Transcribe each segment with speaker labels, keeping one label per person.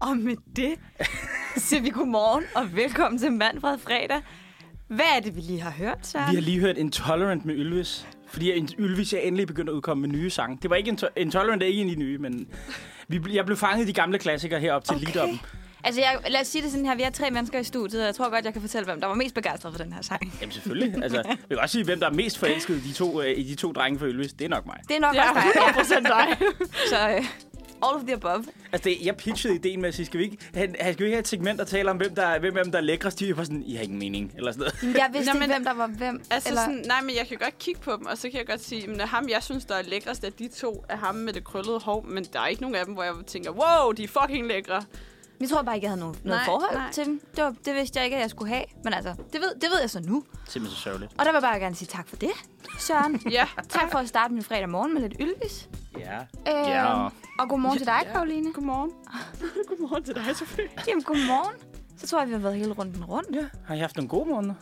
Speaker 1: Og med det siger vi godmorgen og velkommen til Manfred Fredag. Hvad er det, vi lige har hørt, så?
Speaker 2: Vi har lige hørt Intolerant med Ylvis. Fordi In- Ylvis er endelig begyndt at udkomme med nye sange. Det var ikke Into- Intolerant er ikke en af de nye, men vi, ble- jeg blev fanget i de gamle klassikere herop til okay. lead
Speaker 1: Altså, jeg, lad os sige det sådan her. Vi er tre mennesker i studiet, og jeg tror godt, jeg kan fortælle, hvem der var mest begejstret for den her sang.
Speaker 2: Jamen selvfølgelig. Altså, jeg kan også sige, hvem der er mest forelsket i de to, øh, i de to drenge fra Ylvis. Det er nok mig.
Speaker 1: Det er nok ja. også dig. 100% dig. så øh, all of the above.
Speaker 2: Altså, det, jeg pitchede ideen med at sige, skal vi ikke, han, han skal vi ikke have et segment, der taler om, hvem der, er- hvem, hvem der er lækrest? De var sådan, I har ingen mening, eller sådan noget.
Speaker 1: Jeg vidste
Speaker 3: Nå,
Speaker 1: ikke,
Speaker 3: men-
Speaker 1: hvem der var hvem.
Speaker 3: Altså
Speaker 1: eller...
Speaker 3: Eller... sådan, nej, men jeg kan godt kigge på dem, og så kan jeg godt sige, at ham, jeg synes, der er lækrest af de to, er ham med det krøllede hår, men der er ikke nogen af dem, hvor jeg tænker, wow, de er fucking lækre.
Speaker 1: Jeg tror bare ikke, jeg havde noget, noget
Speaker 3: Nej,
Speaker 1: forhold
Speaker 3: nej.
Speaker 1: til dem. Det, var, det vidste jeg ikke, at jeg skulle have. Men altså, det ved, det ved jeg så nu.
Speaker 2: Simpelthen så sørgeligt.
Speaker 1: Og der vil jeg bare gerne sige tak for det, Søren.
Speaker 3: Ja,
Speaker 1: tak for at starte min fredag morgen med lidt ylvis.
Speaker 2: Ja.
Speaker 1: Øh,
Speaker 2: Ja.
Speaker 1: Og godmorgen til dig, Karoline.
Speaker 3: godmorgen. godmorgen til dig, Sofie.
Speaker 1: Jamen, godmorgen. Så tror jeg, vi har været hele runden rundt.
Speaker 2: Ja, har I haft nogle gode måneder?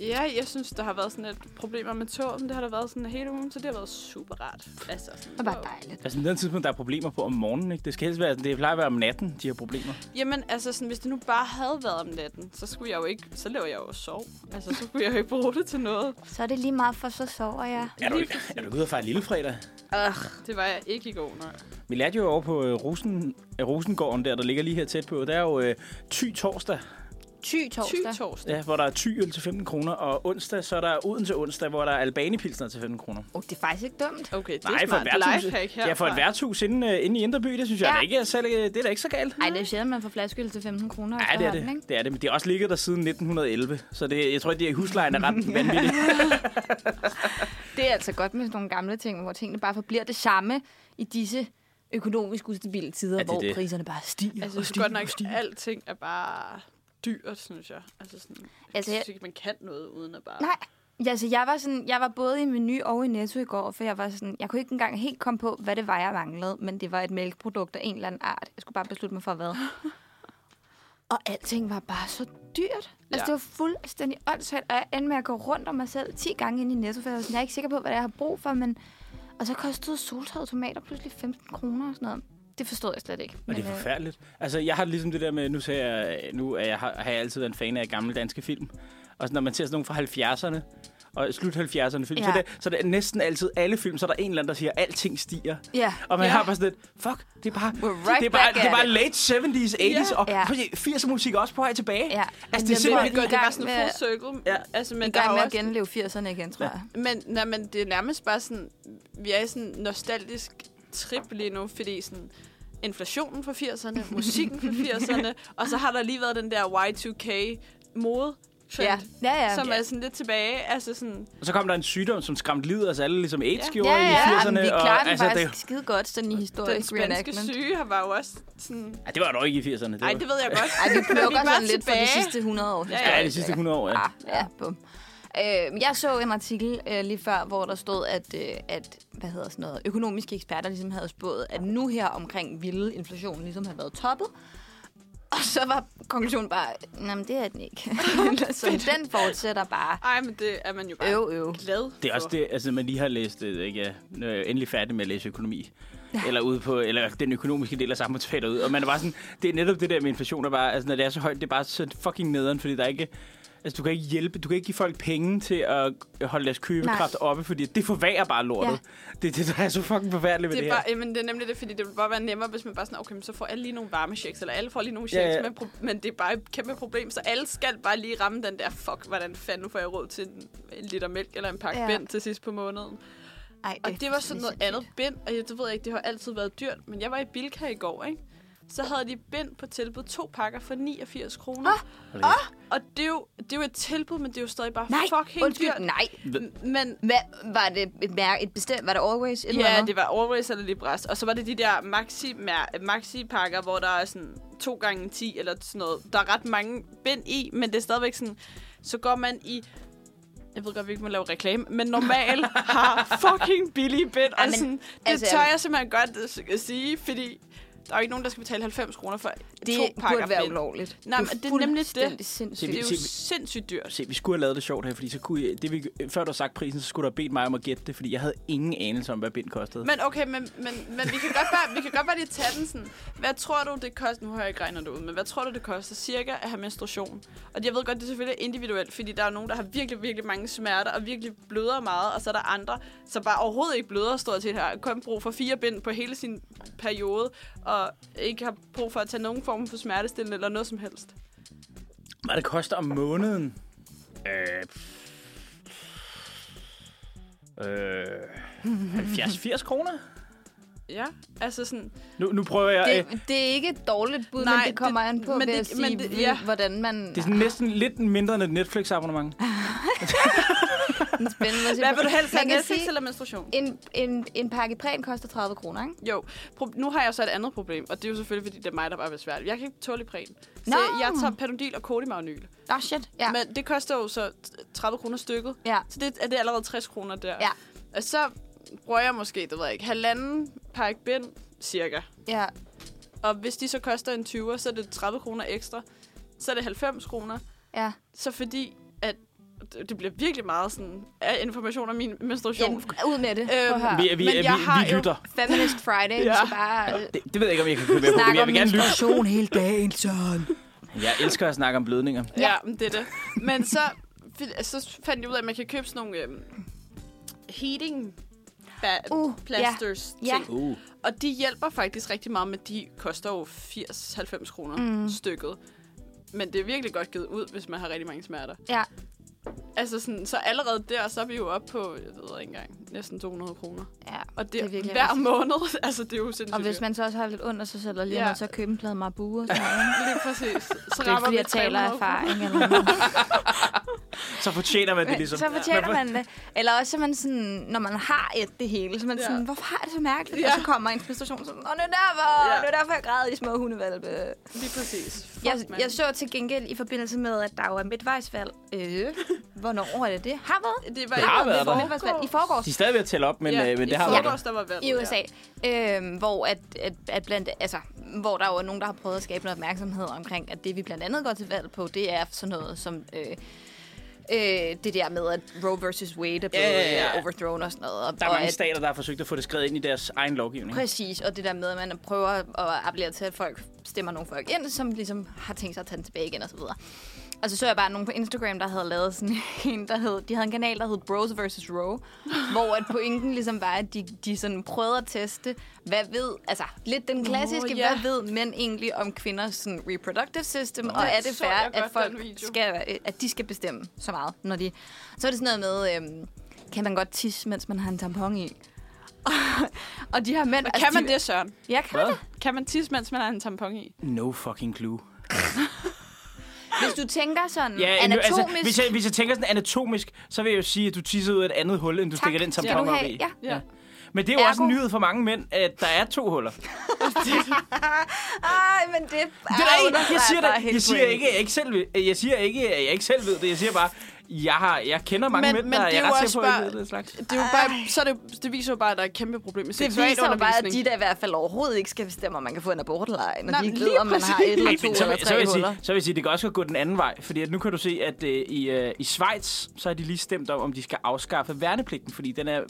Speaker 3: Ja, jeg synes, der har været sådan lidt problemer med toget, men det har der været sådan hele ugen, så det har været super rart. Altså, sådan,
Speaker 1: Det var bare
Speaker 3: wow.
Speaker 1: dejligt.
Speaker 2: Altså, det er tidspunkt, der er problemer på om morgenen, ikke? Det skal helst være, det plejer at være om natten, de her problemer.
Speaker 3: Jamen, altså, sådan, hvis det nu bare havde været om natten, så skulle jeg jo ikke, så laver jeg jo sov. Altså, så skulle jeg jo ikke bruge det til noget.
Speaker 1: Så er det lige meget, for så sover jeg.
Speaker 2: Er du, er du ude og fejre lillefredag?
Speaker 3: Ugh, det var jeg ikke i går nok.
Speaker 2: Vi lærte jo over på øh, Rosen, øh, Rosengården der, der ligger lige her tæt på. Der er jo øh, ty torsdag,
Speaker 1: Ty torsdag.
Speaker 3: Ty torsdag.
Speaker 2: ja, hvor der er ty øl til 15 kroner. Og onsdag, så er der Odense onsdag, hvor der er albanipilsner til 15 kroner.
Speaker 1: Oh, det er faktisk ikke dumt.
Speaker 3: Okay, det
Speaker 2: Nej,
Speaker 3: er
Speaker 2: for et
Speaker 3: smart.
Speaker 2: værtshus.
Speaker 3: Lifehack
Speaker 2: Ja, for et
Speaker 3: herfra.
Speaker 2: værtshus inde, øh, inde i Indreby, det synes jeg
Speaker 1: Ja.
Speaker 2: ja. da ikke er selv, øh, det er da ikke så galt.
Speaker 1: Ej, det er sjældent, man får flaskeøl til 15 kroner.
Speaker 2: Ja, det er
Speaker 1: efterhånden,
Speaker 2: det.
Speaker 1: ikke?
Speaker 2: det er det. Men det har også ligget der siden 1911, så det, jeg tror, at de her huslejen er ret vanvittige.
Speaker 1: Det er altså godt med sådan nogle gamle ting, hvor tingene bare forbliver det samme i disse økonomisk ustabile tider,
Speaker 2: Ja, det er
Speaker 1: hvor
Speaker 2: det.
Speaker 1: priserne bare stiger
Speaker 3: Altså,
Speaker 2: og
Speaker 3: jeg synes
Speaker 2: stige,
Speaker 3: godt nok,
Speaker 2: og stige.
Speaker 3: alting er bare dyrt, synes jeg. Altså, sådan,
Speaker 1: Altså,
Speaker 3: altså, jeg
Speaker 1: jeg-
Speaker 3: synes ikke, man kan noget uden at bare...
Speaker 1: Nej. Ja, altså, jeg var, sådan, jeg var både i Meny og i Netto i går, for jeg var sådan, jeg kunne ikke engang helt komme på, hvad det var, jeg manglede, men det var et mælkeprodukt af en eller anden art. Jeg skulle bare beslutte mig for, hvad. Og alting var bare så dyrt. Ja. Altså,
Speaker 3: Ja.
Speaker 1: det var fuldstændig åndssvagt, og jeg endte med at gå rundt om mig selv 10 gange ind i Netto, for jeg var sådan, jeg er ikke sikker på, hvad det er, jeg har brug for, men... Og så kostede soltørrede tomater pludselig 15 kroner og sådan noget. Det forstod jeg slet ikke.
Speaker 2: Og det er
Speaker 1: øh,
Speaker 2: forfærdeligt. Altså, jeg har det ligesom det der med, nu, ser jeg, nu er jeg, har har jeg altid været en fan af gamle danske film. Og så når man ser sådan nogle fra 70'erne, og slut 70'erne film, ja. så,
Speaker 1: Ja.
Speaker 2: er det, så er det næsten altid alle film, så er der en eller anden, der siger, alting stiger.
Speaker 1: Ja.
Speaker 2: Og man
Speaker 3: Ja.
Speaker 2: har bare sådan lidt, fuck, det er bare,
Speaker 1: We're right
Speaker 2: det er bare,
Speaker 1: back
Speaker 2: det er
Speaker 1: at
Speaker 2: bare
Speaker 1: it.
Speaker 2: late 70's, 80's, og
Speaker 1: Ja.
Speaker 2: ja. 80'er musik er også på vej tilbage.
Speaker 1: Ja.
Speaker 2: Altså,
Speaker 1: Men
Speaker 2: det
Speaker 3: Det
Speaker 2: er
Speaker 3: er simpelthen
Speaker 1: vi er
Speaker 2: simpelthen...
Speaker 1: i
Speaker 3: godt, det er
Speaker 1: gang
Speaker 3: bare sådan
Speaker 1: med-
Speaker 3: en full circle.
Speaker 2: Ja.
Speaker 3: Altså, men
Speaker 1: I
Speaker 3: der er
Speaker 1: gang
Speaker 3: jo
Speaker 1: med at
Speaker 3: også...
Speaker 1: genleve 80'erne igen, tror jeg.
Speaker 3: Men, nej, men det er nærmest bare sådan... Vi er i sådan en nostalgisk trip lige nu, fordi sådan inflationen fra 80'erne, musikken fra 80'erne, og så har der lige været den der Y2K mode trend,
Speaker 1: Ja, ja, ja.
Speaker 3: som
Speaker 1: ja.
Speaker 3: er sådan lidt tilbage. Altså sådan,
Speaker 2: Og så kom der en sygdom, som skræmte livet af os alle, ligesom AIDS
Speaker 3: Ja.
Speaker 2: gjorde i 80'erne.
Speaker 1: men vi
Speaker 2: og,
Speaker 1: klarer den
Speaker 2: altså,
Speaker 1: faktisk
Speaker 2: det,
Speaker 1: skide godt, sådan i
Speaker 3: den
Speaker 1: historisk
Speaker 3: spanske
Speaker 1: reenactment.
Speaker 3: syge har var jo også sådan...
Speaker 2: ja, det var dog ikke i 80'erne.
Speaker 3: Nej, det ved jeg godt.
Speaker 1: Ej, vi
Speaker 3: Men
Speaker 1: plukker
Speaker 3: er bare
Speaker 1: sådan lidt for de
Speaker 3: tilbage.
Speaker 1: sidste 100 år.
Speaker 3: Ja,
Speaker 2: Ja, de sidste 100 år, ja.
Speaker 1: Ah, ja, bum. Øh, men jeg så en artikel øh, lige før, hvor der stod, at, øh, at hvad hedder sådan noget, økonomiske eksperter ligesom havde spået, at nu her omkring ville inflationen ligesom have været toppet. Og så var konklusionen bare, nej, det er den ikke. så den fortsætter bare.
Speaker 3: Ej, men det er man jo bare
Speaker 1: Øv, øv.
Speaker 3: glad
Speaker 2: Det er også
Speaker 3: for.
Speaker 2: det, altså man lige har læst, øh, ikke, ja, nu er jeg jo endelig færdig med at læse økonomi. Eller ude på, eller den økonomiske del af samfundsfaget ud. Og man er bare sådan, det er netop det der med inflation, der bare, altså når det er så højt, det er bare så fucking nederen, fordi der er ikke, altså du kan ikke hjælpe, du kan ikke give folk penge til at holde deres købekraft
Speaker 1: Nej.
Speaker 2: oppe, fordi det forværrer bare lortet. Ja. Det er det, der er så fucking forfærdeligt ved det, det
Speaker 3: Det er,
Speaker 2: her.
Speaker 3: bare, jamen, det er nemlig det, fordi det ville bare være nemmere, hvis man bare sådan, okay, men så får alle lige nogle varme checks, eller alle får lige nogle
Speaker 2: Ja,
Speaker 3: checks, ja,
Speaker 2: ja.
Speaker 3: ja. Men, pro- men det er bare et kæmpe problem, så alle skal bare lige ramme den der, fuck, hvordan fanden nu får jeg råd til en, en liter mælk eller en pakke
Speaker 1: Ja.
Speaker 3: ja. bind til sidst på måneden.
Speaker 1: Ej,
Speaker 3: Og det, det var sådan noget
Speaker 1: sindssygt.
Speaker 3: andet bind, og jeg, det ved jeg ikke, det har altid været dyrt, men jeg var i Bilka i går, ikke? Så havde de bind på tilbud to pakker for 89 kroner.
Speaker 1: Ah!
Speaker 2: Hold da kæft.
Speaker 3: Og det er, jo, det er jo et tilbud, men det er jo stadig bare
Speaker 1: Nej,
Speaker 3: fucking
Speaker 1: undskyld,
Speaker 3: dyrt.
Speaker 1: nej.
Speaker 3: Men
Speaker 1: Hvad, var det et, mærke, et bestemt, var det Always? Et eller
Speaker 3: Ja,
Speaker 1: andet?
Speaker 3: det var Always eller Libras. Og så var det de der maxi, mær- maxi-pakker, hvor der er sådan 2 gange 10 eller sådan noget. Der er ret mange bind i, men det er stadigvæk sådan... Så går man i... Jeg ved godt, vi ikke må lave reklame, men normal har fucking billige bind. Og
Speaker 1: men
Speaker 3: sådan, det
Speaker 1: altså,
Speaker 3: tør
Speaker 1: jeg-
Speaker 3: jeg simpelthen godt s- øh, sige, fordi der er jo ikke nogen, der skal betale 90 kroner for to
Speaker 1: Det
Speaker 3: pakker
Speaker 1: burde være
Speaker 3: mælk.
Speaker 1: ulovligt.
Speaker 3: Nej, men det er nemlig det.
Speaker 1: fuldstændig
Speaker 3: Det er
Speaker 1: Sindssygt.
Speaker 3: jo
Speaker 2: Se, vi-
Speaker 3: sindssygt dyrt.
Speaker 2: Se, vi skulle have lavet det sjovt her, fordi så kunne I, det vi, før du har sagt prisen, så skulle du have bedt mig om at gætte det, fordi jeg havde ingen anelse om, hvad bind kostede.
Speaker 3: Men okay, men, men, men vi, kan godt bare, vi kan godt bare lige tage den sådan. Hvad tror du, det koster? Nu har jeg ikke regnet det ud, men hvad tror du, det koster cirka at have menstruation? Og jeg ved godt, det er selvfølgelig individuelt, fordi der er nogen, der har virkelig, virkelig mange smerter og virkelig bløder meget, og så er der andre, som bare overhovedet ikke bløder stort set har kun brug for fire bind på hele sin periode, og ikke har brug for at tage nogen form for smertestillende eller noget som helst.
Speaker 2: Hvad det koster om måneden? Øh... Øh... 70-80 kroner?
Speaker 3: Ja, altså sådan...
Speaker 2: Nu, nu prøver jeg... Det, øh,
Speaker 1: Det, det er ikke et dårligt bud,
Speaker 3: Nej,
Speaker 1: men det kommer
Speaker 3: det-
Speaker 1: an på,
Speaker 3: men
Speaker 1: men
Speaker 3: det-
Speaker 1: at sige,
Speaker 3: men det- ja.
Speaker 1: hvordan man...
Speaker 2: det er sådan næsten lidt mindre end et Netflix-abonnement.
Speaker 1: er spændende at se
Speaker 3: Hvad
Speaker 1: på.
Speaker 3: vil du helst
Speaker 1: Man kan
Speaker 3: have, Netflix
Speaker 1: sige,
Speaker 3: eller menstruation?
Speaker 1: en, en, en pakke præn koster 30 kroner, ikke?
Speaker 3: Jo, Pro- nu har jeg så et andet problem, og det er jo selvfølgelig, fordi det er mig, der bare er besværlig. Jeg kan ikke tåle præn. Så
Speaker 1: Nå.
Speaker 3: jeg tager panodil og kodimagnyl.
Speaker 1: Åh, oh, shit. Ja.
Speaker 3: Ja. Men det koster jo så t- 30 kroner stykket.
Speaker 1: ja.
Speaker 3: Så det er det allerede 60 kroner der.
Speaker 1: Ja.
Speaker 3: Og så bruger jeg måske, det ved jeg ikke, halvanden pakke bind, cirka.
Speaker 1: Ja.
Speaker 3: Og hvis de så koster en 20'er, så er det 30 kroner ekstra. Så er det 90 kroner.
Speaker 1: Ja.
Speaker 3: Så fordi, at det det bliver virkelig meget sådan, af information om min menstruation.
Speaker 1: Jamen, ud med det. Prøv at
Speaker 3: Øhm,
Speaker 1: høre.
Speaker 2: Vi, vi, vi,
Speaker 3: men jeg har
Speaker 2: vi
Speaker 3: jo-
Speaker 2: lytter.
Speaker 1: Feminist Friday, ja.
Speaker 3: Ja.
Speaker 1: så bare øh,
Speaker 2: Det, det ved jeg ikke, om jeg kan købe med på, men
Speaker 1: snakke
Speaker 2: jeg
Speaker 1: om
Speaker 2: vil gerne lytte.
Speaker 1: menstruation hele dagen, sådan.
Speaker 2: Jeg elsker at snakke om blødninger.
Speaker 3: Ja, ja men det er det. Men så, fi- så fandt jeg ud af, at man kan købe sådan nogle øhm, heating ba-
Speaker 1: Uh,
Speaker 3: uh,
Speaker 1: ja.
Speaker 3: plasters
Speaker 1: Ja.
Speaker 3: ting.
Speaker 2: Uh.
Speaker 3: Og de hjælper faktisk rigtig meget, men de koster jo 80-90 kroner
Speaker 1: Mm.
Speaker 3: mm. stykket. Men det er virkelig godt givet ud, hvis man har rigtig mange smerter.
Speaker 1: Ja.
Speaker 3: Altså sådan, så allerede der, så er vi jo oppe på, jeg ved ikke engang, næsten 200 kroner.
Speaker 1: ja.
Speaker 3: Og det, det er
Speaker 1: virkelig
Speaker 3: hver
Speaker 1: rigtigt.
Speaker 3: måned, altså det er jo sindssygt.
Speaker 1: Og hvis
Speaker 3: dyrt.
Speaker 1: man så også har lidt ondt, og så sætter lige
Speaker 3: Ja.
Speaker 1: ja. så købe en plade marabu og sådan noget. ikke?
Speaker 3: Lige præcis. Så
Speaker 1: Det er ikke,
Speaker 3: rammer
Speaker 1: fordi
Speaker 3: vi
Speaker 1: jeg taler af
Speaker 3: 300 kroner.
Speaker 1: erfaring eller noget.
Speaker 2: Så fortjener man det
Speaker 1: Men,
Speaker 2: ligesom.
Speaker 1: så fortjener
Speaker 2: får-
Speaker 1: man det. Eller også, så man sådan, når man har et det hele, så man
Speaker 3: Ja.
Speaker 1: sådan, hvorfor har jeg det så mærkeligt?
Speaker 3: Ja.
Speaker 1: Og så kommer en frustration sådan, og nu er derfor,
Speaker 3: Ja.
Speaker 1: nu er derfor, jeg græder i små hundevalpe.
Speaker 3: Lige præcis. Fuck,
Speaker 1: Jeg,
Speaker 3: mand.
Speaker 1: jeg, så til gengæld i forbindelse med, at der jo er midtvejsvalg. Øh, hvornår er det det? Har været?
Speaker 3: Det, var
Speaker 2: Det har været der.
Speaker 1: Midtvejsvalg i forgårs.
Speaker 2: De er stadig ved at tælle op, men, ja, øh, men det har
Speaker 1: forgårs.
Speaker 2: været
Speaker 1: der.
Speaker 2: der.
Speaker 3: forgårs, der var valg.
Speaker 1: i USA, øh, hvor, at, at, at blandt, altså, hvor der jo er nogen, der har prøvet at skabe noget opmærksomhed omkring, at det vi blandt andet går til valg på, det er sådan noget som øh, øh, det der med, at Roe versus Wade er blevet
Speaker 2: Ja,
Speaker 1: yeah,
Speaker 2: ja, ja.
Speaker 1: overthrown og sådan noget. Og,
Speaker 2: Der er
Speaker 1: og
Speaker 2: mange
Speaker 1: at,
Speaker 2: stater, der har forsøgt at få det skrevet ind i deres egen lovgivning.
Speaker 1: Præcis, og det der med, at man prøver at appellere til, at folk stemmer nogle folk ind, som ligesom har tænkt sig at tage den tilbage igen og så videre. Og så så jeg bare nogen på Instagram, der havde lavet sådan en, der hed, de havde en kanal, der hed Bros vs. Roe, hvor at pointen ligesom var, at de, de sådan prøvede at teste, hvad ved, altså lidt den klassiske, oh,
Speaker 3: ja.
Speaker 1: hvad ved mænd egentlig om kvinders sådan, reproductive system, og
Speaker 3: den
Speaker 1: er det
Speaker 3: så jeg
Speaker 1: fair,
Speaker 3: godt,
Speaker 1: at folk
Speaker 3: den video.
Speaker 1: skal, øh, at de skal bestemme så meget, når de... Så er det sådan noget med, øhm, kan man godt tisse, mens man har en tampon i? og de her mænd...
Speaker 3: Men kan
Speaker 1: altså,
Speaker 3: man
Speaker 1: de,
Speaker 3: det, Søren?
Speaker 1: Ja, kan man
Speaker 2: Hvad?
Speaker 1: det?
Speaker 3: Kan man tisse, mens man har en tampon i?
Speaker 2: No fucking clue.
Speaker 1: Hvis du tænker sådan
Speaker 2: Ja,
Speaker 1: ja,
Speaker 2: en-
Speaker 1: Mm. anatomisk...
Speaker 2: Altså, hvis, jeg, hvis jeg tænker sådan anatomisk, så vil jeg jo sige, at du tisser ud af et andet hul, end du stikker den
Speaker 1: skal
Speaker 2: tampon
Speaker 1: du
Speaker 2: op
Speaker 1: have,
Speaker 2: i.
Speaker 1: ja.
Speaker 3: Ja.
Speaker 2: Men det er jo også en
Speaker 1: Ergo.
Speaker 2: nyhed for mange mænd, at der er to huller. Det
Speaker 1: Ej, men det... Det
Speaker 2: er ikke, jeg siger, det, jeg siger ikke, jeg ikke selv, ved- jeg siger ikke, at jeg ikke selv ved det. Jeg siger bare, jeg, har, jeg kender mange
Speaker 3: Men-
Speaker 2: mænd,
Speaker 3: men
Speaker 2: der
Speaker 3: det er
Speaker 2: jeg
Speaker 3: jo
Speaker 2: ret
Speaker 3: også
Speaker 2: sikker på, at jeg
Speaker 3: bare-
Speaker 2: ved det slags.
Speaker 3: Det, er jo bare, så er det, jo- det viser jo bare, at der er et kæmpe problem med
Speaker 1: Det viser jo
Speaker 3: seksualundervisning.
Speaker 1: bare, at de der i hvert fald overhovedet ikke skal bestemme, om man kan få en abort eller ej, når
Speaker 3: Nej,
Speaker 1: de ikke
Speaker 3: lige
Speaker 1: ved, om man har et
Speaker 3: præcis.
Speaker 1: eller
Speaker 2: Ej,
Speaker 1: to
Speaker 2: men så,
Speaker 1: eller
Speaker 2: vil- så, vil
Speaker 1: tre
Speaker 2: jeg sige,
Speaker 1: huller.
Speaker 2: så vil jeg sige, det kan også godt gå den anden vej. Fordi at nu kan du se, at øh, i, øh, i Schweiz, så har de lige stemt om, om de skal afskaffe værnepligten. Fordi den er,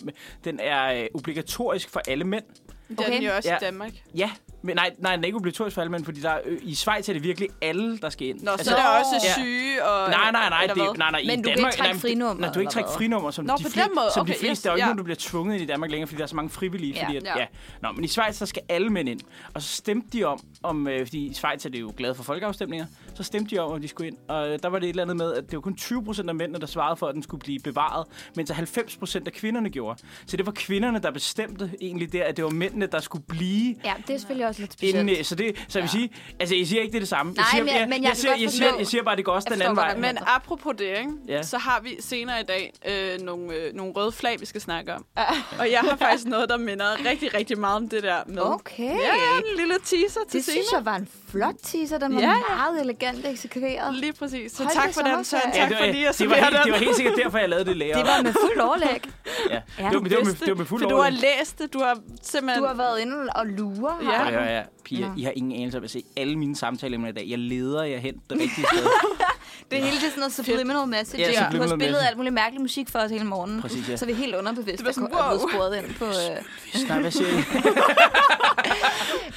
Speaker 2: den er øh, obligatorisk for alle mænd.
Speaker 3: Det er den jo
Speaker 1: Okay.
Speaker 3: også
Speaker 2: Ja.
Speaker 3: i Danmark.
Speaker 2: Ja, men nej, nej, den er ikke obligatorisk for alle mænd, fordi der, øh, i Schweiz er det virkelig alle, der skal ind.
Speaker 3: Nå, så er der også
Speaker 2: Ja.
Speaker 3: syge og...
Speaker 2: Altså- Nej, nej, nej,
Speaker 3: eller
Speaker 2: det, er-
Speaker 3: hvad?
Speaker 2: nej, nej, i
Speaker 1: Men du kan ikke
Speaker 2: Danmark,
Speaker 1: trække
Speaker 2: nej,
Speaker 1: frinummer,
Speaker 2: Nej, du kan ikke
Speaker 1: eller
Speaker 2: trække
Speaker 1: hvad?
Speaker 2: frinummer, som,
Speaker 3: Nå,
Speaker 2: de,
Speaker 3: på den
Speaker 2: fleste,
Speaker 3: måde.
Speaker 2: som de
Speaker 3: Okay,
Speaker 2: fleste.
Speaker 3: yes,
Speaker 2: der er jo ikke
Speaker 3: ja.
Speaker 2: nogen, du bliver tvunget ind i Danmark længere, fordi der er så mange frivillige.
Speaker 1: Ja.
Speaker 2: Fordi at,
Speaker 3: Ja.
Speaker 2: ja. Nå, men i Schweiz, så skal alle mænd ind. Og så stemte de om, om øh, fordi i Schweiz er det jo glade for folkeafstemninger, så stemte de om, om de skulle ind. Og øh, der var det et eller andet med, at det var kun 20 procent af mændene, der svarede for, at den skulle blive bevaret, mens 90 procent af kvinderne gjorde. Så det var kvinderne, der bestemte egentlig der, at det var mændene, der skulle blive
Speaker 1: Ja, det er selvfølgelig også lidt
Speaker 2: Inden,
Speaker 1: specielt.
Speaker 2: øh, så det, så jeg vil sige, altså jeg siger ikke, det er det samme.
Speaker 1: Nej,
Speaker 2: jeg siger,
Speaker 1: men jeg- men jeg
Speaker 2: jeg,
Speaker 1: kan
Speaker 2: siger,
Speaker 1: godt
Speaker 2: jeg, siger,
Speaker 1: forstå-
Speaker 2: jeg siger bare, det går også
Speaker 1: Jeg
Speaker 2: den anden
Speaker 1: forstår
Speaker 2: vej.
Speaker 1: godt,
Speaker 2: Men,
Speaker 1: hvad
Speaker 3: Men apropos det, ikke?
Speaker 2: Ja.
Speaker 3: Ja. så har vi senere i dag øh, nogle, øh, nogle røde flag, vi skal snakke om. Og jeg har faktisk noget, der minder rigtig, rigtig meget om det der med.
Speaker 1: Okay.
Speaker 3: Ja, en lille teaser til
Speaker 1: Det
Speaker 3: senere.
Speaker 1: synes jeg var en flot teaser, den var
Speaker 3: Ja,
Speaker 1: ja.
Speaker 3: ja.
Speaker 1: meget elegant eksekveret.
Speaker 3: Lige præcis. Så
Speaker 1: Hold da
Speaker 3: tak for
Speaker 1: sommerferie.
Speaker 3: den, Søren.
Speaker 1: Ja,
Speaker 3: Tak for lige at
Speaker 2: det, var
Speaker 3: servere
Speaker 2: helt, det
Speaker 3: den.
Speaker 2: var helt sikkert derfor, jeg lavede det lærer.
Speaker 1: Det var med fuld overlæg.
Speaker 2: ja.
Speaker 1: Ja,
Speaker 2: det var, med- det var, med,
Speaker 3: vidste,
Speaker 2: det var med fuld
Speaker 3: For du har læst det, du har simpelthen...
Speaker 1: Du har været inde og lure
Speaker 3: Ja,
Speaker 1: her.
Speaker 2: Ja. hør jeg, piger,
Speaker 1: Nå.
Speaker 2: I har ingen anelse om, at se alle mine samtaler i dag. Jeg leder jer hen det rigtige sted.
Speaker 1: Det hele det er sådan noget subliminal message.
Speaker 2: Ja,
Speaker 1: Ja, du har
Speaker 2: subliminal
Speaker 1: spillet
Speaker 2: message.
Speaker 1: alt muligt mærkelig musik for os hele morgenen.
Speaker 2: Præcis, ja.
Speaker 1: Så er vi helt underbevidst,
Speaker 3: Det var
Speaker 1: at
Speaker 3: sådan,
Speaker 1: wow. er blevet
Speaker 3: wow.
Speaker 1: sporet ind på... Øh...
Speaker 2: Snart, hvad siger I?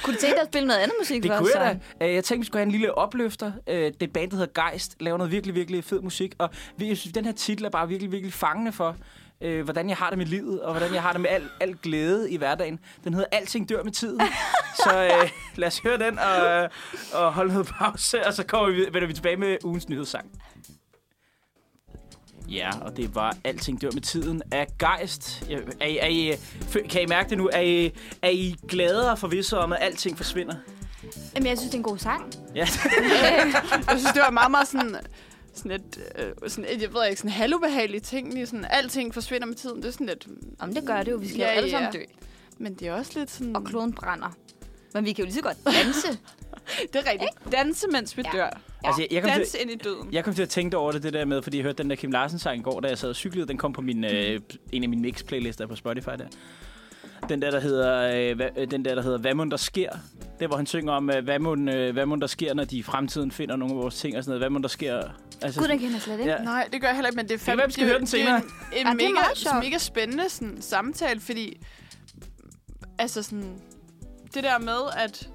Speaker 1: Kunne du tænke dig at spille noget andet musik
Speaker 2: Det
Speaker 1: for os?
Speaker 2: kunne jeg
Speaker 1: Søren?
Speaker 2: da. Øh, Jeg tænkte, vi skulle have en lille opløfter. Øh, Det er et band, der hedder Geist. Laver noget virkelig, virkelig fed musik. Og vi- jeg synes, den her titel er bare virkelig, virkelig fangende for, øh, hvordan jeg har det med livet, og hvordan jeg har det med al, al glæde i hverdagen. Den hedder Alting dør med tiden. Så øh, lad os høre den og, og holde noget pause, og så kommer vi, vender vi tilbage med ugens nyhedssang. Ja, og det var Alting dør med tiden af Geist. Ja, Er I, er I, fø- kan I mærke det nu? Er I, er I gladere for visse om, at alting forsvinder?
Speaker 1: Jamen, jeg synes, det er en god sang.
Speaker 2: Ja.
Speaker 1: Øh,
Speaker 3: Jeg synes, det var meget, meget sådan... Sådan lidt, øh, sådan, et- jeg ved ikke, sådan halvubehagelige ting. Lige sådan, alting forsvinder med tiden. Det er sådan lidt...
Speaker 1: Jamen, det gør det jo. Vi skal
Speaker 3: Ja,
Speaker 1: jo alle
Speaker 3: ja.
Speaker 1: sammen dø.
Speaker 3: Men det er også lidt sådan...
Speaker 1: Og kloden brænder. Men vi kan jo lige så godt danse.
Speaker 3: Det er rigtigt. Danse, mens vi
Speaker 1: Ja.
Speaker 3: dør.
Speaker 2: Altså, jeg, jeg, kom til,
Speaker 3: Danse ind i døden.
Speaker 2: jeg kom til at tænke over det, det der med, fordi jeg hørte den der Kim Larsen-sang i går, da jeg sad og cyklede. Den kom på min, øh, en af mine mix-playlister på Spotify der. Den der, der hedder, øh, hva, øh, den der, der hedder Hvad mon der sker? Det, hvor han synger om, øh, hvad, mon, øh, hvad mon der sker, når de i fremtiden finder nogle af vores ting og sådan noget. Hvad mon der sker? Altså,
Speaker 1: Gud, den kender jeg slet ikke.
Speaker 2: ja.
Speaker 3: Nej, det gør jeg heller ikke, men det er
Speaker 2: kan være, vi skal høre den
Speaker 3: det er jo En,
Speaker 1: Ah,
Speaker 3: en
Speaker 1: det er meget
Speaker 3: mega,
Speaker 1: sjovt.
Speaker 3: mega spændende sådan, samtale, fordi... Altså sådan... Det der med, at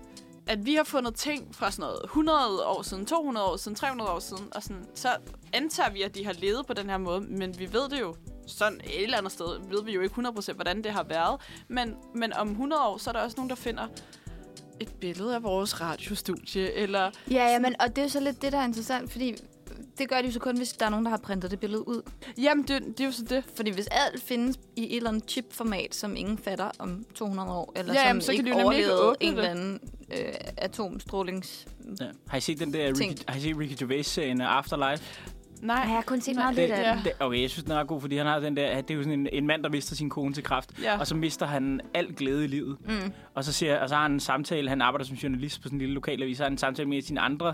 Speaker 3: at vi har fundet ting fra sådan noget 100 år siden, 200 år siden, 300 år siden, og sådan, så antager vi, at de har levet på den her måde, men vi ved det jo sådan et eller andet sted, ved vi jo ikke 100% hvordan det har været, men, men om 100 år, så er der også nogen, der finder et billede af vores radiostudie, eller
Speaker 1: Ja, ja, men, og det er jo så lidt det, der er interessant, fordi det gør de jo så kun, hvis der er nogen, der har printet det billede ud.
Speaker 3: jamen, det, det er jo så det.
Speaker 1: Fordi hvis alt findes i et eller andet chipformat, som ingen fatter om 200 år, eller
Speaker 3: Ja,
Speaker 1: som
Speaker 3: jamen, så kan
Speaker 1: ikke
Speaker 3: de jo nemlig ikke
Speaker 1: overlevede
Speaker 3: åbne
Speaker 1: en
Speaker 3: det.
Speaker 1: eller anden øh, atomstrålings...
Speaker 2: Ja. Har I set den der Ricky,
Speaker 1: Ting.
Speaker 2: har I set Ricky Gervais-serien øh, Afterlife?
Speaker 3: Nej.
Speaker 1: Ej, jeg har kun set
Speaker 3: Nej,
Speaker 1: meget
Speaker 2: Det,
Speaker 1: lidt af den.
Speaker 2: det, okay, jeg synes, den er ret god, fordi han har den der... Det er jo sådan en, en mand, der mister sin kone til kraft.
Speaker 3: Ja.
Speaker 2: Og så mister han al glæde i livet.
Speaker 1: Mm.
Speaker 2: Og så, siger, og så har han en samtale, han arbejder som journalist på sådan en lille lokalavis, så har han en samtale med sine andre,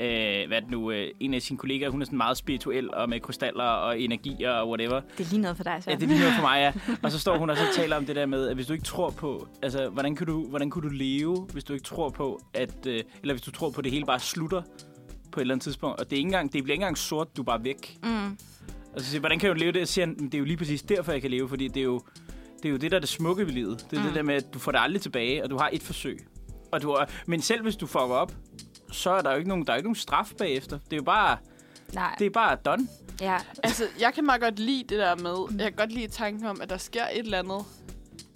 Speaker 2: øh, hvad er det nu, øh, en af sine kollegaer, hun er sådan meget spirituel og med krystaller og energier og whatever.
Speaker 1: Det er lige noget for dig, så.
Speaker 2: Ja, det er lige noget for mig, ja. Og så står hun og så taler om det der med, at hvis du ikke tror på, altså, hvordan kunne du, hvordan kunne du leve, hvis du ikke tror på, at, øh, eller hvis du tror på, at det hele bare slutter på et eller andet tidspunkt, og det, er ikke engang, det bliver ikke engang sort, du er bare væk.
Speaker 1: Mm.
Speaker 2: Og Altså, så siger, jeg, hvordan kan du leve det? Og så siger han, "Men det er jo lige præcis derfor, jeg kan leve, fordi det er jo det, er jo det der er det smukke ved livet. Det er mm. det der med, at du får det aldrig tilbage, og du har et forsøg. Og du er, men selv hvis du fucker op, så er der jo ikke nogen, der er jo ikke nogen straf bagefter. Det er jo bare,
Speaker 1: Nej,
Speaker 2: det er bare done.
Speaker 1: ja.
Speaker 3: Altså, jeg kan meget godt lide det der med, jeg kan godt lide tanken om, at der sker et eller andet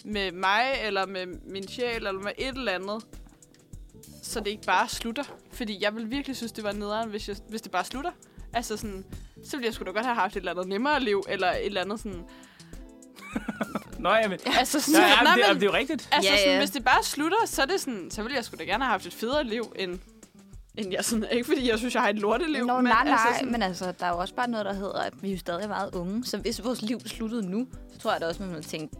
Speaker 3: med mig, eller med min sjæl, eller med et eller andet, så det ikke bare slutter. Fordi jeg ville virkelig synes, det var nederen, hvis, jeg, hvis det bare slutter. Altså sådan, så ville jeg sgu da godt have haft et eller andet nemmere liv, eller et eller andet sådan...
Speaker 2: Nå, jamen,
Speaker 3: Altså sådan,
Speaker 2: ja, jamen,
Speaker 3: nej,
Speaker 2: det, jamen,
Speaker 3: men-
Speaker 2: det er jo rigtigt.
Speaker 3: altså
Speaker 1: Ja,
Speaker 3: sådan,
Speaker 1: ja.
Speaker 3: hvis det bare slutter, så er det sådan, så ville jeg sgu da gerne have haft et federe liv, end, end jeg sådan... Ikke fordi jeg synes, jeg har et lorteliv,
Speaker 1: Nå, nej, nej,
Speaker 3: altså
Speaker 1: altså,
Speaker 3: sådan,
Speaker 1: men altså, der er jo også bare noget, der hedder, at vi er jo stadig meget unge. Så hvis vores liv sluttede nu, så tror jeg da også, man ville tænke,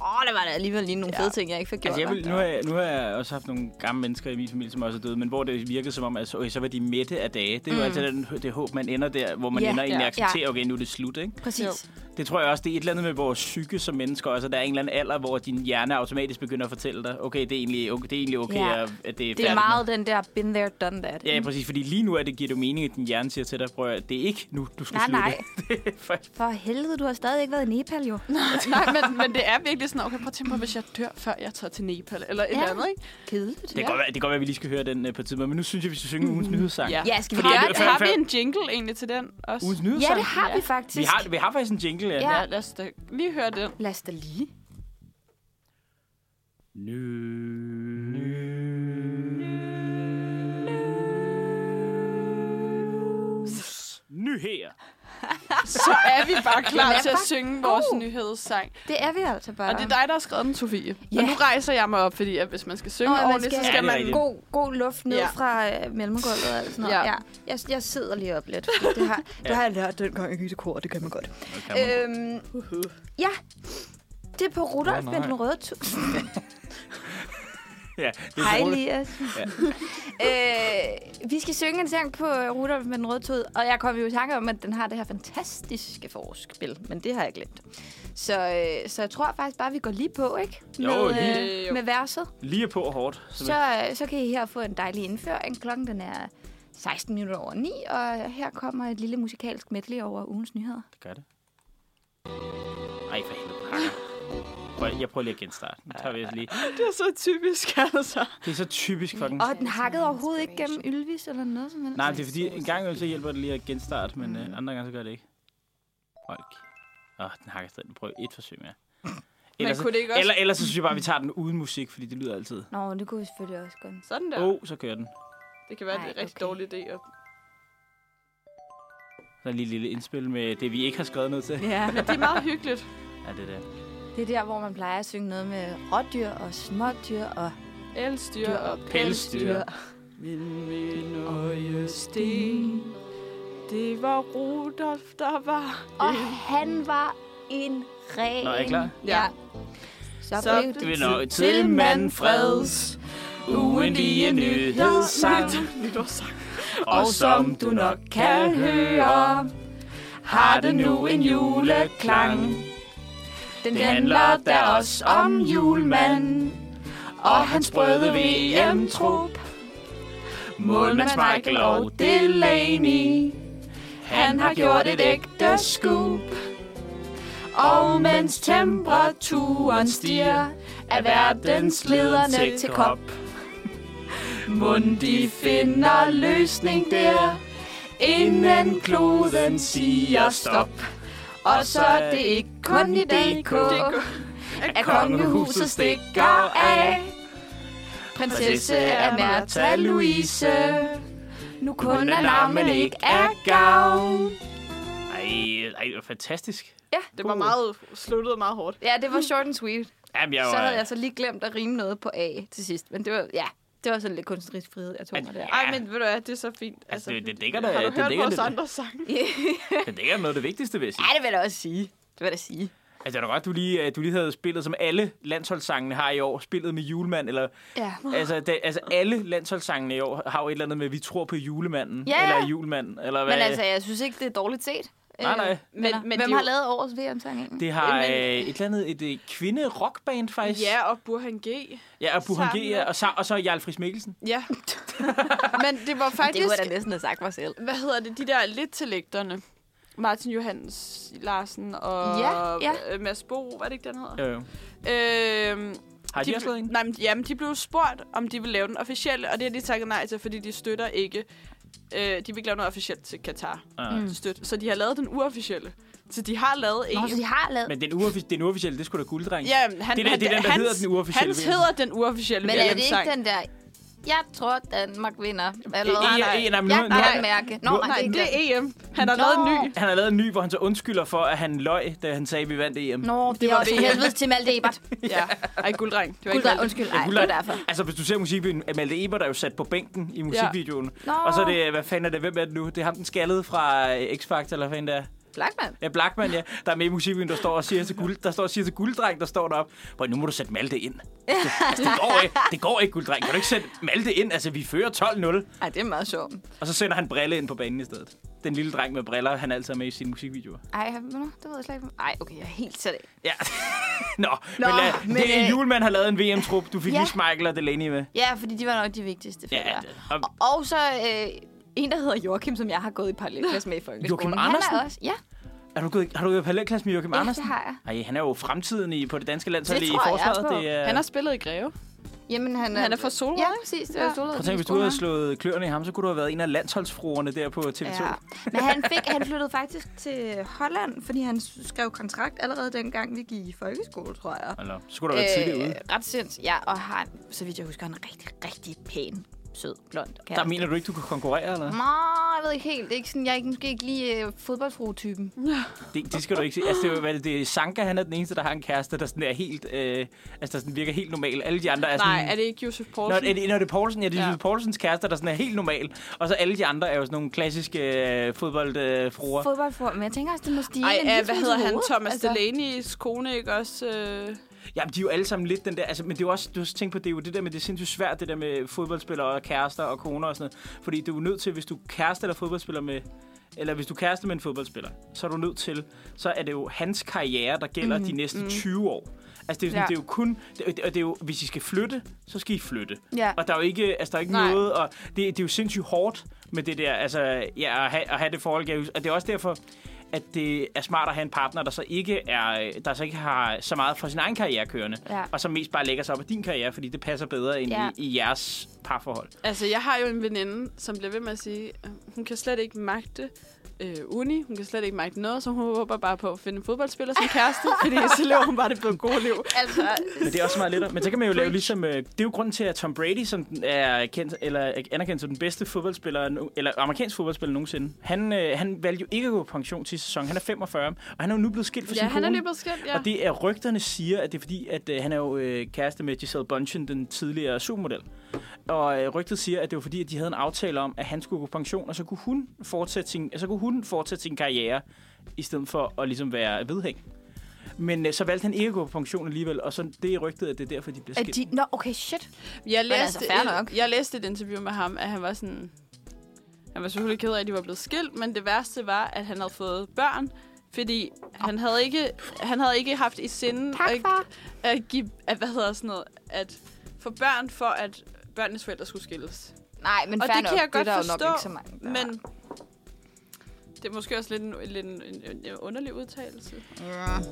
Speaker 1: åh, der var da alligevel lige nogle
Speaker 3: Ja.
Speaker 1: fede ting, jeg ikke fik gjort.
Speaker 2: Altså, jeg
Speaker 1: hva?"
Speaker 2: vil, nu, har jeg, nu har jeg også haft nogle gamle mennesker i min familie, som også er døde, men hvor det virkede som om, at så, okay, så var de mætte af dage. Det er jo
Speaker 1: Mm.
Speaker 2: mm. altså den, det håb, man ender der, hvor man
Speaker 1: Ja,
Speaker 2: yeah, ender egentlig
Speaker 3: ja,
Speaker 2: yeah, accepterer, okay, nu er det slut, ikke?
Speaker 1: Præcis.
Speaker 3: Jo.
Speaker 2: Det tror jeg også, det er et eller andet med vores psyke som mennesker. Altså, der er en eller anden alder, hvor din hjerne automatisk begynder at fortælle dig, okay, det er egentlig okay, det er egentlig okay
Speaker 1: Ja.
Speaker 2: at, at det er
Speaker 1: Det er
Speaker 2: færdigt
Speaker 1: meget den der been there, done that.
Speaker 2: nu. Ja, præcis, fordi lige nu er det, giver det jo mening, at din hjerne siger til dig, prøv at høre, det er ikke nu, du skal
Speaker 1: Nej,
Speaker 2: slutte.
Speaker 1: nej.
Speaker 2: Det er faktisk-
Speaker 1: For helvede, du har stadig ikke været i Nepal, jo.
Speaker 3: Nej, men, men det er virkelig sådan, okay, prøv at tænke på, hvis jeg dør, før jeg tager til Nepal, eller et
Speaker 1: Ja.
Speaker 3: ja. eller andet, ikke?
Speaker 1: Kedeligt.
Speaker 2: det, kan godt være, det kan godt være, at vi lige skal høre den øh, på et tidspunkt, men nu synes jeg, vi skal synge ugens nyhedssang.
Speaker 3: Ja.
Speaker 1: Mm-hmm. Ja, skal vi
Speaker 2: Fordi
Speaker 1: gøre
Speaker 2: det-
Speaker 1: det?
Speaker 2: før-
Speaker 3: Har vi
Speaker 2: før-
Speaker 3: en jingle egentlig til den også?
Speaker 2: Ugens
Speaker 1: Ja,
Speaker 2: nyhedssang?
Speaker 1: det har vi
Speaker 3: Ja.
Speaker 1: faktisk.
Speaker 2: vi, har, vi har faktisk en jingle, ja.
Speaker 1: Ja.
Speaker 3: Ja, lad os da lige høre den.
Speaker 1: Lad os da lige.
Speaker 2: Ny. Ny her.
Speaker 3: Så er vi bare
Speaker 1: Den
Speaker 3: klar
Speaker 1: er
Speaker 3: til at
Speaker 1: bare
Speaker 3: synge
Speaker 1: god.
Speaker 3: vores nyhedssang.
Speaker 1: Det er vi altså bare.
Speaker 3: Og det er dig, der har skrevet den, Sofie.
Speaker 1: Ja.
Speaker 3: Ja. Og nu rejser jeg mig op, fordi at hvis man skal synge
Speaker 1: Nå,
Speaker 3: Nå,
Speaker 1: at man
Speaker 3: ordentligt,
Speaker 1: skal-
Speaker 3: skal...
Speaker 2: Ja,
Speaker 3: så skal
Speaker 2: det er
Speaker 3: man...
Speaker 2: rigtigt.
Speaker 1: God, god luft ned
Speaker 3: Ja.
Speaker 1: ja. fra øh, mellemgulvet og alt sådan noget. Ja.
Speaker 3: Ja.
Speaker 1: ja. Jeg, jeg sidder lige op lidt. fordi Det har, det har jeg lært dengang, jeg gik til kor, og det kan man godt. Øhm, ja, det er på Rudolf
Speaker 2: Åh,
Speaker 1: oh,
Speaker 2: nej.
Speaker 1: med den røde tu-
Speaker 2: ja, det er
Speaker 1: Hej,
Speaker 2: roligt.
Speaker 1: Elias. øh, vi skal synge en sang på øh, Rudolf med den røde tud, og jeg kom jo i tanke om, at den har det her fantastiske forspil, men det har jeg glemt. Så, øh, så jeg tror faktisk bare, vi går lige på, ikke?
Speaker 2: Jo,
Speaker 1: med, øh,
Speaker 2: lige.
Speaker 1: med verset.
Speaker 2: Lige på og hårdt. Så, så.
Speaker 1: Så, øh, så kan I her få en dejlig indføring. Klokken den er 16 minutter over 9, og her kommer et lille musikalsk medley over ugens nyheder.
Speaker 2: Gør det. Ej, for helvede. pakker. Prøv, jeg prøver lige at genstarte. Nu tager vi os lige.
Speaker 3: Det er så typisk, altså.
Speaker 2: Det er så typisk fucking...
Speaker 1: Og den hakkede overhovedet ikke gennem Ylvis eller noget som helst.
Speaker 2: Nej, men det er fordi, en gang imellem så hjælper det lige at genstarte, men øh, andre gange så gør det ikke. Folk. Åh, den hakker stadig. Prøv et forsøg mere. Ellers,
Speaker 3: kunne det ikke også-
Speaker 2: eller, ellers så synes jeg bare, at vi tager den uden musik, fordi det lyder altid.
Speaker 1: Nå, det kunne vi selvfølgelig også godt.
Speaker 3: Sådan der.
Speaker 2: Åh, oh, så kører den.
Speaker 3: Det kan være, det er
Speaker 1: Ej,
Speaker 3: en rigtig
Speaker 1: okay.
Speaker 3: dårlig idé. At...
Speaker 2: Så er lige et lille indspil med det, vi ikke har skrevet noget til.
Speaker 1: Ja.
Speaker 3: Men det er meget hyggeligt.
Speaker 2: Ja, det der.
Speaker 1: Det er der, hvor man plejer at synge noget med rådyr og smådyr og
Speaker 3: Elstyr
Speaker 1: dyr
Speaker 3: og
Speaker 1: og
Speaker 2: pelsdyr.
Speaker 1: pelsdyr.
Speaker 3: Min minøjesten, det var Rudolf, der var.
Speaker 1: Og han var en ren.
Speaker 2: Nå, er I klar?
Speaker 1: Ja.
Speaker 3: Ja.
Speaker 1: Så,
Speaker 3: Så
Speaker 1: blev det
Speaker 2: Det vil
Speaker 1: tid.
Speaker 2: nå til mandfreds, ugentlige nyhedssang.
Speaker 3: Nytårssang.
Speaker 2: Og som du nok kan høre, har det nu en juleklang.
Speaker 1: Den
Speaker 2: Det
Speaker 1: handler
Speaker 2: handler
Speaker 1: der
Speaker 2: da
Speaker 1: også
Speaker 2: også
Speaker 1: om
Speaker 2: om
Speaker 1: julemanden
Speaker 2: julemanden
Speaker 1: og hans brøde VM-trup.
Speaker 2: Målmand Michael og Delaney Han har gjort et ægte scoop
Speaker 1: Og mens temperaturen stiger, er verdens lederne til kop.
Speaker 2: Mund de finder løsning der Inden kloden siger stop
Speaker 1: Og så er det ikke kun i DK, at kongehuset stikker af. Prinsesse er Märtha Louise, nu kun er navnet ikke er gavn.
Speaker 2: Ej, ej, det var fantastisk.
Speaker 3: Det var meget, sluttede meget hårdt.
Speaker 1: Ja, det var short and sweet.
Speaker 2: Jamen, jeg var... Altså,
Speaker 1: Så havde jeg så lige glemt at rime noget på A til sidst. Men det var, ja, det var sådan lidt kunstnerisk frihed, jeg tog mig der.
Speaker 3: Ej, men ved du hvad, det er så fint.
Speaker 2: Altså, det- det dækker da-
Speaker 3: Har du
Speaker 2: det
Speaker 3: hørt
Speaker 2: dækker
Speaker 3: vores
Speaker 2: det.
Speaker 3: andre sang?
Speaker 2: Men det er ikke noget af det vigtigste, vil jeg sige.
Speaker 1: Ja, det vil jeg da også sige. Det vil jeg da sige.
Speaker 2: Altså, det var godt, du lige, øh, du lige havde spillet, som alle landsholdssangene har i år, spillet med julemand, eller...
Speaker 1: Ja.
Speaker 2: Altså, det, altså alle landsholdssangene i år har jo et eller andet med, vi tror på julemanden,
Speaker 1: Ja, ja.
Speaker 2: eller julemanden, eller hvad...
Speaker 1: Men altså, jeg synes ikke, det er dårligt set.
Speaker 2: Nej,
Speaker 1: Øh,
Speaker 2: nej.
Speaker 1: Men,
Speaker 3: Men-
Speaker 1: men
Speaker 3: men
Speaker 1: hvem
Speaker 3: det er
Speaker 1: har
Speaker 3: jo-
Speaker 1: lavet årets VM-sang egentlig?
Speaker 2: det har
Speaker 3: men-
Speaker 2: øh, et eller andet et, et kvinde-rockband, faktisk.
Speaker 3: Ja, og Burhan G.
Speaker 2: ja og Burhan G,
Speaker 3: sammen
Speaker 2: ja,
Speaker 3: med-
Speaker 2: og, så, og så Jarl Friis Mikkelsen.
Speaker 3: Ja. men det var
Speaker 1: Det kunne
Speaker 3: faktisk,
Speaker 1: jeg da næsten have sagt mig selv.
Speaker 3: hvad hedder det, de der lidt til lægterne. Martin Johans Larsen og
Speaker 1: Ja, ja.
Speaker 3: øh, Mads Bo, hvad er det ikke, den hedder?
Speaker 2: Jo, jo.
Speaker 3: Ja. Øhm,
Speaker 2: Øh, Har de,
Speaker 3: de
Speaker 2: også lavet en?
Speaker 3: Nej, men, jamen, de blev spurgt, om de vil lave den officielle, og det har de takket nej til, fordi de støtter ikke. Øh, de vil ikke lave noget officielt til Katar.
Speaker 2: Nej.
Speaker 3: Mm. Støt. Så de har lavet den uofficielle. Så de har lavet en.
Speaker 1: Nå, så de har lavet... Men,
Speaker 2: Men den, uoffic- den uofficielle, det skulle da gulddreng.
Speaker 3: Ja, men han,
Speaker 2: Det er den- det er den, der
Speaker 3: hans,
Speaker 2: hedder den uofficielle
Speaker 3: Hans
Speaker 2: VM.
Speaker 3: hedder den uofficielle
Speaker 1: men er det
Speaker 3: VM-sang.
Speaker 1: ikke den der... Jeg tror, Danmark vinder. Eller hvad?
Speaker 2: E- E-
Speaker 3: nej.
Speaker 2: E- nej, men nu-
Speaker 1: Jeg
Speaker 2: nu
Speaker 1: kan
Speaker 2: har-
Speaker 1: godt mærke. Nå,
Speaker 2: nu-
Speaker 1: nej,
Speaker 3: Nej,
Speaker 1: det er ikke
Speaker 3: det er EM. Han har
Speaker 1: Nå.
Speaker 3: lavet en ny.
Speaker 2: Han har lavet en ny, hvor han så undskylder for, at han løj, da han sagde, at vi vandt E EM.
Speaker 1: den. Nå, det, var
Speaker 3: var
Speaker 1: også
Speaker 3: VM.
Speaker 1: for helvedes til Malte Ebert.
Speaker 3: Ja. Ej, gulddreng. Det var
Speaker 1: Gud, nej,
Speaker 3: ikke
Speaker 1: undskyld. Nej, det
Speaker 2: Guldag.
Speaker 1: var derfor.
Speaker 2: Altså, hvis du ser musikvideoen, er Malte Ebert er jo sat på bænken i musikvideoen. Ja. Og så er det, hvad fanden er det, hvem er det nu? Det er ham, den skaldede fra øh, X-Factor, eller hvad fanden det er.
Speaker 1: Blackman.
Speaker 2: Ja, Blackman, ja. Der er med i musikvideoen, der står og siger til, guld, der står og siger til gulddreng, der står deroppe. Hvor nu må du sætte Malte ind. Altså, det går ikke, det går ikke gulddreng. Kan du ikke sætte Malte ind? Altså, vi fører 12-0.
Speaker 1: Ej, det er meget sjovt.
Speaker 2: Og så sender han Brille ind på banen i stedet. Den lille dreng med briller, han altid er altså med i sine musikvideoer.
Speaker 1: Ej, har vi- nå, det ved jeg slet ikke. Ej, okay, jeg er helt sat af.
Speaker 2: Ja. Nå, Nå,
Speaker 1: Nå,
Speaker 2: men, lad,
Speaker 1: men,
Speaker 2: men det er
Speaker 1: øh,
Speaker 2: Julemand har lavet en VM-trup. Du fik
Speaker 1: ja.
Speaker 2: ja. lige Michael og Delaney med.
Speaker 1: Ja, fordi de var nok de vigtigste for
Speaker 2: Ja,
Speaker 1: jer.
Speaker 2: det- og-
Speaker 1: Og, og så øh, en, der hedder Joachim, som jeg har gået i parallelklasse med i folkeskolen.
Speaker 2: Joachim
Speaker 1: Han er
Speaker 2: Andersen?
Speaker 1: også, ja,
Speaker 2: Er du gået, har du gået i parallelklasse med Joachim
Speaker 1: Ja, det
Speaker 2: Andersen?
Speaker 1: har jeg.
Speaker 2: Ej, han er jo fremtiden i, på det danske landshold
Speaker 1: Det
Speaker 2: i
Speaker 1: tror jeg
Speaker 2: forsvaret.
Speaker 1: på.
Speaker 2: det er...
Speaker 3: Han har spillet i Greve.
Speaker 1: jamen han er...
Speaker 3: Han er fra Solrød,
Speaker 1: Ja,
Speaker 3: ikke?
Speaker 1: præcis. Det var
Speaker 3: Ja.
Speaker 1: Solrød.
Speaker 2: Prøv at tænke, hvis du havde slået kløerne i ham, så kunne du have været en af landsholdsfruerne der på TV2.
Speaker 1: Ja. Men han, fik, han flyttede faktisk til Holland, fordi han skrev kontrakt allerede dengang, vi gik i folkeskole, tror jeg. Øh,
Speaker 2: Eller, så kunne du have været tidligt
Speaker 3: Øh,
Speaker 2: ude.
Speaker 1: ret sinds, ja, og han, så vidt jeg husker, han er rigtig, rigtig pæn, sød, blond kæreste.
Speaker 2: Der mener du ikke, du kan konkurrere, eller?
Speaker 3: Mm.
Speaker 1: Nå, jeg ved ikke helt. Det er ikke sådan, jeg er ikke, måske ikke lige øh, fodboldfru-typen.
Speaker 2: Det, det skal du ikke se. Altså, det, er jo- hvad er det, det er Sanka, han er den eneste, der har en kæreste, der sådan er helt, øh, altså, der sådan virker helt normal. Alle de andre er sådan...
Speaker 3: Nej, er det ikke Josef
Speaker 2: Nå,
Speaker 3: Poulsen?
Speaker 2: er det, når det er Poulsen, ja, det er
Speaker 3: Ja.
Speaker 2: ja. Poulsens kæreste, der sådan er helt normal. Og så alle de andre er jo sådan nogle klassiske øh, fodboldfruer.
Speaker 1: Fodboldfru, men jeg tænker også, det må stige
Speaker 3: Ej,
Speaker 1: en
Speaker 3: øh,
Speaker 1: lille
Speaker 3: hvad
Speaker 1: smule Altså,
Speaker 3: hedder
Speaker 1: til
Speaker 3: han?
Speaker 1: hovedet,
Speaker 3: Thomas altså... Delanys kone, ikke også? Øh...
Speaker 2: Jamen, de er jo alle sammen lidt den der... Altså, men det er jo også... Du har også tænkt på, det er jo det der med, det er sindssygt svært, det der med fodboldspillere og kærester og koner og sådan noget. Fordi du er jo nødt til, hvis du er kæreste eller fodboldspiller med... Eller hvis du er kæreste med en fodboldspiller, så er du nødt til... Så er det jo hans karriere, der gælder mm, de næste mm. 20 år. Altså, det er, jo sådan,
Speaker 1: Ja.
Speaker 2: ja. det er jo kun... Det, og det er jo, hvis I skal flytte, så skal I flytte.
Speaker 1: Ja.
Speaker 2: Og der er jo ikke, altså, der er ikke
Speaker 1: Nej.
Speaker 2: noget... Og det, det er jo sindssygt hårdt med det der, altså, ja, at, have, at have det forhold. kan jeg huske. Og det er også derfor, at det er smart at have en partner, der så ikke, er, der så ikke har så meget fra sin egen karriere kørende,
Speaker 1: Ja.
Speaker 2: og som mest bare lægger sig op af din karriere, fordi det passer bedre end
Speaker 1: Ja.
Speaker 2: ja. i, i jeres parforhold.
Speaker 3: Altså, jeg har jo en veninde, som bliver ved med at sige, øh, hun kan slet ikke magte øh, uni, hun kan slet ikke magte noget, så hun håber bare på at finde en fodboldspiller som kæreste, fordi så lever hun bare det blevet gode liv.
Speaker 1: Altså,
Speaker 2: Men det er også meget lettere. Men så kan man jo lave ligesom... Øh, det er jo grunden til, at Tom Brady, som er kendt, eller er anerkendt som den bedste fodboldspiller, nu- eller amerikansk fodboldspiller nogensinde, han, øh, han valgte jo ikke at gå på pension sidste sæson. Han er 45, og han er jo nu blevet skilt fra
Speaker 3: Ja,
Speaker 2: sin
Speaker 3: han er
Speaker 2: kone.
Speaker 3: lige blevet skilt, ja.
Speaker 2: Og det er rygterne siger, at det er fordi, at øh, han er jo øh, kæreste med Giselle Bundchen, den tidligere supermodel. Og øh, rygtet siger, at det var fordi, at de havde en aftale om, at han skulle gå på pension, og så kunne hun fortsætte sin, så kunne hun fortsætte sin karriere, i stedet for at ligesom være vedhæng. Men øh, så valgte han ikke at gå på pension alligevel, og så det er rygtet, at det er derfor, de bliver
Speaker 1: er
Speaker 2: skilt.
Speaker 1: de... Nå, okay, shit.
Speaker 3: Jeg
Speaker 1: Men
Speaker 3: læste,
Speaker 1: altså, fair nok.
Speaker 3: Et, jeg læste et interview med ham, at han var sådan... Han var selvfølgelig ked af, at de var blevet skilt, men det værste var, at han havde fået børn, fordi han havde ikke, han havde ikke haft i sinde
Speaker 1: Tak,
Speaker 3: at,
Speaker 1: far.
Speaker 3: at, give, at, hvad hedder sådan noget, at få børn for, at børnenes forældre skulle skilles.
Speaker 1: Nej, men
Speaker 3: Og
Speaker 1: fair
Speaker 3: det
Speaker 1: nok.
Speaker 3: kan jeg godt
Speaker 1: det er der
Speaker 3: forstå,
Speaker 1: jo nok ikke så mange, der
Speaker 3: Men det er måske også lidt en, lidt en, en, en underlig udtalelse.
Speaker 1: har.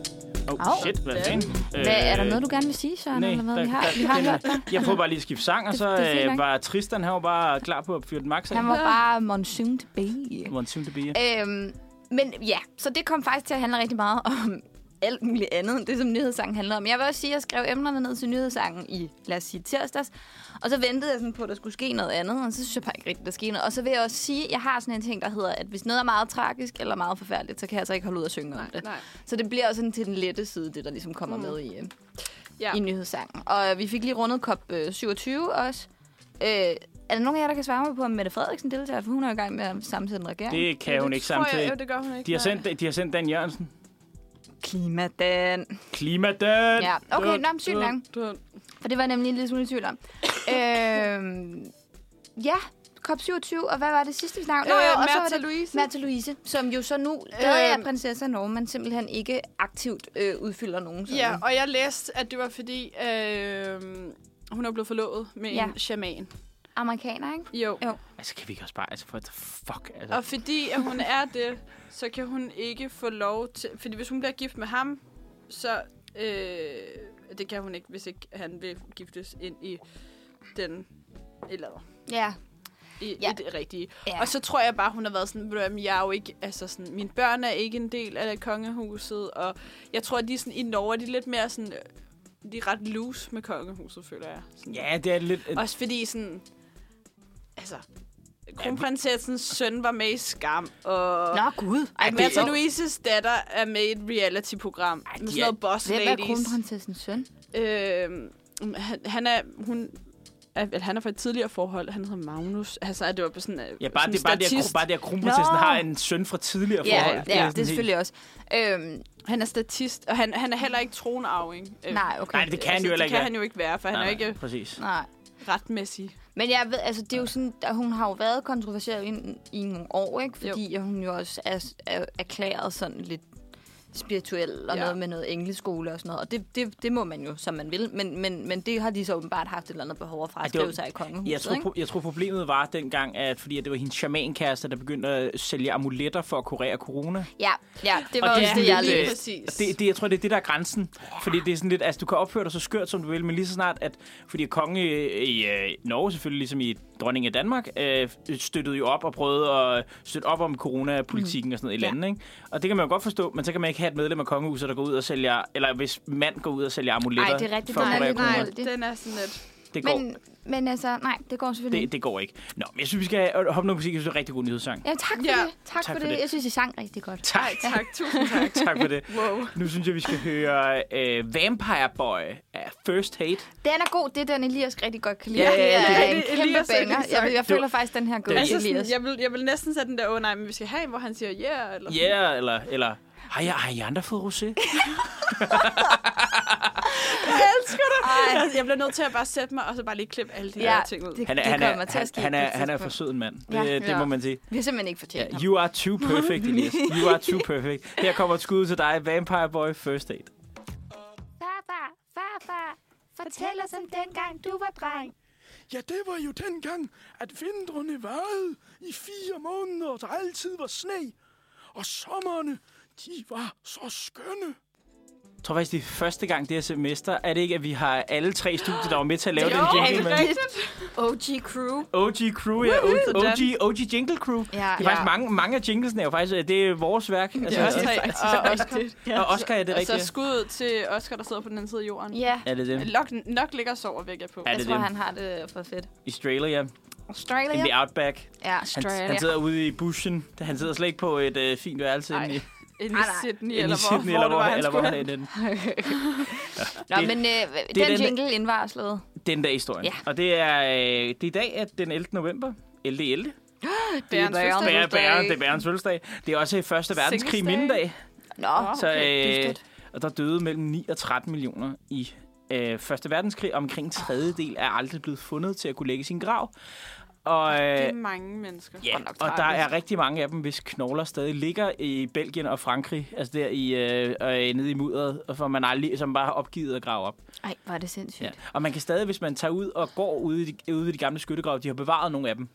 Speaker 2: Oh,
Speaker 1: Au.
Speaker 2: shit, hvad fanden?
Speaker 1: Hvad, er der noget, du gerne vil sige, Søren? eller hvad? vi har, vi har hørt dig.
Speaker 2: jeg prøvede bare lige at skifte sang, og
Speaker 1: Det-
Speaker 2: så
Speaker 1: det er fint
Speaker 2: øh,
Speaker 1: nok.
Speaker 2: var Tristan, han var bare klar på at fyre den max af.
Speaker 1: Han var bare monsoon to be.
Speaker 2: Hvor han simpelthen bliver.
Speaker 1: Øhm, men ja, så det kom faktisk til at handle rigtig meget om alt muligt andet, end det som nyhedssangen handler om. Jeg vil også sige, at jeg skrev emnerne ned til nyhedssangen i, lad os sige, tirsdags. Og så ventede jeg sådan på, at der skulle ske noget andet, og så synes jeg bare ikke rigtigt, der skete noget. Og så vil jeg også sige, at jeg har sådan en ting, der hedder, at hvis noget er meget tragisk eller meget forfærdeligt, så kan jeg altså ikke holde ud at synge om det.
Speaker 3: nej.
Speaker 1: Så det bliver også sådan til den lette side, det der ligesom kommer mm. med i, øh,
Speaker 3: Ja.
Speaker 1: i nyhedssangen. Og øh, vi fik lige rundet COP27 også. Øh, er der nogen af jer, der kan svare mig på, om Mette Frederiksen deltager? For hun er jo i gang med at sammensætte en regering.
Speaker 2: Det kan hun
Speaker 3: det
Speaker 2: ikke
Speaker 3: tror jeg-
Speaker 2: samtidig.
Speaker 3: Jo, det gør hun ikke.
Speaker 2: De har,
Speaker 3: nej.
Speaker 2: sendt, de har sendt Dan Jørgensen.
Speaker 1: Klimadan.
Speaker 2: Klimadan!
Speaker 1: Ja, okay, nå, men sygt
Speaker 3: Dun,
Speaker 1: nok.
Speaker 3: dun.
Speaker 1: For det var jeg nemlig en lille smule i tvivl om. øhm, ja, COP27, og hvad var det sidste, vi snakkede om?
Speaker 3: Øh,
Speaker 1: jo, og
Speaker 3: Märtha
Speaker 1: så var det
Speaker 3: Louise.
Speaker 1: Märtha Louise, som jo så nu, der
Speaker 3: Øhm.
Speaker 1: er prinsesse af Norge, men simpelthen ikke aktivt øh, udfylder nogen. sådan.
Speaker 3: Ja, og jeg læste, at det var fordi, øh, hun er blevet forlovet med ja.
Speaker 1: Ja.
Speaker 3: en shaman.
Speaker 1: Amerikaner, ikke?
Speaker 3: Jo.
Speaker 1: Jo.
Speaker 3: jo.
Speaker 2: Altså, kan vi ikke også bare... Altså, for the fuck? Altså.
Speaker 3: Og fordi at hun er det, så kan hun ikke få lov til... Fordi hvis hun bliver gift med ham, så... Øh, det kan hun ikke, hvis ikke han vil giftes ind i den... Eller
Speaker 1: Ja.
Speaker 3: i,
Speaker 1: Ja.
Speaker 3: ja. i det rigtige.
Speaker 1: Ja.
Speaker 3: Ja. Og så tror jeg bare, hun har været sådan, ved du hvad, men jeg er jo ikke, altså sådan, mine børn er ikke en del af kongehuset, og jeg tror, at de er sådan, i Norge, de er lidt mere sådan, øh, de er ret loose med kongehuset, føler jeg. Sådan.
Speaker 2: Ja, det er lidt... øh,
Speaker 3: Også fordi sådan... Altså... Kronprinsessens søn var med i Skam, og...
Speaker 1: Nå, gud.
Speaker 3: Ej,
Speaker 2: det-
Speaker 3: Märtha Louises datter er med i et reality-program
Speaker 2: Ej,
Speaker 3: med
Speaker 2: de
Speaker 3: sådan
Speaker 2: er-
Speaker 3: noget boss
Speaker 1: Hvem er
Speaker 3: ladies.
Speaker 1: kronprinsessens søn?
Speaker 3: Øhm, han, han er... Hun, er- eller han er fra et tidligere forhold. Han hedder Magnus. Altså, at det var på sådan... øh,
Speaker 2: Ja, bare
Speaker 3: sådan
Speaker 2: det, bare det, at,
Speaker 3: statist.
Speaker 2: bare det, at kronprinsessen
Speaker 1: Nå.
Speaker 2: har en søn fra tidligere forhold.
Speaker 1: Ja,
Speaker 2: Det er
Speaker 1: ja,
Speaker 2: sådan
Speaker 1: det er
Speaker 2: helt-
Speaker 1: selvfølgelig også. Øhm,
Speaker 3: Han er statist, og han, han er heller ikke tronarving. Øh,
Speaker 1: nej, okay.
Speaker 2: Øhm, Nej, det kan han jo
Speaker 3: altså,
Speaker 2: heller
Speaker 3: det
Speaker 2: ikke
Speaker 3: kan
Speaker 2: være.
Speaker 3: han jo ikke være, for han er
Speaker 2: Nej,
Speaker 3: jo ikke
Speaker 2: Præcis.
Speaker 1: Nej.
Speaker 3: retmæssig.
Speaker 1: Men jeg ved, altså det er jo sådan, at hun har jo været kontroversiel i, i nogle år, ikke? Fordi jo. hun jo også er, er erklæret sådan lidt spirituel og ja.
Speaker 3: Ja.
Speaker 1: noget med noget engleskole og sådan noget. Og det, det, det må man jo, som man vil. Men, men, men det har de så åbenbart haft et eller andet behov for
Speaker 2: Ej,
Speaker 1: at
Speaker 2: det var-
Speaker 1: skrive sig i kongehuset,
Speaker 2: Jeg tror,
Speaker 1: ikke?
Speaker 2: pro- jeg tror, problemet var dengang, at fordi at det var hendes shamankæreste, der begyndte at sælge amuletter for at kurere corona.
Speaker 1: Ja, ja, det var
Speaker 2: Og
Speaker 1: også
Speaker 2: det
Speaker 1: det, det
Speaker 2: er sådan
Speaker 1: jeg
Speaker 2: lidt,
Speaker 1: lige...
Speaker 2: øh,
Speaker 3: præcis.
Speaker 2: Og Det, det, jeg tror, det er det, der er grænsen. Fordi det er sådan lidt, altså du kan opføre dig så skørt, som du vil, men lige så snart, at fordi konge i øh, Norge selvfølgelig, ligesom i dronning af Danmark, øh, støttede jo op og prøvede at støtte op om coronapolitikken mm. og sådan noget i
Speaker 1: Ja.
Speaker 2: landet, ikke? Og det kan man jo godt forstå, men så kan man ikke have et medlem af kongehuset, der går ud og sælger, eller hvis mand går ud og sælger amuletter
Speaker 1: Ej, det er rigtigt,
Speaker 2: for at
Speaker 1: den er
Speaker 2: kurere
Speaker 1: lidt-
Speaker 2: corona.
Speaker 1: nej,
Speaker 3: Nej,
Speaker 1: det-
Speaker 3: den er sådan lidt...
Speaker 2: Det går,
Speaker 1: Men, men altså, nej, det går selvfølgelig
Speaker 2: øh, det,
Speaker 1: ikke.
Speaker 2: det går ikke. Nå, men jeg synes, vi skal hoppe noget musik. Jeg synes, det er en rigtig god nyhedssang.
Speaker 1: Ja, tak for
Speaker 3: Ja.
Speaker 1: det. Tak, for, det. Jeg synes, I sang rigtig godt.
Speaker 2: Tak,
Speaker 3: Ej, tak. Tusind tak.
Speaker 2: tak for det.
Speaker 3: Wow.
Speaker 2: Nu synes jeg, vi skal høre øh, Vampire Boy af First Hate.
Speaker 1: Den er god. Det er den, Elias rigtig godt kan lide.
Speaker 2: Ja,
Speaker 1: det
Speaker 2: ja,
Speaker 1: er
Speaker 2: det-
Speaker 1: en
Speaker 3: det-
Speaker 1: kæmpe
Speaker 3: Elias er
Speaker 1: banger.
Speaker 3: rigtig
Speaker 1: Jeg, jeg
Speaker 2: sagt. Det
Speaker 1: føler
Speaker 2: var-
Speaker 1: faktisk, den her går
Speaker 2: det-
Speaker 1: til
Speaker 3: Altså,
Speaker 1: Elias.
Speaker 3: sådan, jeg, vil, jeg vil næsten sætte den der, åh oh, nej, men vi skal have en, hvor han siger ja, yeah, eller
Speaker 2: Ja, yeah, eller, eller har, jeg, har I andre fået rosé?
Speaker 3: elsker dig.
Speaker 1: Ej.
Speaker 3: Jeg, jeg bliver nødt til at bare sætte mig, og så bare lige klippe alle de
Speaker 1: Ja,
Speaker 3: her ting ud.
Speaker 1: det-
Speaker 2: Han er,
Speaker 1: det
Speaker 2: han
Speaker 1: kommer
Speaker 2: er,
Speaker 1: til at
Speaker 2: han,
Speaker 1: ske
Speaker 2: han
Speaker 1: på et
Speaker 2: er, han er
Speaker 1: tidspunkt.
Speaker 2: for sød en mand. Det,
Speaker 1: Ja.
Speaker 2: det
Speaker 3: Ja.
Speaker 2: må man sige.
Speaker 1: Vi har simpelthen ikke fortjent ham.
Speaker 2: You are too perfect, Elias. You are too perfect. Her kommer et skud til dig, Vampire Boy First Date.
Speaker 4: Farfar, farfar, fortæl os om dengang du var dreng.
Speaker 5: Ja, det var jo dengang, at vintrene varede i fire måneder, og der altid var sne. Og sommerne, de var så skønne.
Speaker 2: Jeg tror faktisk, det er første gang det her semester, er det ikke, at vi har alle tre studier, der var med til at lave
Speaker 1: Jo,
Speaker 2: den jingle,
Speaker 1: det er
Speaker 2: mand?
Speaker 1: OG crew.
Speaker 2: OG Crew, ja. OG, OG,
Speaker 3: Sådan.
Speaker 2: OG Jingle Crew. Det
Speaker 1: Ja,
Speaker 2: er
Speaker 1: ja.
Speaker 2: faktisk mange, mange af jinglesene er jo faktisk, øh, det er vores værk. Altså,
Speaker 3: er også
Speaker 2: og-
Speaker 3: tre.
Speaker 1: faktisk
Speaker 3: Og
Speaker 1: også
Speaker 3: Oscar.
Speaker 2: og Oscar er det
Speaker 3: Og så
Speaker 2: rigtige.
Speaker 3: skud ud til Oscar, der sidder på den anden side af jorden.
Speaker 1: Ja,
Speaker 2: Er det dem?
Speaker 3: Nok, nok ligger og sover, væk jeg på. Altså,
Speaker 2: Er
Speaker 1: jeg
Speaker 2: det
Speaker 1: tror,
Speaker 2: dem?
Speaker 1: han har det for fedt.
Speaker 2: Australia. In
Speaker 1: Australia?
Speaker 2: the Outback.
Speaker 1: Ja,
Speaker 2: Han,
Speaker 1: Australia.
Speaker 2: han sidder ude i bushen. Han sidder slet ikke på et øh, fint værelse inde i,
Speaker 3: Inde
Speaker 1: Ej,
Speaker 3: i
Speaker 1: nej.
Speaker 3: Sydney,
Speaker 2: inde
Speaker 3: eller
Speaker 2: i
Speaker 3: hvor,
Speaker 2: Sydney,
Speaker 3: hvor
Speaker 2: eller
Speaker 3: det
Speaker 2: hvor,
Speaker 3: var, han
Speaker 2: eller hvor
Speaker 3: skulle
Speaker 2: han
Speaker 3: hen.
Speaker 2: er den.
Speaker 1: Nå,
Speaker 2: Det-
Speaker 1: men øh, den,
Speaker 2: den der-
Speaker 1: jingle indvarslede.
Speaker 2: Den der historien.
Speaker 1: Ja.
Speaker 2: Og det er, øh, det er i dag, at den 11. november. 11. 11.
Speaker 3: Bærens
Speaker 1: Bærens
Speaker 3: fødselsdag.
Speaker 1: Fødselsdag.
Speaker 2: Bære, bære, det er Bærens fødselsdag. Det er også øh, første verdenskrig
Speaker 3: Singlesdag.
Speaker 2: mindedag.
Speaker 1: Nå,
Speaker 3: Nå.
Speaker 2: Så,
Speaker 1: okay,
Speaker 2: øh,
Speaker 1: dygtigt.
Speaker 2: og der døde mellem 9 og 13 millioner i øh, Første Verdenskrig. og Omkring en tredjedel er aldrig blevet fundet til at kunne lægge i sin grav. Og,
Speaker 3: Det
Speaker 2: øh,
Speaker 3: er mange mennesker.
Speaker 2: ja,
Speaker 1: nok
Speaker 2: og der
Speaker 1: tragisk.
Speaker 3: altså.
Speaker 2: er rigtig mange af dem, hvis knogler stadig ligger i Belgien og Frankrig. Altså der i, øh, øh, nede i mudderet, og for man aldrig, som bare har opgivet at grave op.
Speaker 1: Ej, var det sindssygt.
Speaker 2: Ja. Og man kan stadig, hvis man tager ud og går ude, i de, ude ved de gamle skyttegrave, de har bevaret nogle af dem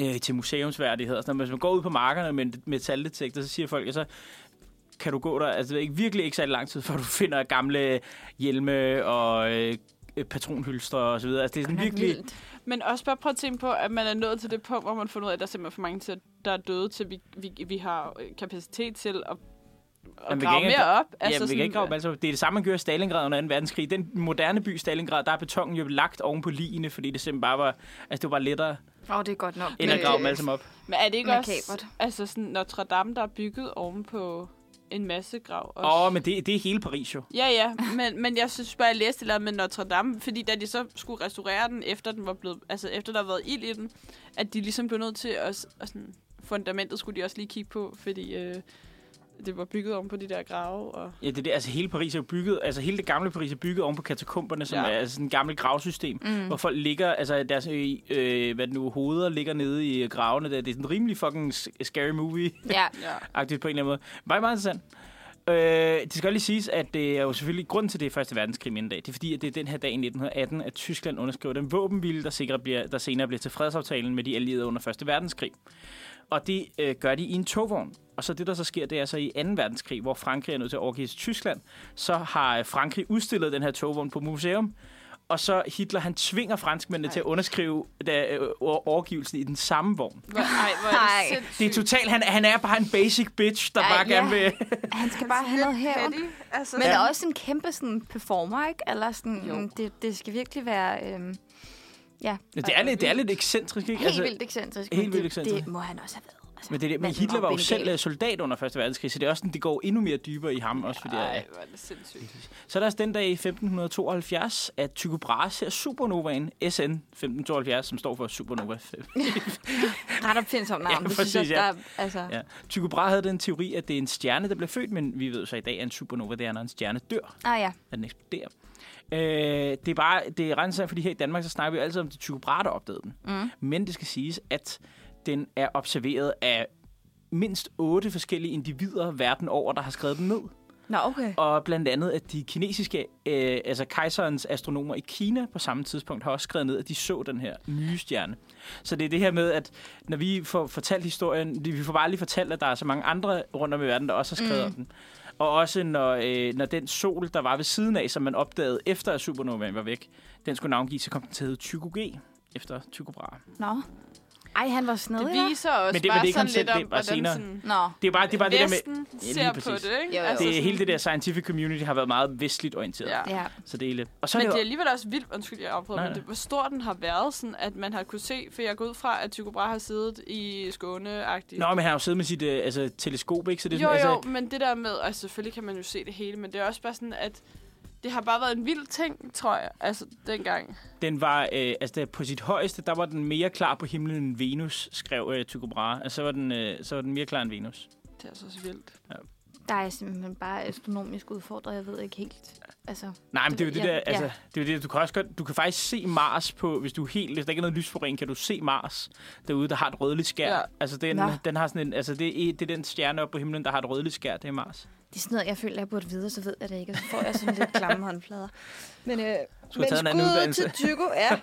Speaker 2: øh, til museumsværdigheder. Så hvis man går ud på markerne med en metaldetektor, så siger folk, at så kan du gå der altså, ikke, virkelig ikke særlig lang tid, før du finder gamle hjelme og øh, patronhylstre og så videre. Altså, det er sådan virkelig...
Speaker 1: Vildt.
Speaker 3: Men også bare prøv at tænke på, at man er nået til det punkt, hvor man får ud af, at der er simpelthen for mange, til, der er døde, til vi, vi, vi har øh, kapacitet til at, at
Speaker 2: vi
Speaker 3: grave
Speaker 2: kan ikke-
Speaker 3: mere op.
Speaker 2: Altså, ja, vi kan ikke grave dem alle sammen. Det er det samme, man gjorde i Stalingrad under 2. verdenskrig. Den moderne by Stalingrad, der er betongen jo lagt oven på ligene, fordi det simpelthen bare var, altså, det var lettere
Speaker 1: Åh, oh, det er godt nok.
Speaker 2: end at
Speaker 1: øh,
Speaker 2: grave dem alle sammen op.
Speaker 3: Men er det ikke også
Speaker 1: Makabert.
Speaker 3: altså sådan Notre Dame, der er bygget oven på en masse grav? Også?
Speaker 2: Åh, oh, men det, det er hele Paris jo.
Speaker 3: Ja, ja, men, men jeg synes bare, jeg læste det med Notre Dame, fordi da de så skulle restaurere den, efter, den var blevet, altså efter der havde været ild i den, at de ligesom blev nødt til at, s- at sådan, fundamentet skulle de også lige kigge på, fordi øh, det var bygget om på de der grave. Og,
Speaker 2: Ja, det er det. Altså hele Paris er jo bygget, altså hele det gamle Paris er bygget oven på katakomberne, som
Speaker 3: Ja.
Speaker 2: ja. er altså, sådan et gammelt gravsystem, mm. hvor folk ligger, altså deres, øh, øh, hvad det nu, hoveder ligger nede i gravene der. Det er sådan rimelig fucking s- scary movie-agtigt
Speaker 1: Ja,
Speaker 2: på
Speaker 3: ja.
Speaker 2: en eller anden måde. Meget, meget interessant. Øh, det skal godt lige siges, at det er jo selvfølgelig grund til det er første verdenskrig mindedag. Det er fordi, at det er den her dag i 1918, at Tyskland underskriver den våbenhvilde, der, sikrer bliver, der senere bliver til fredsaftalen med de allierede under første verdenskrig. Og det øh, gør de i en togvogn. Og så det, der så sker, det er så i 2. verdenskrig, hvor Frankrig er nødt til at overgive til Tyskland, så har øh, Frankrig udstillet den her togvogn på museum. Og så Hitler, han tvinger franskmændene til at underskrive da, øh, overgivelsen i den samme vogn.
Speaker 3: Hvor, ej, hvor
Speaker 1: Ej.
Speaker 3: er det
Speaker 2: Det er
Speaker 3: sindssygt.
Speaker 2: totalt, han, han er bare en basic bitch, der
Speaker 1: Ja,
Speaker 2: bare gerne
Speaker 1: ja.
Speaker 2: vil...
Speaker 1: han skal bare have noget her.
Speaker 3: Altså,
Speaker 1: Men
Speaker 3: men,
Speaker 1: er også en kæmpe sådan, performer, ikke? Eller sådan, det, det skal virkelig være... Øhm, ja,
Speaker 2: Ja, Det er lidt, det er lidt ekscentrisk, ikke?
Speaker 1: helt altså, vildt excentrisk. men
Speaker 2: helt vildt
Speaker 1: det,
Speaker 2: excentrisk.
Speaker 1: Det må han også have været. Altså,
Speaker 2: men det, er det, men
Speaker 1: manden
Speaker 2: Hitler var jo
Speaker 1: bengal.
Speaker 2: selv øh, soldat under 1. verdenskrig, så det er også sådan, det går endnu mere dybere i ham også. Fordi,
Speaker 3: ej,
Speaker 2: Ej.
Speaker 3: hvor er det sindssygt.
Speaker 2: Så er der også den dag i 1572, at Tycho Brahe ser supernovaen SN 1572, som står for Supernova 5.
Speaker 1: Ret opfindsomt navn.
Speaker 2: Ja,
Speaker 1: Det
Speaker 2: præcis,
Speaker 1: synes jeg,
Speaker 2: ja.
Speaker 1: Der, er- altså,
Speaker 2: Ja. Tycho Brahe havde den teori, at det er en stjerne, der bliver født, men vi ved så i dag, at en supernova det er, når en stjerne dør,
Speaker 1: Ah ja,
Speaker 2: at den eksploderer. Øh, det er bare, det er ret interessant, fordi her i Danmark, så snakker vi jo altid om, det er Tycho Brahe, der opdagede den. Mm. Men det skal siges, at den er observeret af mindst otte forskellige individer verden over, der har skrevet den ned.
Speaker 1: nå okay.
Speaker 2: Og blandt andet, at de kinesiske, øh, altså kejserens astronomer i Kina på samme tidspunkt, har også skrevet ned, at de så den her nye stjerne. Så det er det her med, at når vi får fortalt historien, vi får bare lige fortalt, at der er så mange andre rundt om i verden, der også har skrevet mm. om den. Og også når, øh, når den sol, der var ved siden af, som man opdagede efter, at supernovaen var væk, den skulle navngives, så kom den til at hedde Tycho G efter Tycho Brahe.
Speaker 1: Nå. Ej, han var snedig,
Speaker 3: Det
Speaker 1: hva'?
Speaker 3: viser også
Speaker 2: Men det- men
Speaker 3: bare
Speaker 2: det er ikke
Speaker 3: sådan
Speaker 2: ham selv,
Speaker 3: lidt om,
Speaker 2: det er bare
Speaker 3: hvordan
Speaker 2: senere.
Speaker 3: sådan,
Speaker 1: Nå.
Speaker 2: Det er bare det, er bare det der med...
Speaker 3: Vesten
Speaker 2: Ja, lige
Speaker 3: ser på
Speaker 2: præcis.
Speaker 3: det, ikke? Altså,
Speaker 1: Jo, jo.
Speaker 2: Det er
Speaker 3: sådan-
Speaker 2: hele det der scientific community har været meget vestligt orienteret.
Speaker 3: Ja.
Speaker 1: Ja.
Speaker 2: Så det er lidt... Og så
Speaker 3: Men
Speaker 2: er
Speaker 3: det er
Speaker 2: det,
Speaker 3: alligevel også vildt, undskyld, jeg afbryder,
Speaker 2: Nej,
Speaker 3: men
Speaker 2: nej.
Speaker 3: det, hvor stor den har været, sådan, at man har kunne se, for jeg går ud fra, at Tycho Brahe har siddet i Skåne-agtigt.
Speaker 2: Nå, men han har jo siddet med sit øh, altså, teleskop, ikke? Så det er
Speaker 3: jo,
Speaker 2: sådan,
Speaker 3: jo,
Speaker 2: Altså,
Speaker 3: men det der med, og altså, selvfølgelig kan man jo se det hele, men det er også bare sådan, at det har bare været en vild ting, tror jeg, altså dengang.
Speaker 2: den var, øh, altså da- på sit højeste, der var den mere klar på himlen end Venus, skrev øh, Tycho Brahe. Altså, så var, den, øh, så var den mere klar end Venus.
Speaker 3: Det er altså også vildt.
Speaker 1: Der er jeg simpelthen bare astronomisk udfordret, jeg ved ikke helt. Altså,
Speaker 2: Nej, men det er jo det
Speaker 1: Ja,
Speaker 2: der,
Speaker 1: ja.
Speaker 2: altså, det er jo det, du kan også godt, du kan faktisk se Mars på, hvis du er helt, hvis der ikke er noget lysforurening, kan du se Mars derude, der har et rødligt skær. Ja.
Speaker 3: Ja.
Speaker 2: Altså, den,
Speaker 1: Nå.
Speaker 2: den har sådan en, altså, det, er, det er den stjerne oppe på himlen, der har et rødligt skær, det er Mars.
Speaker 1: det er sådan noget, jeg føler, jeg burde vide, og så ved jeg det ikke. Og så får jeg sådan lidt klamme håndflader. Men, øh,
Speaker 2: Skulle
Speaker 1: men
Speaker 2: have taget en anden
Speaker 1: skud
Speaker 2: uddannelse.
Speaker 1: til Tycho, ja.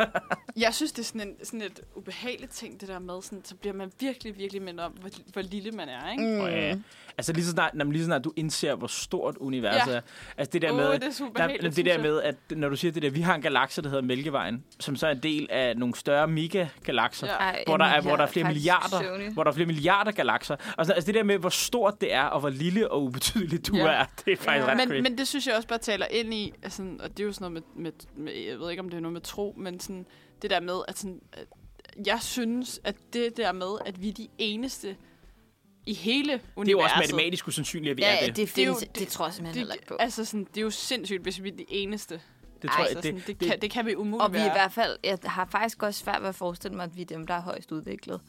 Speaker 3: Jeg synes, det er sådan, en, sådan et ubehageligt ting, det der med. Sådan, så bliver man virkelig, virkelig mindet om, hvor, hvor lille man er, ikke?
Speaker 2: Mm. Og, ja, altså lige så snart, når, lige så snart du indser, hvor stort universet
Speaker 3: Ja.
Speaker 2: er. Altså det der
Speaker 3: Åh,
Speaker 2: med,
Speaker 3: det er så ubehageligt,
Speaker 2: der, det
Speaker 3: synes
Speaker 2: der
Speaker 3: jeg.
Speaker 2: med, at når du siger det der, vi har en galakse, der hedder Mælkevejen, som så er en del af nogle større megagalakser.
Speaker 3: Ja.
Speaker 1: Ej,
Speaker 2: hvor der er,
Speaker 1: Emil,
Speaker 2: hvor der er
Speaker 1: jeg faktisk
Speaker 2: flere milliarder,
Speaker 1: søvnig.
Speaker 2: hvor der er flere milliarder galakser. Altså, altså det der med hvor stort det er og hvor lille og ubetydelig du ja.
Speaker 3: Ja.
Speaker 2: er, det er faktisk ja. ret
Speaker 3: Men,
Speaker 2: crazy.
Speaker 3: men det synes jeg også bare taler ind i, altså, og det er jo sådan noget med, med, med, jeg ved ikke om det er noget med tro, men sådan, det der med, at sådan, at jeg synes, at det der med, at vi er de eneste i hele universet.
Speaker 2: det er jo også matematisk usandsynligt, at vi
Speaker 1: Ja,
Speaker 2: er
Speaker 1: ja,
Speaker 2: det.
Speaker 1: det,
Speaker 3: Det er jo-
Speaker 1: findes, det, det
Speaker 3: det-
Speaker 1: tror jeg simpelthen heller ikke på.
Speaker 3: det, altså sådan, det er jo sindssygt, hvis vi er de eneste.
Speaker 2: Det tror
Speaker 3: Ej,
Speaker 2: jeg,
Speaker 3: altså, sådan,
Speaker 2: det,
Speaker 3: det, det, kan, det kan vi umuligt
Speaker 1: Og vi er i
Speaker 3: være.
Speaker 1: hvert fald, jeg har faktisk også svært ved at forestille mig, at vi er dem, der er højst udviklet.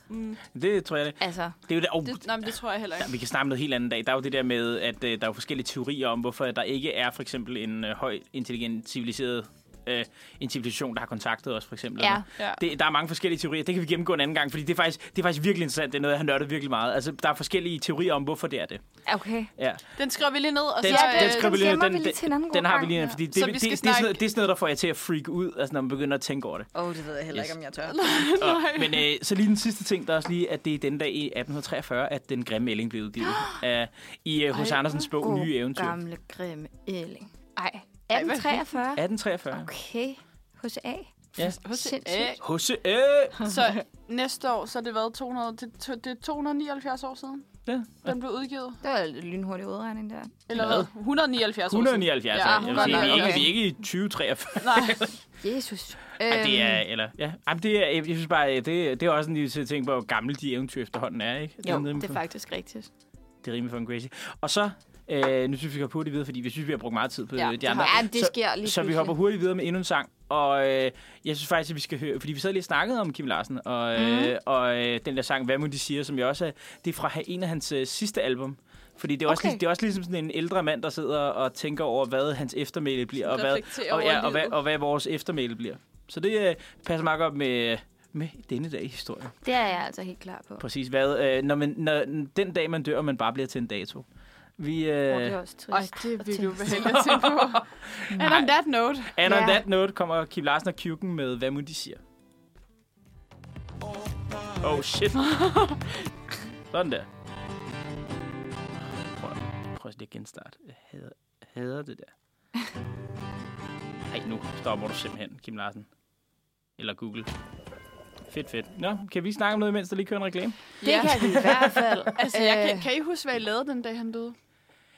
Speaker 2: det, det tror jeg det.
Speaker 1: Altså,
Speaker 2: Det er jo det, oh,
Speaker 3: Det, nej, men det tror jeg heller
Speaker 2: Ja,
Speaker 3: ikke.
Speaker 2: vi kan snakke om noget helt andet dag. Der er jo det der med, at øh, der er jo forskellige teorier om, hvorfor der ikke er for eksempel en øh, høj, intelligent, civiliseret øh, en civilisation, der har kontaktet os, for eksempel.
Speaker 1: Ja.
Speaker 2: Eller-
Speaker 3: Ja.
Speaker 2: Det, der er mange forskellige teorier. Det kan vi gennemgå en anden gang, fordi det er faktisk, det er faktisk virkelig interessant. Det er noget, jeg har nørdet virkelig meget. Altså, der er forskellige teorier om, hvorfor det er det.
Speaker 1: okay.
Speaker 2: Ja.
Speaker 3: Den skriver vi lige ned, og
Speaker 2: Den,
Speaker 3: så...
Speaker 2: ja, den,
Speaker 1: øh,
Speaker 2: skriver vi lige,
Speaker 1: gemmer
Speaker 2: ned.
Speaker 1: vi
Speaker 2: den,
Speaker 1: lige til en anden
Speaker 2: den,
Speaker 1: god
Speaker 2: den har vi
Speaker 1: gang.
Speaker 2: lige ned,
Speaker 1: Ja.
Speaker 2: fordi det,
Speaker 3: Så
Speaker 2: det,
Speaker 3: vi
Speaker 2: det,
Speaker 3: skal
Speaker 2: det, er sådan
Speaker 3: snakke-
Speaker 2: noget, det er sådan noget, der får jeg til at freak ud, altså, når man begynder at tænke over det.
Speaker 1: Åh, oh, det ved jeg heller
Speaker 2: Yes.
Speaker 1: ikke, om jeg tør.
Speaker 2: Og, men øh, så lige den sidste ting, der er også lige, at det er den dag i 1843, at Den Grimme Ælling blev udgivet. Uh, I øh, hos Andersens bog
Speaker 1: God,
Speaker 2: Nye Eventyr.
Speaker 1: gamle, grimme ælling. Ej,
Speaker 3: Ej, hvad-
Speaker 1: 1843.
Speaker 2: 1843.
Speaker 1: Okay, hos A.
Speaker 2: Ja.
Speaker 3: Hos,
Speaker 1: Sindssygt.
Speaker 3: øh,
Speaker 2: H.C. Øh.
Speaker 3: så næste år, så er det været 200, det, det er 279 år siden,
Speaker 2: Ja.
Speaker 3: den blev udgivet.
Speaker 1: Det var en lynhurtig udregning der.
Speaker 3: Eller hvad? 179 år siden.
Speaker 2: 179
Speaker 3: Ja,
Speaker 2: ja, jeg vil
Speaker 3: godt
Speaker 2: sige, vi, er
Speaker 3: nok,
Speaker 2: ikke,
Speaker 3: okay.
Speaker 2: vi er ikke i 2043.
Speaker 3: Nej,
Speaker 1: Jesus.
Speaker 2: Ja, det er,
Speaker 1: Øhm,
Speaker 2: eller, ja. Jamen, det er, jeg synes bare, det, det er også en lille ting på, hvor gamle de eventyr efterhånden er, ikke?
Speaker 1: Jo,
Speaker 2: rimelig
Speaker 1: det er
Speaker 2: for,
Speaker 1: faktisk rigtigt.
Speaker 2: det er rimelig fucking crazy. Og så, øh, nu synes vi, vi går hurtigt videre, fordi vi synes, vi har brugt meget tid på
Speaker 3: Ja,
Speaker 2: ja,
Speaker 3: det
Speaker 2: de andre.
Speaker 1: Ja, det
Speaker 2: så,
Speaker 1: sker lige
Speaker 2: så vi
Speaker 1: pludselig.
Speaker 2: hopper hurtigt videre med endnu en sang. Og øh, jeg synes faktisk, at vi skal høre, fordi vi sad lige og snakkede om Kim Larsen, og, øh,
Speaker 1: Mhm.
Speaker 2: og øh, den der sang, Hvad må de siger, som jeg også er, det er fra ha- en af hans øh, sidste album. Fordi det er, også,
Speaker 1: Okay.
Speaker 2: okay. det er også ligesom sådan en ældre mand, der sidder og tænker over, hvad hans eftermæle bliver, og hvad,
Speaker 3: Reflekterer
Speaker 2: og,
Speaker 3: over
Speaker 2: ja, og, hvad,
Speaker 3: livet.
Speaker 2: og hvad vores eftermæle bliver. Så det øh, passer meget godt med, med denne dag i historien.
Speaker 1: Det er jeg altså helt klar på.
Speaker 2: Præcis hvad, øh, når man, når, den dag man dør, og man bare bliver til en dato. Vi, øh,
Speaker 1: Åh, det er også
Speaker 3: Ej,
Speaker 1: trist.
Speaker 3: det er
Speaker 1: at
Speaker 3: virkelig
Speaker 1: tænke.
Speaker 3: ubehageligt at tænke på. And on that note.
Speaker 2: And on
Speaker 1: Ja.
Speaker 2: that note kommer Kim Larsen og Kjuken med, hvad må de siger. Oh shit. Sådan der. Prøv, prøv lige at genstarte. Jeg hader, hader det der. Ej, nu stopper du simpelthen, Kim Larsen. Eller Google. Fedt, fedt. Nå, kan vi snakke om noget, mens der lige kører en reklame?
Speaker 1: Det
Speaker 3: Ja.
Speaker 1: kan vi i hvert fald.
Speaker 3: Altså, jeg
Speaker 1: Øh,
Speaker 3: kan, kan I huske, hvad I lavede den dag, han døde?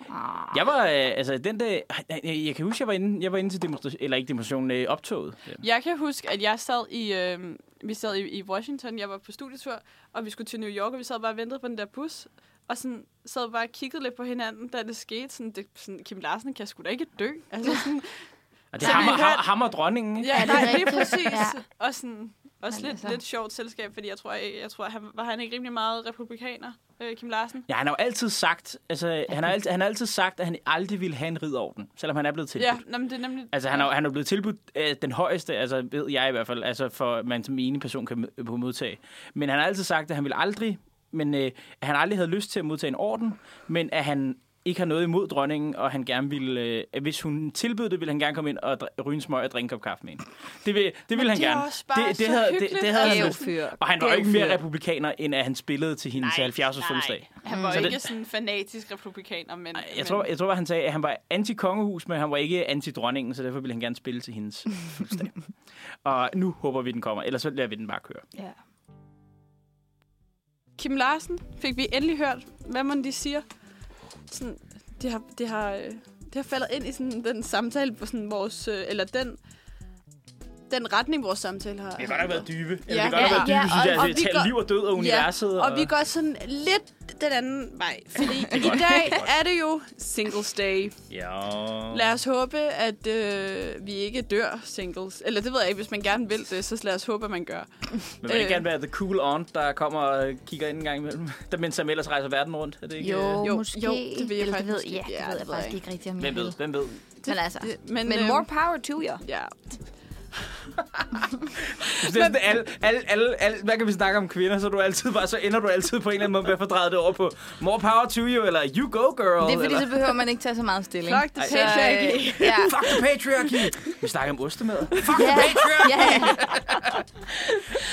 Speaker 1: Ah,
Speaker 2: Jeg var, øh, altså, den dag... Jeg, jeg kan huske, jeg var inde, jeg var inde til demonstration... Eller ikke demonstrationen, øh, optoget. Ja.
Speaker 3: Jeg kan huske, at jeg sad i, øh, vi sad i, i Washington, jeg var på studietur, og vi skulle til New York, og vi sad bare og ventede på den der bus, og sådan sad bare og kiggede lidt på hinanden, da det skete. Sådan, det, sådan, Kim Larsen kan sgu da ikke dø. Altså, sådan,
Speaker 2: Og det er ham, og-
Speaker 3: Simpelthen.
Speaker 2: ham og dronningen, ikke?
Speaker 3: ja,
Speaker 1: det
Speaker 3: nej,
Speaker 1: rigtigt?
Speaker 3: lige præcis.
Speaker 1: Ja.
Speaker 3: Ja. Og sådan, også
Speaker 1: Men
Speaker 3: lidt,
Speaker 1: altså.
Speaker 3: lidt sjovt selskab, fordi jeg tror, jeg, jeg tror han, var han ikke rimelig meget republikaner, øh, Kim Larsen?
Speaker 2: Ja, han har jo altid sagt, altså, han har altid, han har altid sagt, at han aldrig ville have en ridorden, selvom han er blevet tilbudt.
Speaker 3: Ja,
Speaker 2: Ja.
Speaker 3: nå, men det er nemlig...
Speaker 2: Altså, han er, jo- han er jo blevet tilbudt øh, den højeste, altså, ved jeg i hvert fald, altså, for man som enig person kan mø- på modtage. Men han har altid sagt, at han ville aldrig, men øh, at han aldrig havde lyst til at modtage en orden, men at han ikke har noget imod dronningen, og han gerne ville, øh, at hvis hun tilbød det, ville han gerne komme ind og dr- ryge en smøg og drikke en kop kaffe med hende. Det, vil, det ville han
Speaker 3: det er
Speaker 2: gerne.
Speaker 3: også bare så
Speaker 2: det,
Speaker 3: hyggeligt,
Speaker 2: det havde han
Speaker 1: Gæv
Speaker 2: lyst. til.
Speaker 1: fyr.
Speaker 2: Og han var jo
Speaker 1: Gæv
Speaker 2: ikke mere
Speaker 1: fyr.
Speaker 2: republikaner, end at han spillede til hendes 70-års fødselsdag.
Speaker 3: Han var
Speaker 2: Så
Speaker 3: jo
Speaker 2: det-
Speaker 3: ikke sådan en fanatisk republikaner, men...
Speaker 2: Ej,
Speaker 3: men,
Speaker 2: Jeg tror, jeg tror, han sagde, at han var anti-kongehus, men han var ikke anti-dronningen, så derfor ville han gerne spille til hendes fødselsdag. og nu håber vi, den kommer, ellers så lader vi den bare køre.
Speaker 1: Ja.
Speaker 3: Kim Larsen fik vi endelig hørt, hvad man de siger. Sådan, det, har, det, har, øh, det har faldet ind i sådan, den samtale, på sådan vores, øh, eller den, den retning, vores samtale har.
Speaker 2: Det har godt nok været dybe. Eller
Speaker 3: Ja.
Speaker 2: det har godt nok
Speaker 1: Ja,
Speaker 2: været dybe,
Speaker 1: ja,
Speaker 2: synes jeg.
Speaker 1: og-
Speaker 2: Altså,
Speaker 3: og
Speaker 2: det
Speaker 3: vi
Speaker 2: taler
Speaker 3: går-
Speaker 2: liv og død og universet.
Speaker 3: og vi går sådan lidt den anden vej. Fordi i dag er det jo Singles Day.
Speaker 2: Ja.
Speaker 3: Lad os håbe, at øh, vi ikke dør singles. Eller det ved jeg ikke. Hvis man gerne vil det, så lad os håbe, at man gør.
Speaker 2: Men vil det
Speaker 3: øh.
Speaker 2: gerne være the cool aunt, der kommer og kigger ind en gang imellem? Der mens han ellers rejser verden rundt. Er det ikke, øh,
Speaker 1: Jo,
Speaker 3: jo,
Speaker 1: jo, måske.
Speaker 3: jo, det ved jeg
Speaker 1: Eller
Speaker 3: faktisk
Speaker 1: ved,
Speaker 3: ikke.
Speaker 1: ja, det
Speaker 3: Ja,
Speaker 1: ved
Speaker 3: det
Speaker 1: jeg
Speaker 3: ved jeg
Speaker 1: faktisk ikke rigtigt, om jeg
Speaker 2: Hvem ved?
Speaker 1: vil.
Speaker 2: Hvem ved?
Speaker 1: Men altså,
Speaker 3: Det- Men,
Speaker 1: men
Speaker 3: øh,
Speaker 1: more power to you.
Speaker 3: Ja.
Speaker 2: Det er sådan, alle, alle, alle, alle, hvad kan vi snakke om kvinder, så, du altid bare, så ender du altid på en eller anden måde med at fordreje det over på more power to you, eller you go girl,
Speaker 1: Det er fordi,
Speaker 2: eller
Speaker 1: så behøver man ikke tage så meget stilling.
Speaker 3: Fuck the
Speaker 1: Så, øh,
Speaker 3: patriarchy.
Speaker 1: Ja.
Speaker 2: fuck the patriarchy. vi snakker om ostemad. Fuck
Speaker 1: Ja,
Speaker 2: the patriarchy.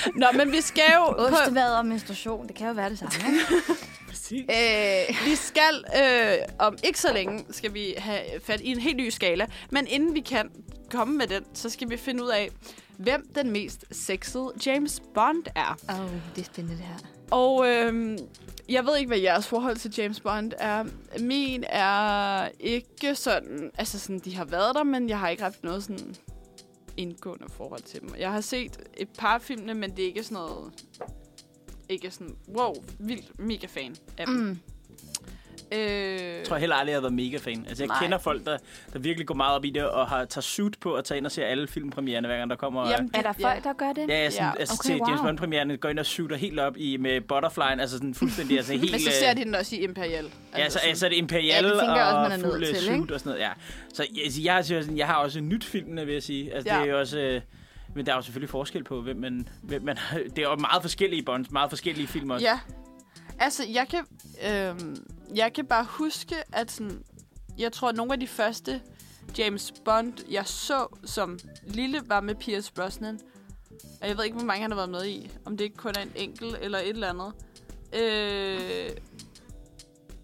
Speaker 1: ja.
Speaker 3: Nå, men vi skal jo... På,
Speaker 1: Ostemad og menstruation, det kan jo være det samme. ikke? øh,
Speaker 3: Vi skal øh, om ikke så længe skal vi have fat i en helt ny skala, men inden vi kan komme med den, så skal vi finde ud af, hvem den mest sexede James Bond er.
Speaker 1: oh, det er spændende det her.
Speaker 3: Og øh, jeg ved ikke, hvad jeres forhold til James Bond er. Min er ikke sådan... Altså, sådan, de har været der, men jeg har ikke haft noget sådan indgående forhold til dem. Jeg har set et par af filmene, men det er ikke sådan noget... Ikke sådan, wow, vildt mega fan af dem.
Speaker 1: Mm.
Speaker 3: Øh,
Speaker 2: Jeg tror heller aldrig, jeg har været mega fan. Altså,
Speaker 1: Nej.
Speaker 2: jeg Nej. kender folk, der, der virkelig går meget op i det, og har, tager suit på og tager ind og ser alle filmpremierne, hver gang der kommer...
Speaker 3: Jamen,
Speaker 1: Er der folk, der gør det?
Speaker 2: Ja, ja, sådan,
Speaker 3: Ja,
Speaker 2: ja, altså
Speaker 1: okay,
Speaker 2: okay, til James
Speaker 1: wow.
Speaker 2: Bond-premieren går ind og suiter helt op i med butterflyen, altså sådan fuldstændig, altså helt...
Speaker 3: Men så
Speaker 2: øh,
Speaker 3: ser de den også i Imperial.
Speaker 2: Ja, så,
Speaker 3: sådan-
Speaker 2: altså det
Speaker 1: Ja,
Speaker 2: imperiale
Speaker 1: det tænker jeg også, man er
Speaker 2: og
Speaker 1: nødt
Speaker 2: fulde
Speaker 1: til,
Speaker 2: suit
Speaker 1: ikke?
Speaker 2: og sådan noget. Ja. Så jeg, altså, jeg, har, sådan, jeg har også nyt filmene, vil jeg sige. Altså, ja.
Speaker 3: Ja.
Speaker 2: det er jo også... Øh, men der er jo selvfølgelig forskel på, hvem man... Hvem man det er jo meget forskellige bonds, meget forskellige film også.
Speaker 3: Ja. Altså, jeg kan, øhm, jeg kan bare huske, at sådan, jeg tror, at nogle af de første James Bond, jeg så som lille, var med Pierce Brosnan. Og jeg ved ikke, hvor mange han har været med i. Om det ikke kun er en enkelt eller et eller andet. Øh...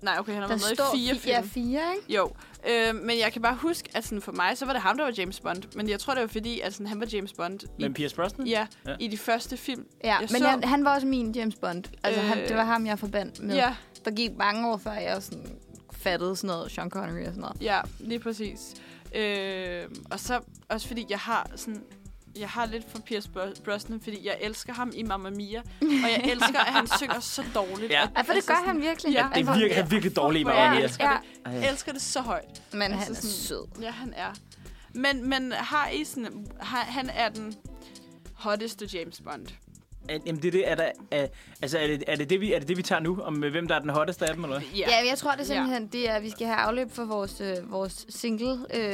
Speaker 3: Nej, okay, han har
Speaker 1: Der
Speaker 3: været
Speaker 1: står
Speaker 3: med i fire
Speaker 1: fi- ja,
Speaker 3: film.
Speaker 1: fire, ikke?
Speaker 3: Jo, øh, men jeg kan bare huske, at sådan for mig, så var det ham, der var James Bond. Men jeg tror, det var fordi, at sådan, han var James Bond i
Speaker 2: Men Pierce Brosnan?
Speaker 3: Ja,
Speaker 2: Ja.
Speaker 3: ja, i de første film.
Speaker 1: Ja,
Speaker 3: Jeg
Speaker 1: men
Speaker 3: så-
Speaker 1: jeg, han var også min James Bond. Altså, han,
Speaker 3: Øh.
Speaker 1: det var ham, jeg forbandt med.
Speaker 3: Ja,
Speaker 1: Der gik mange år, før jeg sådan fattede sådan noget Sean Connery og sådan noget.
Speaker 3: ja, lige præcis. Øh, og så også fordi jeg har sådan jeg har lidt for Pierce Bro- Brosnan, fordi jeg elsker ham i Mamma Mia, og jeg elsker, at han synger så dårligt.
Speaker 2: Ja.
Speaker 3: Og-
Speaker 1: Ja, for det
Speaker 3: altså
Speaker 1: gør
Speaker 3: sådan-
Speaker 1: han virkelig.
Speaker 3: Ja,
Speaker 2: Det er virkelig, han er virkelig dårlig i
Speaker 3: Fuck,
Speaker 2: mig.
Speaker 3: hvor
Speaker 1: Ja,
Speaker 3: jeg
Speaker 2: Ja.
Speaker 3: elsker
Speaker 1: ja,
Speaker 3: Jeg elsker det så højt.
Speaker 1: men
Speaker 3: Altså
Speaker 1: han er
Speaker 3: sådan-
Speaker 1: sød.
Speaker 3: Ja, han er. Men, men har I sådan, har, han er den hotteste James Bond.
Speaker 2: Jamen, det er det, er der, er, altså, er det, er, det det, vi, er det det, vi tager nu, om øh, hvem der er den hotteste af dem, eller hvad?
Speaker 1: Ja, men jeg tror det er
Speaker 3: Ja.
Speaker 1: simpelthen, det er, at vi skal have afløb for vores, øh, vores single, øh,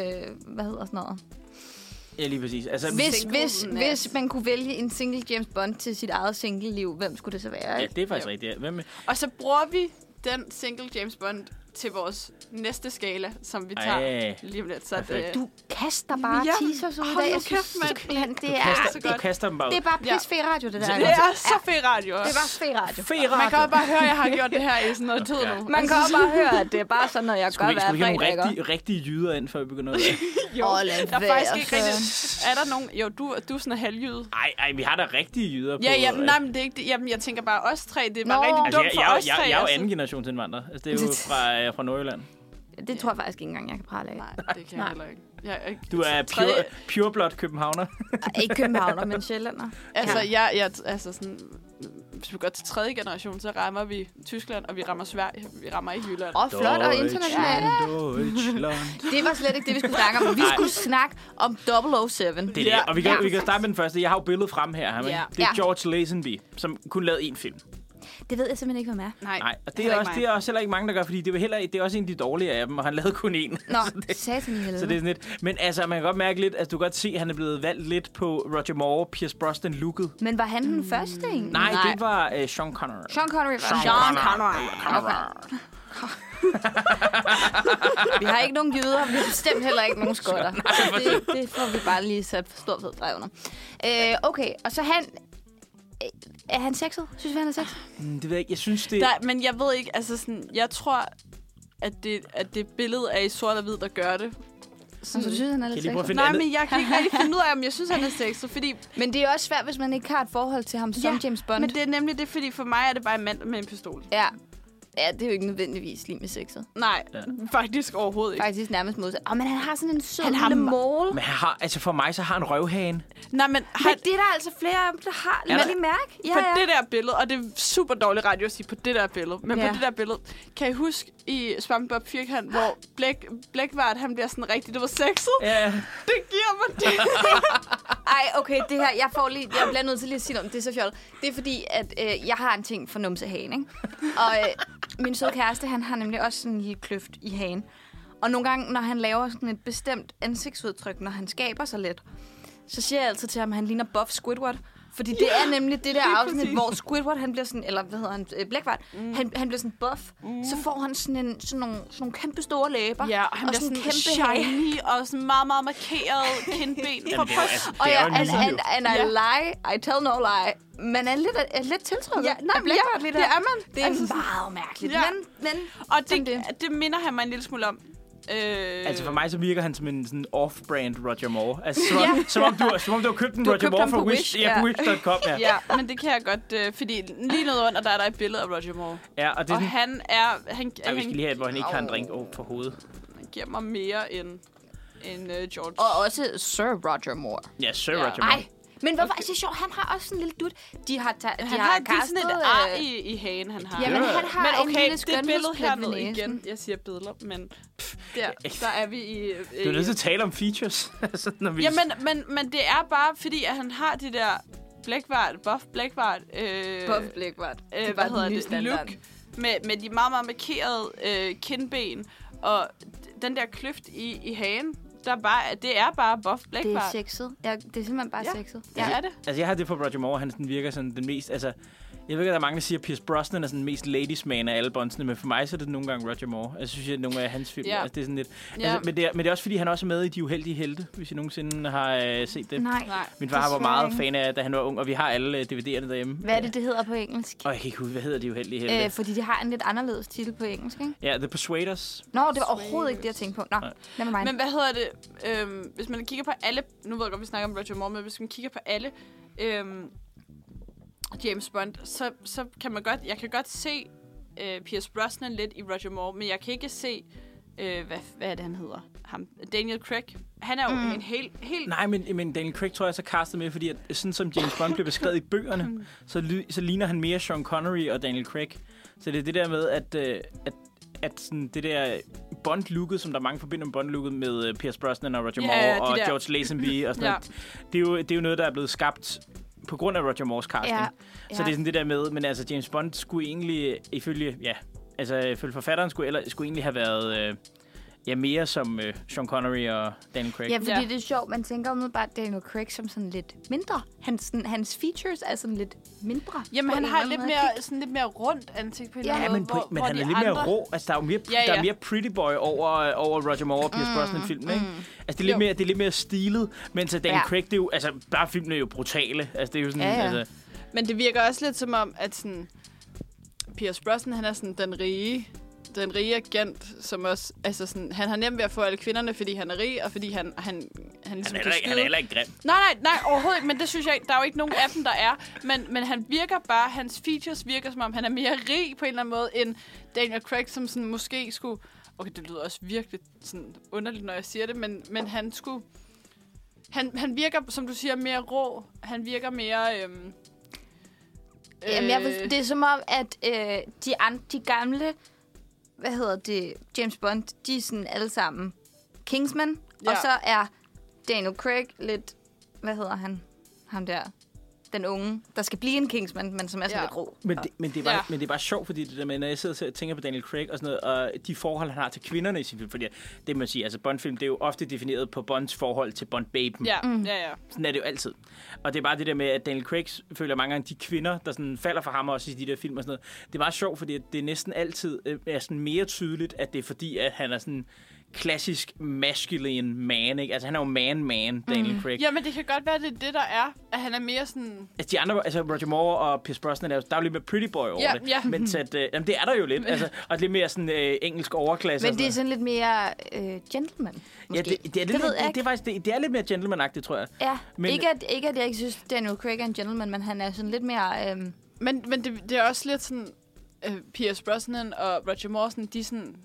Speaker 1: hvad hedder sådan noget?
Speaker 2: Ja, lige præcis. Altså,
Speaker 1: Hvis,
Speaker 3: Single
Speaker 1: hvis,
Speaker 3: Nat.
Speaker 1: hvis man kunne vælge en single James Bond til sit eget single-liv, hvem skulle det så være?
Speaker 2: Ja,
Speaker 1: ikke?
Speaker 2: det er faktisk
Speaker 3: Jo.
Speaker 2: rigtigt. Ja. Hvem,
Speaker 3: Og så bruger vi den single James Bond til vores næste skala, som vi tager
Speaker 2: ej,
Speaker 3: lige om lidt. Så at,
Speaker 2: Perfekt.
Speaker 3: øh,
Speaker 1: Du kaster bare
Speaker 3: Ja,
Speaker 1: teasers ud i
Speaker 3: hold
Speaker 1: dag.
Speaker 3: nu
Speaker 1: Jeg synes
Speaker 3: kæft, mand.
Speaker 1: simpelthen, det er,
Speaker 2: kaster,
Speaker 3: så
Speaker 1: det,
Speaker 2: du kaster dem bare ud.
Speaker 1: det er bare
Speaker 3: Ja.
Speaker 1: pis fed radio, det der. Altså,
Speaker 3: Det er så fed radio
Speaker 1: det
Speaker 3: også.
Speaker 1: er bare fed radio.
Speaker 2: Fera!
Speaker 3: Man kan jo bare høre, at jeg har gjort det her i sådan noget tid nu.
Speaker 1: Man kan også bare høre, at det er bare sådan, når jeg gør
Speaker 2: Skal vi,
Speaker 1: hver
Speaker 2: skal vi have
Speaker 1: fredag,
Speaker 2: nogle
Speaker 1: ikke? også?
Speaker 2: rigtige, rigtige jyder ind, før vi begynder at...
Speaker 3: Jo,
Speaker 1: Åh, lad
Speaker 3: der er
Speaker 1: være,
Speaker 3: faktisk ikke
Speaker 1: så.
Speaker 3: rigtigt. Er der nogen... Jo, du, du er sådan halvjyd.
Speaker 2: Ej, ej, vi har da rigtige jyder på...
Speaker 3: Ja, ja,
Speaker 2: øh,
Speaker 3: nej, men det er ikke det. Jamen, jeg tænker bare os tre. Det er
Speaker 1: Nå.
Speaker 3: bare rigtig
Speaker 2: Altså,
Speaker 3: dumt
Speaker 2: jeg,
Speaker 3: for
Speaker 2: jeg, jeg,
Speaker 3: os
Speaker 2: jeg,
Speaker 3: tre.
Speaker 2: jeg er jo
Speaker 3: altså.
Speaker 2: anden generations indvandrer. Altså, det er jo fra, øh, fra Nordjylland.
Speaker 1: Det tror jeg faktisk ikke engang, jeg kan prale af.
Speaker 3: Nej, det kan jeg
Speaker 1: Nej.
Speaker 3: heller ikke. Jeg, er ikke.
Speaker 2: Du er pure,
Speaker 3: Tredje-
Speaker 2: pureblot københavner.
Speaker 1: Ikke københavner, men sjællander.
Speaker 3: Altså,
Speaker 1: Ja.
Speaker 3: jeg, jeg, altså sådan, hvis vi går til tredje generation, så rammer vi Tyskland, og vi rammer Sverige. Vi rammer ikke Jylland.
Speaker 1: Og flot og internationalt.
Speaker 2: Deutschland.
Speaker 1: Det var slet ikke det, vi skulle snakke om. Vi
Speaker 2: Nej.
Speaker 1: skulle snakke om 007.
Speaker 2: Det er det. Og vi kan,
Speaker 1: Ja.
Speaker 2: vi kan starte med den første. Jeg har jo billedet frem her. her
Speaker 3: Ja.
Speaker 2: ja. Det er
Speaker 1: Ja.
Speaker 2: George Lazenby, som kun lavede én film.
Speaker 1: Det ved jeg simpelthen ikke, hvad er.
Speaker 3: Nej,
Speaker 2: Nej, og det
Speaker 3: heller
Speaker 2: er,
Speaker 3: ikke
Speaker 2: også,
Speaker 3: mig.
Speaker 2: det er også heller ikke mange, der gør, fordi det er, heller, det er også en af de dårlige af dem, og han lavede kun én.
Speaker 1: Nå, satan i helvede.
Speaker 2: Så det er sådan lidt. Men altså, man kan godt mærke lidt, at altså, du kan godt se, at han er blevet valgt lidt på Roger Moore, Pierce Brosnan-looket.
Speaker 1: Men var han den første egentlig?
Speaker 2: Nej, det var øh, Sean Connery.
Speaker 1: Sean Connery var
Speaker 3: Sean Connery.
Speaker 1: Vi har ikke nogen jøder, og vi har bestemt heller ikke nogen skotter. Så det, det får vi bare lige sat for stor fed drag under. Øh, okay, og så han... øh, Er han sexet? Synes vi, han er sexet?
Speaker 2: Mm, Det ved jeg ikke. Jeg synes, det...
Speaker 3: Der, men jeg ved ikke, altså sådan, jeg tror, at det, at det billede er i sort og hvid, der gør det.
Speaker 1: Så du Altså, synes, han er
Speaker 2: Mm. Kan I
Speaker 1: lidt
Speaker 2: lige prøve at
Speaker 1: sexet?
Speaker 2: finde
Speaker 3: Nej,
Speaker 2: andet?
Speaker 3: men jeg kan ikke rigtig finde ud af, om jeg synes, han er sexet, fordi...
Speaker 1: Men det er også svært, hvis man ikke har et forhold til ham som James Bond.
Speaker 3: Men det er nemlig det, fordi for mig er det bare en mand med en pistol.
Speaker 1: Ja. Ja, det er jo ikke nødvendigvis lige med sexet.
Speaker 3: Nej,
Speaker 2: Ja.
Speaker 3: ja. faktisk overhovedet ikke.
Speaker 1: Faktisk nærmest modsat. Åh, men han har sådan en sød
Speaker 3: Han
Speaker 1: han
Speaker 3: har
Speaker 1: har lille
Speaker 3: ma-
Speaker 1: mål.
Speaker 2: Men han har, altså for mig, så har han røvhagen.
Speaker 3: Nej, men
Speaker 1: Men
Speaker 3: har,
Speaker 1: det er der altså flere af dem, der har.
Speaker 2: Er
Speaker 1: Lad
Speaker 2: der-
Speaker 1: lige mærke. Ja,
Speaker 3: på
Speaker 1: ja.
Speaker 3: det der billede, og det er super dårlig radio at sige på det der billede, men
Speaker 1: Ja.
Speaker 3: på det der billede, kan I huske i Svampebob Firkant, hvor Blæk, Blækvart, han bliver sådan rigtig, det var sexet?
Speaker 2: Ja.
Speaker 3: Det giver mig det.
Speaker 1: Ej, okay, det her, jeg får lige, jeg bliver nødt til lige at sige noget, om det er så fjollet. Det er fordi, at øh, jeg har en ting for numsehagen, ikke? Og øh, min søde kæreste, han har nemlig også sådan en lille kløft i hagen. Og nogle gange, når han laver sådan et bestemt ansigtsudtryk, når han skaber sig lidt, så siger jeg altid til ham, at han ligner Buff Squidward. Fordi det er nemlig det der afsnit,
Speaker 3: præcis.
Speaker 1: hvor Squidward, han bliver sådan, eller hvad hedder han, øh, Blackbart, mm. han, han bliver sådan buff. Mm. Så får han sådan, en, sådan, nogle, sådan nogle kæmpe store læber.
Speaker 3: Ja, og han
Speaker 1: og
Speaker 3: bliver
Speaker 1: sådan en
Speaker 3: sådan
Speaker 1: kæmpe
Speaker 3: kæmpe
Speaker 1: hage.
Speaker 3: shiny og sådan meget, meget markeret kindben. Prøv,
Speaker 2: det er
Speaker 3: prøv.
Speaker 2: jo- altså-
Speaker 1: Og
Speaker 2: Det er
Speaker 1: ja,
Speaker 2: jo en
Speaker 1: and,
Speaker 2: lille
Speaker 1: and, and I
Speaker 3: Ja.
Speaker 1: lie, I tell no lie. Man er lidt, er lidt tiltrykket.
Speaker 3: Ja, nej,
Speaker 1: af Blackbird
Speaker 3: ja,
Speaker 1: lige
Speaker 3: det
Speaker 1: der.
Speaker 3: er man.
Speaker 1: Det er
Speaker 3: Altså,
Speaker 1: altså, meget mærkeligt.
Speaker 3: Ja.
Speaker 1: Ja. Men, men
Speaker 3: Og
Speaker 1: sådan
Speaker 3: det,
Speaker 1: det.
Speaker 3: det. det minder han mig en lille smule om. Øh,
Speaker 2: Altså for mig, så virker han som en sådan off-brand Roger Moore. Altså som, om, som, om, du, som om du har købt en
Speaker 1: Du har
Speaker 2: Roger
Speaker 1: købt
Speaker 2: Moore
Speaker 1: ham
Speaker 2: fra
Speaker 1: på
Speaker 2: Wish.
Speaker 1: Wish,
Speaker 2: ja,
Speaker 1: ja.
Speaker 2: på Wish.com, ja. ja.
Speaker 3: Ja, men det kan jeg godt, øh, fordi lige noget under, der er der et billede af Roger Moore.
Speaker 2: ja og det er
Speaker 3: Og
Speaker 2: sådan,
Speaker 3: han er, han,
Speaker 2: Ej,
Speaker 3: han,
Speaker 2: vi skal lige have, et, hvor han ikke har en drink over for hovedet.
Speaker 3: han giver mig mere end, end uh, George.
Speaker 1: Og også Sir Roger Moore.
Speaker 2: Ja, Sir
Speaker 3: Ja.
Speaker 2: Roger Moore.
Speaker 1: Nej, men hvorfor okay. er det sjovt? Han har også sådan en lille dut. De har, ta- de
Speaker 3: han har, har
Speaker 1: castet,
Speaker 3: sådan et
Speaker 1: øh,
Speaker 3: ar i, i hagen, han har.
Speaker 1: Jamen,
Speaker 2: Ja.
Speaker 1: han har
Speaker 3: Men
Speaker 1: en
Speaker 3: okay,
Speaker 1: lille
Speaker 3: det er billede
Speaker 1: skønhedsplet ved
Speaker 3: hernede
Speaker 1: næsen.
Speaker 3: igen. Jeg siger billeder, men pff, der, der er vi i... Øh,
Speaker 2: Du er nødt til at tale om features. altså, når vi
Speaker 3: Jamen, men, men det er bare fordi, at han har det der blækvart, buff blækvart, øh,
Speaker 1: Buff Blackbird.
Speaker 3: øh,
Speaker 1: det
Speaker 3: hvad
Speaker 1: var den
Speaker 3: hedder
Speaker 1: nye
Speaker 3: det,
Speaker 1: standard.
Speaker 3: look med, med de meget, meget markerede øh, kindben og d- den der kløft i, i hagen. Der bare, det er bare buff
Speaker 1: Det er
Speaker 3: blækvart.
Speaker 1: sexet. Ja, det er simpelthen bare
Speaker 3: Ja.
Speaker 1: sexet.
Speaker 3: Ja, er det?
Speaker 2: Altså, jeg har det på Roger Moore, han sådan virker sådan den mest... Altså, jeg ved ikke, at der er mange, der siger, at Pierce Brosnan er sådan den mest ladiesman af alle bondsene, men for mig så er det nogle gange Roger Moore. Altså, Jeg synes, jeg, at nogle af hans film,
Speaker 3: Ja.
Speaker 2: yeah. altså, det er sådan lidt...
Speaker 3: Ja.
Speaker 2: Yeah. Altså, men, det er, men det er også, fordi han også er med i De Uheldige Helte, hvis I nogensinde har øh, set det.
Speaker 1: Nej.
Speaker 3: Nej.
Speaker 2: Min far var
Speaker 1: desværre
Speaker 2: meget
Speaker 1: ikke.
Speaker 2: fan af, da han var ung, og vi har alle øh, DVD'erne derhjemme.
Speaker 1: Hvad er det, det hedder på engelsk?
Speaker 2: Og jeg kan ikke huske, hvad hedder De Uheldige Helte?
Speaker 1: Øh, fordi det har en lidt anderledes titel på engelsk, ikke?
Speaker 2: Ja, The Persuaders.
Speaker 1: Nå, det var overhovedet ikke det, jeg tænkte på. Nå,
Speaker 2: Nej.
Speaker 1: lad mig
Speaker 3: Men hvad hedder det? Øhm, hvis man kigger på alle... Nu ved jeg godt, vi snakker om Roger Moore, men hvis man kigger på alle øhm, James Bond, så, så kan man godt... Jeg kan godt se øh, Pierce Brosnan lidt i Roger Moore, men jeg kan ikke se... Øh, hvad, hvad er det, han hedder? Ham. Daniel Craig. Han er jo mm. en helt... helt
Speaker 2: Nej, men, men Daniel Craig tror jeg så castet med, fordi at, sådan som James Bond blev beskrevet i bøgerne, så, ly, så ligner han mere Sean Connery og Daniel Craig. Så det er det der med, at, øh, at, at sådan det der Bond-looket, som der er mange forbinder med Bond-looket med øh, Pierce Brosnan og Roger
Speaker 3: Ja,
Speaker 2: Moore
Speaker 3: ja, de
Speaker 2: og
Speaker 3: der.
Speaker 2: George Lazenby og sådan
Speaker 3: Ja.
Speaker 2: noget, det er, jo, det er jo noget, der er blevet skabt på grund af Roger Moores casting.
Speaker 1: Ja,
Speaker 2: Så
Speaker 1: ja.
Speaker 2: det er sådan det der med, men altså James Bond skulle egentlig, ifølge, ja, altså ifølge forfatteren skulle, eller, skulle egentlig have været øh, ja, mere som øh, Sean Connery og Daniel Craig.
Speaker 1: Ja, fordi
Speaker 3: Ja.
Speaker 1: ja. det er sjovt. Man tænker umiddelbart Daniel Craig som sådan lidt mindre. Hans, sådan, hans features er sådan lidt mindre.
Speaker 3: Jamen,
Speaker 1: på
Speaker 3: han
Speaker 1: en
Speaker 3: har
Speaker 1: eller
Speaker 3: lidt
Speaker 1: anden
Speaker 3: mere,
Speaker 1: måde.
Speaker 3: sådan lidt mere rundt ansigt på en
Speaker 1: Ja.
Speaker 3: eller
Speaker 2: Ja, men,
Speaker 3: anden måde,
Speaker 2: på,
Speaker 3: hvor,
Speaker 2: men
Speaker 3: hvor
Speaker 2: han
Speaker 3: de
Speaker 2: er lidt mere
Speaker 3: andre-
Speaker 2: rå. Altså, der er jo mere,
Speaker 3: Ja,
Speaker 2: ja, ja. Der er
Speaker 3: ja. Mm,
Speaker 2: mere pretty boy over, over Roger Moore og Pierce Brosnan filmen, ikke? Altså, det er lidt
Speaker 1: Jo.
Speaker 2: mere, det er lidt mere stilet, mens at Daniel
Speaker 1: Ja.
Speaker 2: ja. Craig, det er jo, altså, bare filmen er jo brutale. Altså, det er jo sådan,
Speaker 1: Ja, ja.
Speaker 2: altså,
Speaker 3: Men det virker også lidt som om, at sådan, Pierce Brosnan, han er sådan den rige, den rige agent, som også, altså sådan, han har nemt ved at få alle kvinderne, fordi han er rig, og fordi han, han, han
Speaker 2: han
Speaker 3: ligesom
Speaker 2: er,
Speaker 3: kan
Speaker 2: heller ikke, han er
Speaker 3: skyde.
Speaker 2: heller ikke grim.
Speaker 3: Nej, nej, nej, overhovedet ikke, men det synes jeg ikke, der er jo ikke nogen af dem, der er, men, men han virker bare, hans features virker som om, han er mere rig på en eller anden måde, end Daniel Craig, som sådan måske skulle, okay, det lyder også virkelig sådan underligt, når jeg siger det, men, men han skulle, han, han virker, som du siger, mere rå, han virker mere, øhm,
Speaker 1: Jamen, jeg,
Speaker 3: øh,
Speaker 1: ved- det er som om, at øh, de, an, de gamle, hvad hedder det, James Bond, de er sådan alle sammen Kingsman. Ja.
Speaker 3: Ja.
Speaker 1: Og så er Daniel Craig lidt, hvad hedder han, ham der, den unge, der skal blive en Kingsman, men som er sådan
Speaker 3: Ja.
Speaker 1: lidt rå.
Speaker 2: Men det, men, det er bare,
Speaker 3: Ja.
Speaker 2: ja. men det er bare sjovt, fordi det der med, når jeg sidder og tænker på Daniel Craig og sådan noget, og de forhold, han har til kvinderne i sin film, fordi det man siger, altså Bond-film, det er jo ofte defineret på Bonds forhold til Bond-baben.
Speaker 3: ja, mm. ja, ja.
Speaker 2: Sådan er det jo altid. Og det er bare det der med, at Daniel Craig føler mange gange de kvinder, der sådan falder for ham også i de der film og sådan noget. Det er meget sjovt, fordi at det næsten altid øh, er sådan mere tydeligt, at det er fordi, at han er sådan klassisk masculine man, ikke? Altså han er jo man-man, Daniel
Speaker 1: Mhm.
Speaker 2: mm. Craig.
Speaker 3: Jamen, det kan godt være, det er det, der er, at han er mere sådan,
Speaker 2: Altså, de andre, altså Roger Moore og Pierce Brosnan, er jo, der er jo lidt mere pretty boy over
Speaker 3: Ja,
Speaker 2: det.
Speaker 3: ja.
Speaker 2: Mens at, øh, jamen, det er der jo lidt. Altså, og lidt mere sådan øh, engelsk overklasse.
Speaker 1: Men det er
Speaker 2: og sådan
Speaker 1: sådan lidt mere øh, gentleman,
Speaker 2: noget.
Speaker 1: måske.
Speaker 2: altså- ja, det, det, er lidt,
Speaker 1: det ved
Speaker 2: mere-
Speaker 1: jeg
Speaker 2: det, det, er faktisk, det, det er lidt mere gentleman-agtigt, tror jeg.
Speaker 1: Ja,
Speaker 2: Men-
Speaker 1: men, ikke, at, ikke at jeg ikke synes, Daniel Craig er en gentleman, men han er sådan lidt mere... Øhm,
Speaker 3: men, men det, det er også lidt sådan, øh, Pierce Brosnan og Roger Morrison, de er sådan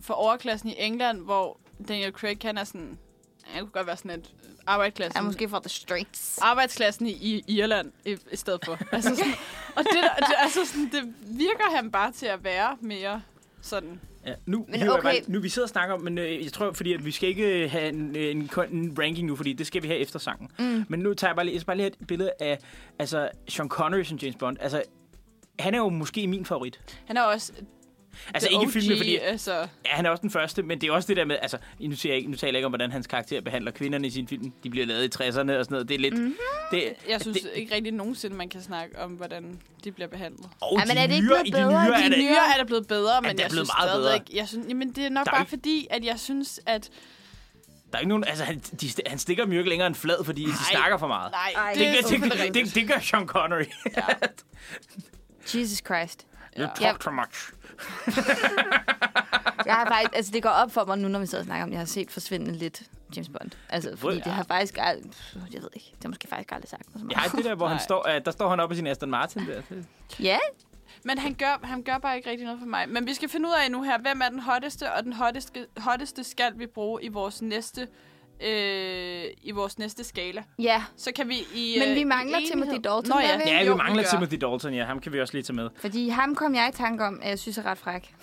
Speaker 3: for overklassen i England, hvor Daniel Craig, han er sådan, han kunne godt være sådan et øh, arbejdsklassen.
Speaker 1: Er måske fra The Streets.
Speaker 3: arbejdsklassen i, i Irland i, i stedet for. Altså sådan, og det, der- det, altså sådan, det virker han bare til at være mere sådan.
Speaker 2: Ja, nu,
Speaker 1: Men
Speaker 2: men okay.
Speaker 1: okay.
Speaker 2: bare, nu vi sidder og snakker om, men øh, jeg tror, fordi at vi skal ikke øh, have en, øh, en, kon- en ranking nu, fordi det skal vi have efter sangen. Mm. Men nu tager jeg bare lige, jeg skal bare lige have et billede af altså, Sean Connery som James Bond. Altså, han er jo måske min favorit.
Speaker 3: Han er også
Speaker 2: Altså
Speaker 3: the
Speaker 2: ikke i
Speaker 3: OG,
Speaker 2: filmen, fordi
Speaker 3: Altså,
Speaker 2: ja, han er også den første, men det er også det der med, altså, nu, siger jeg ikke, nu taler jeg ikke om, hvordan hans karakter behandler kvinderne i sin film. De bliver lavet i 60'erne og sådan noget. Det er lidt...
Speaker 1: Mhm.
Speaker 2: Mm-hmm. Det,
Speaker 3: jeg synes
Speaker 2: det,
Speaker 3: det... ikke rigtig nogensinde, man kan snakke om, hvordan de bliver behandlet.
Speaker 2: oh,
Speaker 1: Ja, men
Speaker 2: de
Speaker 1: er det ikke
Speaker 2: nyere-
Speaker 1: blevet
Speaker 2: i de
Speaker 1: bedre?
Speaker 2: nyere
Speaker 1: De
Speaker 2: er det-
Speaker 3: Nyere er der blevet bedre, men
Speaker 2: det er
Speaker 3: jeg
Speaker 2: blevet
Speaker 3: synes
Speaker 2: meget bedre.
Speaker 3: stadig ikke... Jeg synes, jamen, det er nok
Speaker 2: Der er
Speaker 3: bare
Speaker 2: ikke-
Speaker 3: fordi, at jeg synes, at...
Speaker 2: Der er ikke nogen... Altså, han, de, han stikker dem jo ikke længere end flad, fordi de snakker for meget.
Speaker 3: Nej,
Speaker 1: Ej,
Speaker 3: Ej,
Speaker 2: Det,
Speaker 3: det,
Speaker 1: er
Speaker 2: det,
Speaker 3: selvfølgelig
Speaker 2: det,
Speaker 3: rigtigt.
Speaker 2: det, det gør Sean Connery.
Speaker 1: Jesus Christ.
Speaker 2: You
Speaker 1: Ja.
Speaker 2: talk too much.
Speaker 1: Jeg har faktisk, altså, det går op for mig nu, når vi sidder og snakker om, at jeg har set forsvinde lidt James Bond. Altså, fordi
Speaker 2: Ja.
Speaker 1: det har faktisk aldrig... Jeg ved ikke. Det har måske faktisk aldrig sagt mig så
Speaker 2: Jeg
Speaker 1: meget.
Speaker 2: har det der, hvor han
Speaker 3: Nej.
Speaker 2: står, uh, der står han oppe i sin Aston Martin der. Det-
Speaker 1: Ja,
Speaker 3: Men han gør, han gør bare ikke rigtig noget for mig. Men vi skal finde ud af nu her, hvem er den hotteste, og den hotteste, hotteste skal vi bruge i vores næste øh, i vores næste skala.
Speaker 1: ja.
Speaker 3: Så kan vi i
Speaker 1: Men
Speaker 3: øh,
Speaker 1: vi
Speaker 3: i
Speaker 1: mangler
Speaker 3: enighed-
Speaker 1: Timothy Dalton,
Speaker 3: Nå,
Speaker 1: hvad
Speaker 3: ja.
Speaker 1: ved
Speaker 2: Ja,
Speaker 3: Jo,
Speaker 2: vi mangler
Speaker 3: gør.
Speaker 2: Timothy Dalton, ja. Ham kan vi også lige tage med.
Speaker 1: Fordi ham kom jeg i tanke om, at jeg synes er ret fræk.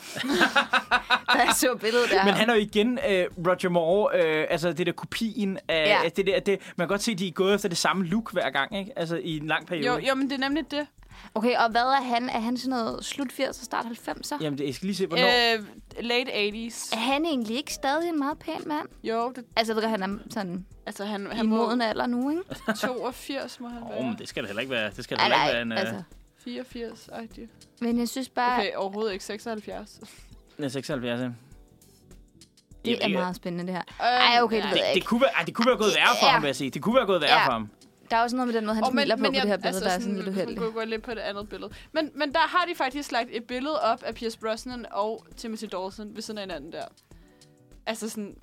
Speaker 1: da jeg så billedet der.
Speaker 2: Men han er jo igen øh, Roger Moore, øh, altså det der kopien af
Speaker 1: Ja.
Speaker 2: ja. det der, det, man kan godt se, at de er gået efter det samme look hver gang, ikke? Altså i en lang periode.
Speaker 3: Jo, jo, men det er nemlig det.
Speaker 1: Okay, og hvad er han? Er han sådan noget slut 80'er, start 90'er?
Speaker 2: Jamen, det, jeg skal lige se, hvornår. Øh,
Speaker 3: Øh, late 80s.
Speaker 1: Er han egentlig ikke stadig en meget pæn mand?
Speaker 3: Jo, det,
Speaker 1: Altså, jeg ved godt, han er sådan
Speaker 3: altså han,
Speaker 1: han i
Speaker 3: han må
Speaker 1: moden alder nu, ikke?
Speaker 2: Altså,
Speaker 3: 82, må han
Speaker 2: oh, men
Speaker 3: være.
Speaker 2: det skal da heller ikke være, det skal da
Speaker 1: Ej,
Speaker 2: heller ikke
Speaker 1: nej,
Speaker 2: være en... Altså.
Speaker 1: altså.
Speaker 3: 84, -agtig.
Speaker 1: Men jeg synes bare, okay.
Speaker 3: Okay, overhovedet ikke 76.
Speaker 2: Øh, 76, ja.
Speaker 1: det
Speaker 2: Jeg ved
Speaker 1: er
Speaker 2: ikke.
Speaker 1: meget spændende, det her.
Speaker 3: Øhm,
Speaker 1: Ej, okay, det ved
Speaker 3: ja.
Speaker 1: jeg
Speaker 2: Det, det,
Speaker 1: ikke.
Speaker 2: kunne være, ej, det kunne være gået værre for
Speaker 1: Ja.
Speaker 2: ham, vil jeg sige. Det kunne være gået værre
Speaker 1: Ja.
Speaker 2: for ham.
Speaker 1: Der er også noget med den måde, han
Speaker 3: Åh,
Speaker 1: oh, smiler på på det her billede, altså, der er sådan lidt
Speaker 3: hvis man
Speaker 1: uheldigt.
Speaker 3: kunne gå lidt på et andet billede. Men, men der har de faktisk lagt et billede op af Pierce Brosnan og Timothy Dawson ved siden af hinanden der. Altså sådan...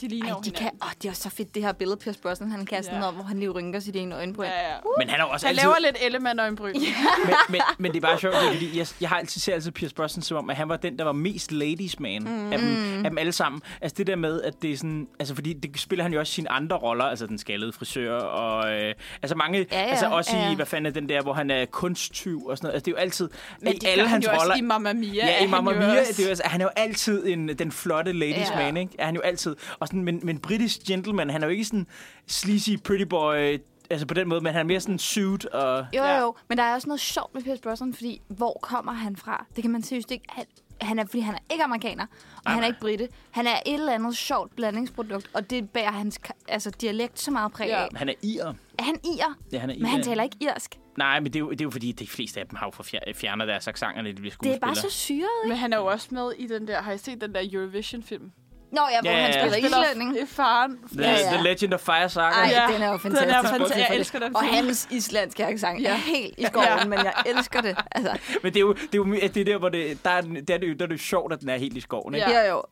Speaker 3: De ligner
Speaker 1: Ej,
Speaker 3: jo
Speaker 1: de kan,
Speaker 3: hinanden.
Speaker 1: åh, det er også så fedt, det her billede, Pierce Brosnan, han kan sådan
Speaker 3: Ja.
Speaker 1: noget, hvor han lige rynker sit ene øjenbryn. Ja,
Speaker 3: Ja, ja.
Speaker 2: Men han er jo også
Speaker 3: Han
Speaker 2: altid...
Speaker 3: laver lidt element øjenbryn. Ja.
Speaker 2: men, men, men det er bare sjovt, det er fordi jeg, jeg har altid ser altid Pierce Brosnan som om, at han var den, der var mest ladies man mm. af, dem, af dem alle sammen. Altså det der med, at det er sådan... Altså fordi det spiller han jo også sine andre roller, altså den skaldede frisør og... Øh, altså mange...
Speaker 1: Ja, ja,
Speaker 2: altså også
Speaker 1: ja, ja.
Speaker 2: i, hvad fanden er den der, hvor han er kunsttyv og sådan noget. Altså det er jo altid...
Speaker 3: Men
Speaker 2: i
Speaker 3: det gør han jo også i Mamma Mia.
Speaker 2: Ja,
Speaker 3: er
Speaker 2: i Mamma
Speaker 3: han jo
Speaker 2: Mia,
Speaker 3: også-
Speaker 2: det er jo, altså, han er jo altid en, den flotte ladies
Speaker 1: Ja.
Speaker 2: ja. man, ikke? Er han jo altid. Og sådan, men, men british gentleman, han er jo ikke sådan sleazy pretty boy, altså på den måde, men han er mere sådan suit og...
Speaker 1: Jo,
Speaker 3: Ja.
Speaker 1: ja. jo, men der er også noget sjovt med Pierce Brosnan, fordi hvor kommer han fra? Det kan man seriøst ikke... Han, han er, fordi han er ikke amerikaner, og han er
Speaker 2: nej.
Speaker 1: ikke brite. Han er et eller andet sjovt blandingsprodukt, og det bærer hans ka- altså, dialekt så meget præg
Speaker 3: Ja.
Speaker 1: af.
Speaker 2: Han er irer.
Speaker 1: Er han irer?
Speaker 2: Ja, han er
Speaker 1: Men han
Speaker 2: irer.
Speaker 1: taler ikke irsk.
Speaker 2: Nej, men det er, jo, det er jo fordi, de fleste af dem har jo forfjer- fjerner deres accenter, når de bliver
Speaker 1: Det
Speaker 2: skuespillere.
Speaker 1: er bare så syret, ikke?
Speaker 3: Men han er jo også med i den der... Har I set den der Eurovision-film?
Speaker 1: Nå ja, hvor
Speaker 2: Ja,
Speaker 1: ja,
Speaker 2: ja,
Speaker 1: han
Speaker 2: ja.
Speaker 1: spiller
Speaker 2: Han
Speaker 1: islænding.
Speaker 3: Det er faren.
Speaker 2: The,
Speaker 1: Ja, ja.
Speaker 2: the Legend of Fire Saga.
Speaker 1: Ej,
Speaker 3: Ja.
Speaker 1: den er jo
Speaker 3: Den er
Speaker 1: fantastisk.
Speaker 3: fanta- jeg
Speaker 1: Hvorfor
Speaker 3: elsker
Speaker 1: det?
Speaker 3: den
Speaker 1: Og
Speaker 3: film.
Speaker 1: hans islandske accent er
Speaker 3: Ja.
Speaker 1: helt i skoven, men jeg elsker det. Altså,
Speaker 2: Men det er jo det, er jo, det er der, hvor det, der er, den- der, er det, jo- der er det jo sjovt, at den er helt i skoven. Ikke?
Speaker 3: Ja.
Speaker 1: Ja. Jo, jo.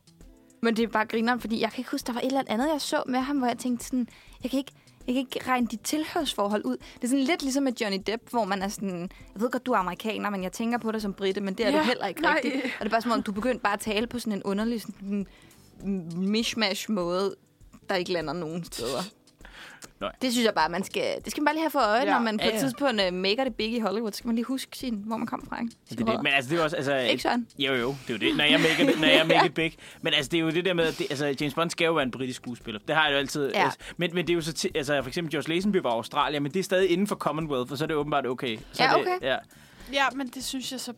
Speaker 1: Men det er bare grineren, fordi jeg kan ikke huske, der var et eller andet, jeg så med ham, hvor jeg tænkte sådan, jeg kan ikke, jeg kan ikke regne dit tilhørsforhold ud. Det er sådan lidt ligesom med Johnny Depp, hvor man er sådan, jeg ved godt, du er amerikaner, men jeg tænker på dig som britte, men det er ja,
Speaker 3: Ja,
Speaker 1: du heller ikke
Speaker 3: nej.
Speaker 1: rigtigt. Og det er bare som om, du begyndte bare at tale på sådan en underlig sådan, mm, mishmash måde, der ikke lander nogen steder.
Speaker 2: Nej.
Speaker 1: Det synes jeg bare, man skal, det skal man bare lige have for øje,
Speaker 3: Ja.
Speaker 1: ja. når man på
Speaker 2: Ja,
Speaker 1: et
Speaker 2: ja.
Speaker 1: tidspunkt uh, maker det big i Hollywood. Så skal man lige huske sin, hvor man kom fra. Ikke?
Speaker 2: Det, er det. Men altså, det er jo også... Altså,
Speaker 1: Ikke sådan?
Speaker 2: Jo, jo, det er jo det. Når jeg make it, når jeg make it big. Men altså, det er jo det der med, at det, altså, James Bond skal jo være en britisk skuespiller. Det har jeg jo altid.
Speaker 1: Ja.
Speaker 2: Ja. Altså, men, men det er jo så... ti- altså, for eksempel George Lazenby var Australien, men det er stadig inden for Commonwealth, og så er det åbenbart okay. Så
Speaker 1: Ja,
Speaker 2: er Det,
Speaker 1: okay.
Speaker 2: ja.
Speaker 3: Ja, men det synes jeg så...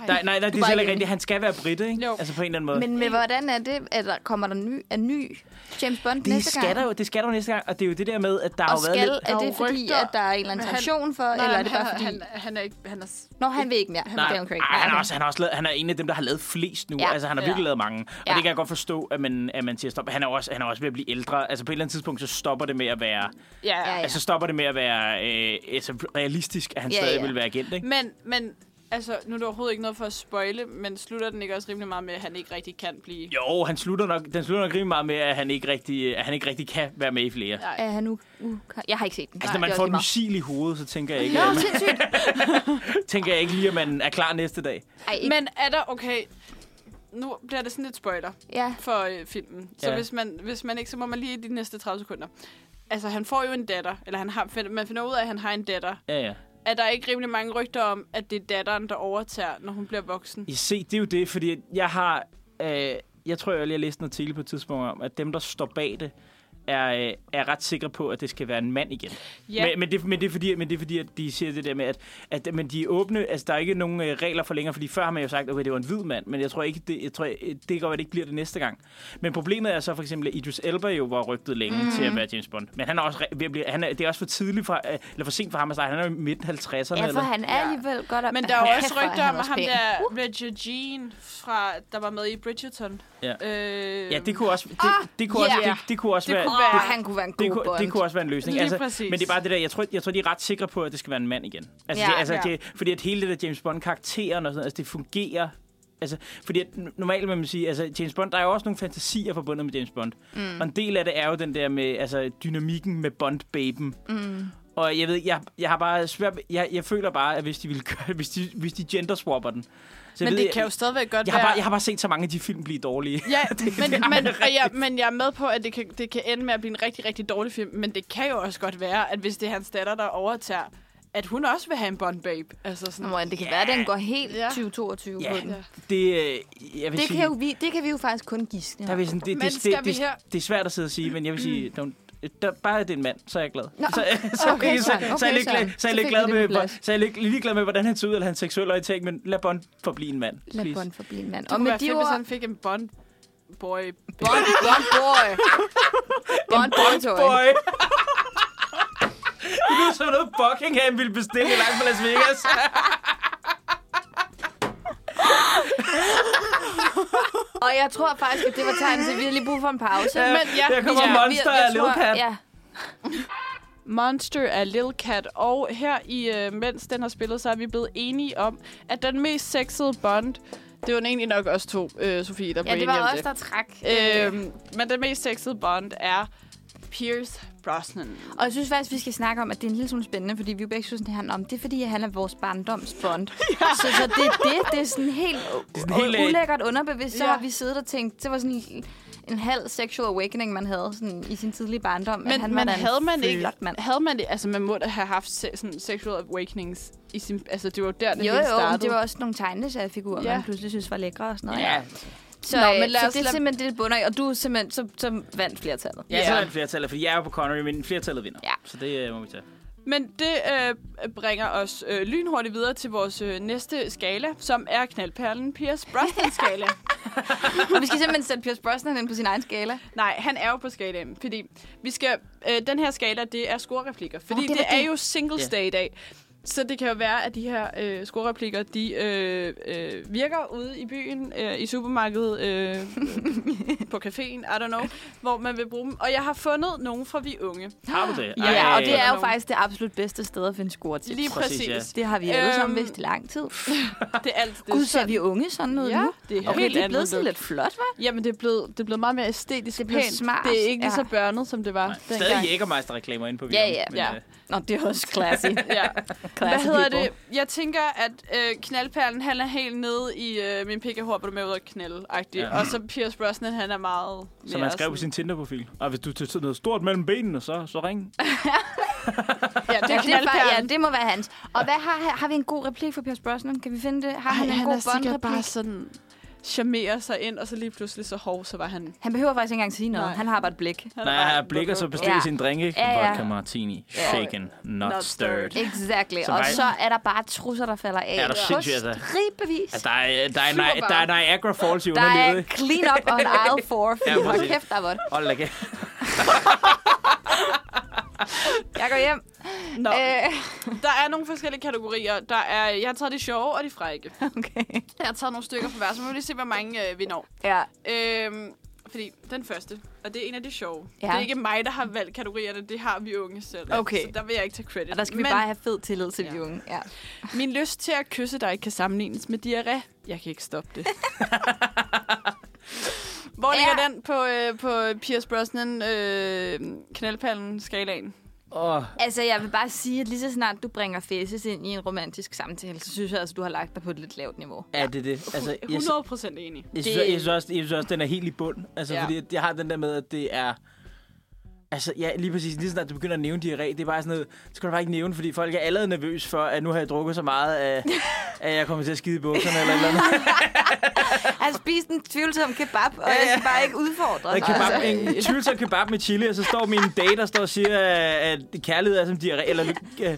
Speaker 3: Ej.
Speaker 2: Der, nej, nej, det
Speaker 1: bare
Speaker 2: er heller
Speaker 1: ikke
Speaker 2: ikke rigtigt. Han skal være britte, ikke?
Speaker 3: Jo.
Speaker 2: Altså, på en eller anden måde.
Speaker 1: Men, men hvordan er det? Er der, kommer der ny, er ny James Bond
Speaker 2: det
Speaker 1: næste gang?
Speaker 2: skal, der jo, det skal der jo næste gang, og det er jo det der med, at der
Speaker 1: Og
Speaker 2: har jo været
Speaker 1: skal,
Speaker 2: lidt...
Speaker 1: er
Speaker 3: der er
Speaker 1: det
Speaker 3: jo
Speaker 1: fordi,
Speaker 3: rygter,
Speaker 1: at der er en eller anden
Speaker 3: men han-
Speaker 1: tradition for,
Speaker 3: Nej,
Speaker 1: eller er det
Speaker 3: men
Speaker 1: bare
Speaker 3: han,
Speaker 1: fordi...
Speaker 3: Han, han er ikke... Han er, s-
Speaker 1: Nå, han vil ikke mere. Han
Speaker 2: Nej,
Speaker 1: Daniel Craig.
Speaker 2: ej, han, er
Speaker 1: okay.
Speaker 2: også, han, er også lavet, han er en af dem, der har lavet flest nu.
Speaker 1: Ja.
Speaker 2: Ja. Altså, han har
Speaker 3: Ja.
Speaker 2: virkelig lavet mange. Og
Speaker 1: Ja.
Speaker 2: det kan jeg godt forstå, at man, at man siger stop. Han er, også, han er også ved at blive ældre. Altså, på et eller andet tidspunkt, så stopper det med at være...
Speaker 1: Ja,
Speaker 3: ja, ja,
Speaker 1: ja.
Speaker 2: Ja. Altså, så stopper det med at være øh, altså, realistisk, at han
Speaker 1: Ja, Mm.
Speaker 2: ja, stadig
Speaker 1: ja.
Speaker 2: ja. vil være agent, ikke?
Speaker 3: Men, men Altså, nu er det overhovedet ikke noget for at spoile, men slutter den ikke også rimelig meget med, at han ikke rigtig kan blive...
Speaker 2: Jo, han slutter nok, den slutter nok rimelig meget med, at han ikke rigtig, at han ikke rigtig kan være med i flere.
Speaker 3: Ja.
Speaker 2: Ja.
Speaker 1: Er han nu... Uh, jeg har ikke set den.
Speaker 2: Altså, når
Speaker 1: Nej,
Speaker 2: man
Speaker 1: det
Speaker 2: får
Speaker 1: er
Speaker 2: et
Speaker 1: også
Speaker 2: missil i hovedet, så tænker jeg, ikke,
Speaker 1: lige meget.
Speaker 2: at
Speaker 1: Nå,
Speaker 2: man,
Speaker 1: sindssygt!
Speaker 2: tænker jeg ikke lige, at man er klar næste dag.
Speaker 1: Ej, ikke.
Speaker 3: Men er der... Okay, nu bliver det sådan lidt spoiler
Speaker 1: ja.
Speaker 3: for øh, filmen. Så
Speaker 2: Ja.
Speaker 3: hvis, man, hvis man ikke, så må man lige i de næste 30 sekunder. Altså, han får jo en datter. Eller han har, find- man finder ud af, at han har en datter.
Speaker 2: Ja, ja.
Speaker 3: Er der ikke rimelig mange rygter om, at det er datteren, der overtager, når hun bliver voksen?
Speaker 2: I se, det er jo det, fordi jeg har... Øh, jeg tror, jeg lige har læst en artikel på et tidspunkt om, at dem, der står bag det, er, øh, er ret sikre på, at det skal være en mand igen.
Speaker 3: Ja.
Speaker 2: Men, men, det, men, det er fordi, men det er fordi, at de siger det der med, at, at men de er åbne. Altså, der er ikke nogen øh, regler for længere, fordi før har man jo sagt, okay, det var en hvid mand, men jeg tror ikke, det, jeg tror, øh, det kan godt være, det ikke bliver det næste gang. Men problemet er så for eksempel, at Idris Elba jo var rygtet længe mm. til at være James Bond. Men han er også, re- ved at blive, han er, det er også for tidligt for, øh, eller for sent for ham at starte. Han er jo i midten 50'erne.
Speaker 1: Ja, for
Speaker 2: eller-
Speaker 1: han er alligevel godt op.
Speaker 3: Men der er jo
Speaker 1: Hold
Speaker 3: også
Speaker 1: kæft, hvor
Speaker 3: rygter
Speaker 1: han
Speaker 3: om
Speaker 1: også
Speaker 3: ham
Speaker 1: pæn. Uh.
Speaker 3: der Richard Jean, fra, der var med i Bridgerton.
Speaker 2: Ja.
Speaker 3: øh,
Speaker 2: Ja, det kunne også, det,
Speaker 1: Ah,
Speaker 2: det kunne også,
Speaker 1: yeah.
Speaker 2: det, det kunne også
Speaker 3: Det
Speaker 2: være,
Speaker 3: kunne
Speaker 1: Åh,
Speaker 3: være-
Speaker 1: han kunne være en god
Speaker 2: det, kunne,
Speaker 1: Bond.
Speaker 2: det kunne også være en løsning.
Speaker 3: Lige
Speaker 2: altså,
Speaker 3: præcis.
Speaker 2: men det er bare det der, jeg tror, jeg tror, de er ret sikre på, at det skal være en mand igen. Altså,
Speaker 1: Ja,
Speaker 2: det, altså
Speaker 3: ja.
Speaker 2: det, fordi at hele det der James Bond-karakteren og sådan noget, altså, det fungerer Altså, fordi at n- normalt vil man sige, altså James Bond, der er jo også nogle fantasier forbundet med James Bond. Mm. Og en del af det er jo den der med, altså dynamikken med Bond-baben. Mm. Og jeg ved, ikke, jeg, jeg har bare svært, ved- jeg, jeg føler bare, at hvis de vil gøre, hvis de, hvis de gender-swapper den. Så jeg
Speaker 3: Men
Speaker 2: ved,
Speaker 3: det
Speaker 2: jeg,
Speaker 3: kan jo stadigvæk godt
Speaker 2: jeg, har
Speaker 3: være...
Speaker 2: bare, jeg har bare set så mange af de film blive dårlige.
Speaker 3: Ja, men,
Speaker 2: det er
Speaker 3: men,
Speaker 2: rigtigt.
Speaker 3: og jeg, men jeg er med på, at det kan, det kan ende med at blive en rigtig, rigtig dårlig film. Men det kan jo også godt være, at hvis det er hans datter, der overtager, at hun også vil have en Bond Babe. Altså
Speaker 1: Nå,
Speaker 3: sådan,
Speaker 1: men det kan være, at den går helt
Speaker 3: Ja.
Speaker 1: 2022 på
Speaker 2: Ja,
Speaker 1: den.
Speaker 2: det, øh, jeg vil
Speaker 1: Det
Speaker 2: sige,
Speaker 1: kan, jo vi, det kan vi jo faktisk kun gisne.
Speaker 2: der vil sådan, det,
Speaker 3: Men
Speaker 2: det,
Speaker 3: skal
Speaker 2: det,
Speaker 3: vi
Speaker 2: det,
Speaker 3: her-
Speaker 2: det, er svært at sidde og sige, men jeg vil sige, don't, øh, der, bare at det er en mand, så er jeg glad.
Speaker 1: Mm. Nå,
Speaker 2: så, så,
Speaker 1: okay,
Speaker 2: så,
Speaker 1: Søren.
Speaker 2: så, så er jeg
Speaker 1: Okay,
Speaker 2: lidt glad,
Speaker 1: Søren.
Speaker 2: så er jeg
Speaker 1: Så
Speaker 2: lidt
Speaker 1: fik
Speaker 2: glad
Speaker 1: vi
Speaker 2: med,
Speaker 1: det på
Speaker 2: hvor-
Speaker 1: plads.
Speaker 2: så er jeg lidt- ligeglad med, hvordan han ser ud, eller hans seksuelle orientering, men lad Bond forblive en mand.
Speaker 1: Lad
Speaker 2: please.
Speaker 1: Bond forblive en mand.
Speaker 3: det
Speaker 1: Og
Speaker 3: kunne
Speaker 1: med
Speaker 3: være
Speaker 1: de
Speaker 3: fedt, hvis
Speaker 1: ord...
Speaker 3: han fik en Bond Boy.
Speaker 1: Bond, Bond boy. Bond boy toy.
Speaker 2: Boy! det lyder som noget Buckingham ville bestille langt fra Las Vegas.
Speaker 1: Og jeg tror faktisk, at det var tegnet til, at vi har lige brug for en pause.
Speaker 2: Ja,
Speaker 3: Men
Speaker 2: Øh,
Speaker 3: ja,
Speaker 2: der kommer
Speaker 3: ja.
Speaker 2: Monster af
Speaker 1: tror-
Speaker 2: Leopard.
Speaker 1: Ja.
Speaker 3: Monster af Lil Cat. Og her i øh, Mens den har spillet, så er vi blevet enige om, at den mest sexede Bond, det var egentlig nok os to, øh, Sofie, der blev
Speaker 1: ja, det
Speaker 3: enige om
Speaker 1: var os,
Speaker 3: det.
Speaker 1: der trak. øh,
Speaker 3: Øhm, men den mest sexede Bond er Pierce Brosnan.
Speaker 1: Og jeg synes faktisk, vi skal snakke om, at det er en lille smule spændende, fordi vi jo begge synes, det handler om, det er fordi, at han er vores barndomsbond. ja. så, så det er det, det er sådan helt, det er sådan
Speaker 2: sådan helt,
Speaker 1: helt
Speaker 2: øh,
Speaker 1: ulækkert underbevidst. Så
Speaker 3: Ja.
Speaker 1: har vi siddet og tænkt, det var sådan en- en halv sexual awakening, man havde sådan, i sin tidlige barndom. at
Speaker 3: Men,
Speaker 1: han
Speaker 3: men
Speaker 1: var da en
Speaker 3: havde man
Speaker 1: flot
Speaker 3: ikke...
Speaker 1: Mand.
Speaker 3: Havde man det, altså, man må da have haft se, sådan, sexual awakenings i sin... Altså, det var jo der, det
Speaker 1: Jo,
Speaker 3: hele
Speaker 1: jo,
Speaker 3: startede.
Speaker 1: men det var også nogle tegneseriefigurer,
Speaker 3: Ja.
Speaker 1: ja. man pludselig synes var lækre og sådan noget.
Speaker 2: Ja,
Speaker 1: Så,
Speaker 3: Nå,
Speaker 1: Nå,
Speaker 3: men
Speaker 1: men
Speaker 3: lad
Speaker 1: så
Speaker 3: os
Speaker 1: det er
Speaker 3: lad-
Speaker 1: simpelthen det, det bunder i, og du er simpelthen, så, så vandt flertallet.
Speaker 2: ja, så er det flertallet, fordi jeg er jo på Connery, men flertallet vinder.
Speaker 1: Ja.
Speaker 2: Så det øh, må vi tage.
Speaker 3: Men det øh, bringer os øh, lynhurtigt videre til vores øh, næste skala, som er knaldperlen Pierce Brosnan-skala.
Speaker 1: Og vi skal simpelthen sætte Pierce Brosnan ind på sin egen skala.
Speaker 3: Nej, han er jo på skalaen, fordi vi skal, øh, den her skala, det er scorereplikker, fordi
Speaker 1: Nå,
Speaker 3: oh,
Speaker 1: det
Speaker 3: det,
Speaker 1: var
Speaker 3: det er
Speaker 1: det.
Speaker 3: jo singles
Speaker 2: Ja.
Speaker 3: yeah. day i dag. Så det kan jo være, at de her øh, scorereplikker, de øh, øh, virker ude i byen, øh, i supermarkedet, øh, på caféen, I don't know, hvor man vil bruge dem. Og jeg har fundet nogle fra vi unge.
Speaker 2: Har du det?
Speaker 1: Ja, ja og det er jo
Speaker 3: Nogen.
Speaker 1: faktisk det absolut bedste sted at finde score til.
Speaker 3: Lige præcis.
Speaker 2: Præcis,
Speaker 3: præcis.
Speaker 1: Det har vi alle sammen
Speaker 3: Øhm,
Speaker 1: vidst i lang tid.
Speaker 3: Ja. Det er altid
Speaker 1: Gud, ser vi unge sådan ud
Speaker 3: Ja,
Speaker 1: nu?
Speaker 3: det er
Speaker 1: Okay,
Speaker 3: helt
Speaker 1: det er
Speaker 3: andet
Speaker 1: blevet sådan
Speaker 3: look.
Speaker 1: lidt flot, hva'?
Speaker 3: Jamen, det er blevet, det er blevet meget mere æstetisk
Speaker 1: Det er blevet
Speaker 3: pænt.
Speaker 1: smart,
Speaker 3: Det er ikke lige
Speaker 1: ja.
Speaker 3: så børnet, som det var
Speaker 2: Nej,
Speaker 3: dengang.
Speaker 2: stadig Jægermeister-reklamer inde på
Speaker 1: Ja,
Speaker 2: videoen,
Speaker 1: ja.
Speaker 2: men,
Speaker 3: Ja.
Speaker 2: øh,
Speaker 1: Nå, det er også classy.
Speaker 3: Ja. Hvad
Speaker 1: classy
Speaker 3: hedder
Speaker 1: people.
Speaker 3: det? Jeg tænker, at øh, knaldperlen, han er helt nede i øh, min pik er hård, hvor du er med ud og knælde ja.
Speaker 2: Ja.
Speaker 3: Og så Pierce Brosnan, han er meget mere
Speaker 2: Som han skrev på sin
Speaker 3: sådan-
Speaker 2: Tinder-profil. Og hvis du tager noget stort mellem benene, så, så ring.
Speaker 3: Ja, det
Speaker 1: Ja, det, er,
Speaker 3: er
Speaker 1: fa- ja,
Speaker 3: knaldperlen.
Speaker 1: det må være hans. Og hvad har, har vi en god replik for Pierce Brosnan? Kan vi finde det? Har han en
Speaker 3: han
Speaker 1: god
Speaker 3: er sikkert bare
Speaker 1: Bond-replik?
Speaker 3: sådan charmerer sig ind, og så lige pludselig så hård, så var han...
Speaker 1: Han behøver faktisk ikke engang sige noget.
Speaker 3: Nej.
Speaker 1: Han har bare et blik.
Speaker 3: han
Speaker 2: Nej,
Speaker 3: var-
Speaker 2: jeg blikker så bestiller
Speaker 1: Ja.
Speaker 2: sin drink, ikke?
Speaker 1: Ja, ja.
Speaker 2: Vodka martini, shaken, not,
Speaker 3: Not stirred.
Speaker 2: stirred.
Speaker 1: Exactly.
Speaker 2: Så
Speaker 1: og
Speaker 2: vej-
Speaker 1: så er der bare trusser, der falder af.
Speaker 2: Ja, der er sindssygt,
Speaker 1: På
Speaker 2: altså.
Speaker 1: stribevis.
Speaker 2: Altså, der er, der er,
Speaker 3: Super
Speaker 2: Ni- der er Niagara Falls i
Speaker 1: Der er
Speaker 2: underlivet. ikke?
Speaker 1: clean up on aisle 4.
Speaker 2: Ja,
Speaker 1: Ja, Hold
Speaker 2: præcis.
Speaker 1: kæft, der er vådt.
Speaker 2: Hold da kæft.
Speaker 1: Jeg går hjem.
Speaker 3: Nå,
Speaker 1: Øh,
Speaker 3: der er nogle forskellige kategorier. Der er, jeg har taget de sjove og de frække.
Speaker 1: okay.
Speaker 3: Jeg har taget nogle stykker fra hver, så må vi lige se, hvor mange øh, vi når.
Speaker 1: Ja.
Speaker 3: Øhm, Fordi den første, og det er en af de sjove.
Speaker 1: Ja.
Speaker 3: Ja. Det er ikke mig, der har valgt kategorierne, det har vi unge selv.
Speaker 1: Okay.
Speaker 3: Så der vil jeg ikke tage credit.
Speaker 1: Og der skal vi
Speaker 3: Men
Speaker 1: bare have fed tillid til ja.
Speaker 3: Ja.
Speaker 1: de unge. Ja.
Speaker 3: min lyst til at kysse dig kan sammenlignes med diarré. Jeg kan ikke stoppe det. Hvor ligger
Speaker 1: Ja.
Speaker 3: ja. den på, øh, på Pierce Brosnan øh, knaldpallen-skalaen?
Speaker 2: Åh,
Speaker 1: Altså, jeg vil bare sige, at lige så snart du bringer fæses ind i en romantisk samtale, så synes jeg altså, du har lagt dig på et lidt lavt niveau.
Speaker 2: er det det? Altså, jeg,
Speaker 3: 100 procent enig.
Speaker 2: jeg, synes, jeg, synes også, jeg synes også, den er helt i bund. Altså,
Speaker 3: Ja.
Speaker 2: fordi at jeg har den der med, at det er... Altså, ja, lige præcis. Lige snart du begynder at nævne diarré, det er bare sådan noget, det skal du bare ikke nævne, fordi folk er allerede nervøs for, at nu har jeg drukket så meget, at, at jeg kommer til at skide i bukserne eller et eller andet.
Speaker 1: Han spiste en tvivlsom kebab, og jeg skal bare ikke udfordre
Speaker 2: En,
Speaker 1: dig. Altså,
Speaker 2: kebab, en tvivlsom kebab med chili, og så står min date og står og siger, at at kærlighed er som diarré, eller øh,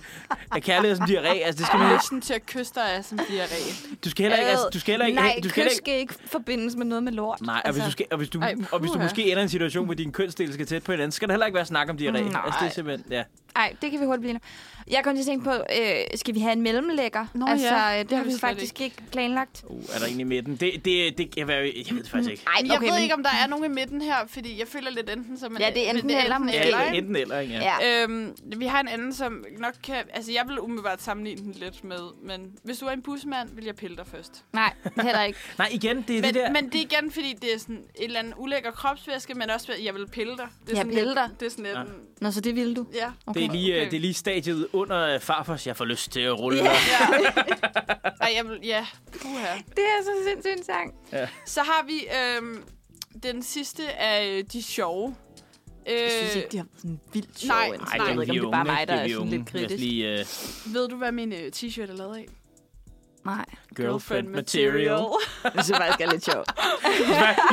Speaker 2: at kærlighed er som diarré. Altså, det skal man, ikke-
Speaker 3: Lysten til at kysse dig er som diarré.
Speaker 2: du skal heller ikke, altså, du skal heller ikke,
Speaker 1: Nej,
Speaker 2: du skal heller
Speaker 1: kys
Speaker 2: ikke,
Speaker 1: skal ikke forbindes med noget med lort. Altså,
Speaker 2: Nej, og, hvis du skal, og, hvis du,
Speaker 3: Ej,
Speaker 2: og hvis du
Speaker 3: puha.
Speaker 2: måske ender i en situation, hvor din kønsdel skal tæt på hinanden, så skal der heller ikke være snak om diarré.
Speaker 1: Mm, Nej.
Speaker 2: Altså, det er simpelthen, ja.
Speaker 1: Nej, det kan vi hurtigt blive enige om. Jeg kom til at tænke på, øh, skal vi have en mellemlægger?
Speaker 3: Nå
Speaker 1: altså, det,
Speaker 3: ja,
Speaker 1: det
Speaker 3: det
Speaker 1: har
Speaker 3: har vi
Speaker 1: vi
Speaker 3: slet
Speaker 1: faktisk ikke, planlagt.
Speaker 2: Uh, er der egentlig med den? Det, det, det kan være, jeg ved det faktisk ikke.
Speaker 1: Ej,
Speaker 3: Men jeg ved ikke, om der er nogen i midten her, fordi jeg føler lidt enten som...
Speaker 1: Ja, det er enten eller, måske.
Speaker 2: Ja,
Speaker 1: ikke.
Speaker 2: enten eller, ikke?
Speaker 1: Ja.
Speaker 3: Øhm, vi har en anden, som nok kan... Altså, jeg vil umiddelbart sammenligne den lidt med, men hvis du er en busmand, vil jeg pille dig først.
Speaker 1: Nej, heller ikke.
Speaker 2: Nej, igen, det er det
Speaker 3: Men,
Speaker 2: der.
Speaker 3: men det er igen, fordi det er sådan et eller andet ulækker kropsvæske, men også, jeg vil pille dig. Det er
Speaker 1: Jeg
Speaker 3: sådan
Speaker 1: pille
Speaker 3: lidt-
Speaker 1: dig.
Speaker 3: Det er sådan lidt...
Speaker 2: Ja.
Speaker 3: en-
Speaker 1: Nå, så det ville du.
Speaker 3: Ja.
Speaker 1: Okay.
Speaker 2: det, er lige, øh,
Speaker 3: okay.
Speaker 2: det er lige stadiet under øh, farfars, jeg får lyst til at rulle. Yeah.
Speaker 3: ja. Ej, jeg vil... Ja. Puha.
Speaker 1: Det er så sindssygt en sang.
Speaker 3: Så har vi øhm, den sidste af øh, de sjove.
Speaker 1: Jeg
Speaker 3: Øh,
Speaker 1: synes ikke, de har været sådan vildt sjov.
Speaker 3: nej,
Speaker 1: indtil
Speaker 3: nej.
Speaker 1: videre. Jeg ved ikke, om det er bare mig, der er sådan lidt kritisk.
Speaker 2: Lige, uh,
Speaker 3: Ved du, hvad min øh, t-shirt er lavet af?
Speaker 1: Nej,
Speaker 2: girlfriend material.
Speaker 1: det synes jeg faktisk er lidt sjovt.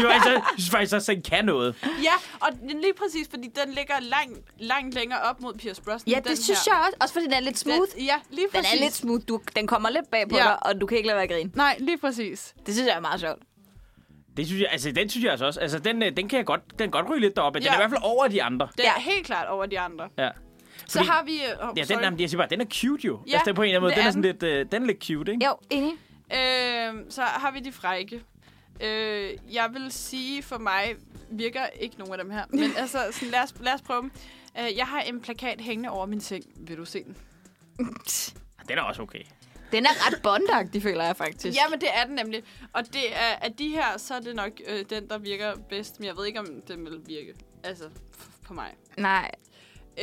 Speaker 2: Jo, altså, jeg synes faktisk også, at den kan noget.
Speaker 3: ja, og den- lige præcis, fordi den ligger langt, langt længere op mod Pierce Brosnan.
Speaker 1: Ja, det
Speaker 3: den
Speaker 1: synes
Speaker 3: her.
Speaker 1: jeg også. Også fordi den er lidt smooth.
Speaker 3: Den, ja, lige
Speaker 1: Den
Speaker 3: præcis.
Speaker 1: er lidt smooth. Du, den kommer lidt bag på ja.
Speaker 3: Ja.
Speaker 1: dig, og du kan ikke lade være at grine.
Speaker 3: Nej, lige præcis.
Speaker 1: Det synes jeg er meget sjovt.
Speaker 2: Det synes jeg, altså, den synes jeg altså også. Altså, den, øh, den kan jeg godt, den kan godt ryge lidt deroppe. Den
Speaker 3: Ja.
Speaker 2: er i hvert fald over de andre.
Speaker 3: Den
Speaker 1: Ja.
Speaker 3: ja. er helt klart over de andre.
Speaker 2: Ja.
Speaker 3: Så
Speaker 2: Fordi-
Speaker 3: har vi... øh, Oh,
Speaker 2: Ja, den, jamen, jeg siger bare, den er cute jo.
Speaker 3: Ja,
Speaker 2: Ja, altså, den er på en eller anden måde,
Speaker 3: det
Speaker 2: den er
Speaker 3: er
Speaker 2: sådan lidt, øh, den er lidt cute, ikke?
Speaker 1: Jo, enig.
Speaker 3: Øh, så har vi de frække. Øh, jeg vil sige, for mig virker ikke nogen af dem her. Men altså, sådan, lad, os, lad os prøve dem. Øh, jeg har en plakat hængende over min seng. Vil du se den?
Speaker 2: Den er også okay.
Speaker 1: Den er ret bondagtig, føler jeg faktisk.
Speaker 3: Ja, men det er den nemlig. Og det er, af de her, så er det nok øh, den, der virker bedst. Men jeg ved ikke, om den vil virke. Altså, f- på mig.
Speaker 1: Nej.